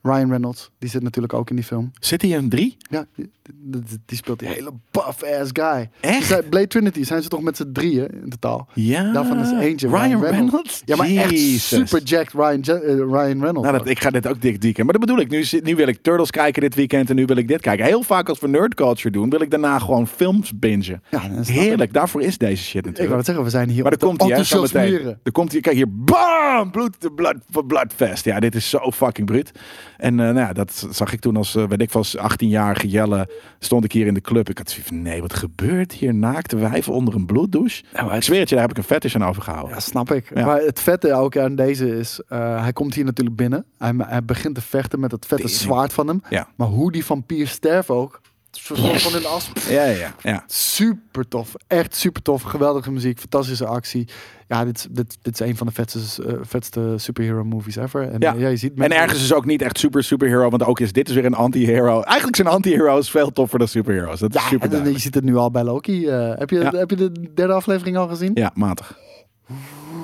Ryan Reynolds. Die zit natuurlijk ook in die film.
Zit hij in drie?
Ja, die, die- die speelt die hele buff-ass guy.
Echt?
Zij- Blade Trinity zijn ze toch met z'n drieën in totaal.
Ja.
Daarvan is eentje
Ryan, Reynolds.
Ja, maar echt
Jezus.
super jacked Ryan, Je- eh, Ryan Reynolds.
Nou, dat,
ook.
ik ga dit ook dik dieken. Maar dat bedoel ik. Nu, zit- nu wil ik Turtles kijken dit weekend en nu wil ik dit kijken. Heel vaak als we nerd culture doen, wil ik daarna gewoon films bingen.
Ja, dat snap ik.
Heerlijk. Daarvoor is deze shit natuurlijk.
Ik wou het zeggen, we zijn hier
Maar daar
om
komt
te
hij, hè? zo meteen.
enthousiasmeren.
Daar komt hij. Kijk hier, bam! Bloed, blood, bloodfest. Ja, dit is zo fucking bruut. En eh, nou ja, dat zag ik toen als, eh, weet ik, wel, als 18-jarige Jelle. Stond ik hier in de club. Ik had zoiets van, nee, wat gebeurt hier? Naakte wijven onder een bloeddouche.
Nou, hij-
ik zweer het je, daar heb ik een fetish aan overgehouden.
Ja, snap ik.
Ja.
Maar het vette ook aan deze is, eh, hij komt hier natuurlijk binnen. Hij, hij begint te vechten met het vette
Tering.
zwaard van hem.
Ja.
Maar hoe die vampier sterft ook. Het is een soort van in de as.
Ja, ja, ja. ja.
Super tof. Echt super tof. Geweldige muziek. Fantastische actie. Ja, dit, is- dit, dit is een van de vetste, eh, vetste superhero movies ever. En,
Ja.
eh, ja, je ziet
En
mensen-
ergens is ook niet echt super superhero, want ook is dit is weer een anti-hero. Eigenlijk zijn anti-hero's veel toffer dan superhero's. Dat is
Ja,
super
en dan- je
duidelijk.
ziet het nu al bij Loki. eh. heb, je,
Ja.
heb je de derde aflevering al gezien?
Ja, matig.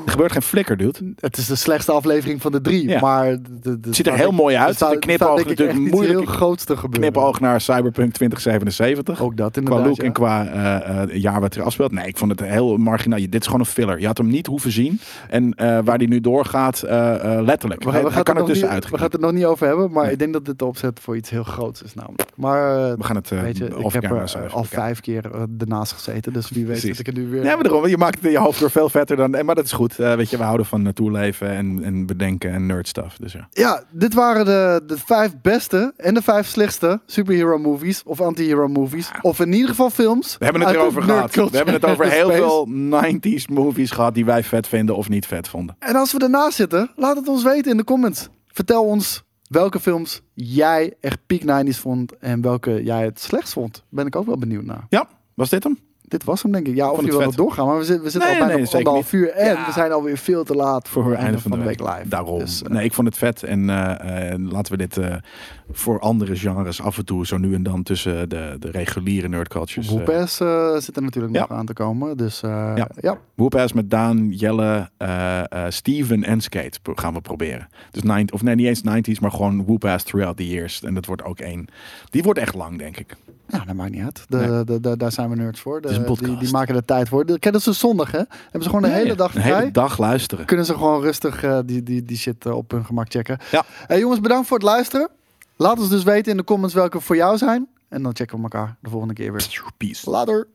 Er gebeurt geen flikker, dude.
Het is de slechtste aflevering van de drie.
Ja.
Maar de, de,
ziet er heel mooi uit. De knipoog natuurlijk
moeilijk.
moeilijk.
heel groots te gebeuren.
Knipoog naar Cyberpunk 2077.
Ook dat
Qua
inderdaad.
look
ja.
en qua eh, eh, jaar wat er afspeelt. Nee, ik vond het heel marginaal. Je- Dit is gewoon een filler. Je had hem niet hoeven zien. En eh, waar die nu doorgaat, eh, eh, letterlijk.
We, gaan-
Hij-
we
hij
gaan
kan
het
er
nog niet,
tussenuit.
we gaan het er nog niet over hebben, maar
Nee.
ik denk dat dit de opzet voor iets heel groots is namelijk. Maar eh,
We gaan het eh
weet je, ik
off
heb
camera
er
zo
eh,
even
al
bekijken.
vijf keer eh, ernaast gezeten, dus wie weet
Precies.
dat ik het nu weer...
Nee, maar daarom, je maakt het in je hoofd weer veel vetter dan. eh, Maar dat is goed. Eh, weet je, we houden van natuurleven en, en bedenken en nerd stuff. Dus ja.
Ja, dit waren de, de vijf beste en de vijf slechtste superhero movies of anti-hero movies. Of in ieder geval films.
Ah. We hebben het
uit
erover gehad.
nerdculture
We hebben het
en
over
de
heel
space.
veel 90s movies gehad die wij vet vinden of niet vet vonden.
En als we ernaast zitten, laat het ons weten in de comments. Vertel ons welke films jij echt peak 90s vond en welke jij het slechtst vond. Ben ik ook wel benieuwd naar.
Ja, was dit hem?
Dit was hem, denk ik. Ja, of
vond
je
het
wil nog
vet.
doorgaan. Maar we zitten, we zitten
Nee,
al bijna
nee,
op
zeker
anderhalf uur. En
Ja.
we zijn alweer veel te laat
Voor het einde van de,
week live.
Daarom.
Dus, eh,
nee, ik vond het vet. En eh, eh, laten we dit eh, voor andere genres af en toe, zo nu en dan, tussen de, de reguliere nerdcultures. eh,
Boepes eh, zit er natuurlijk
ja.
nog aan te komen. Dus eh, ja.
Ja. Whoop-ass met Daan, Jelle, eh, eh, Steven en Skate pro- gaan we proberen. Dus 90, of nee, niet eens 90s, maar gewoon Whoop-ass throughout the years. En dat wordt ook één. Die wordt echt lang, denk ik.
Nou, dat maakt niet uit. De,
Nee.
de, de- daar zijn we nerds voor. De-
Het is een podcast.
die, die maken er tijd voor. De- Kijk, dat is een zondag, hè? Hebben ze gewoon de
Ja,
hele
ja.
dag
Een
vrij.
hele dag luisteren.
kunnen ze gewoon rustig eh, die, die, die shit eh, op hun gemak checken.
Ja.
Hey, jongens, bedankt voor het luisteren. Laat ons dus weten in de comments welke voor jou zijn. En dan checken we elkaar de volgende keer weer.
Peace.
Later.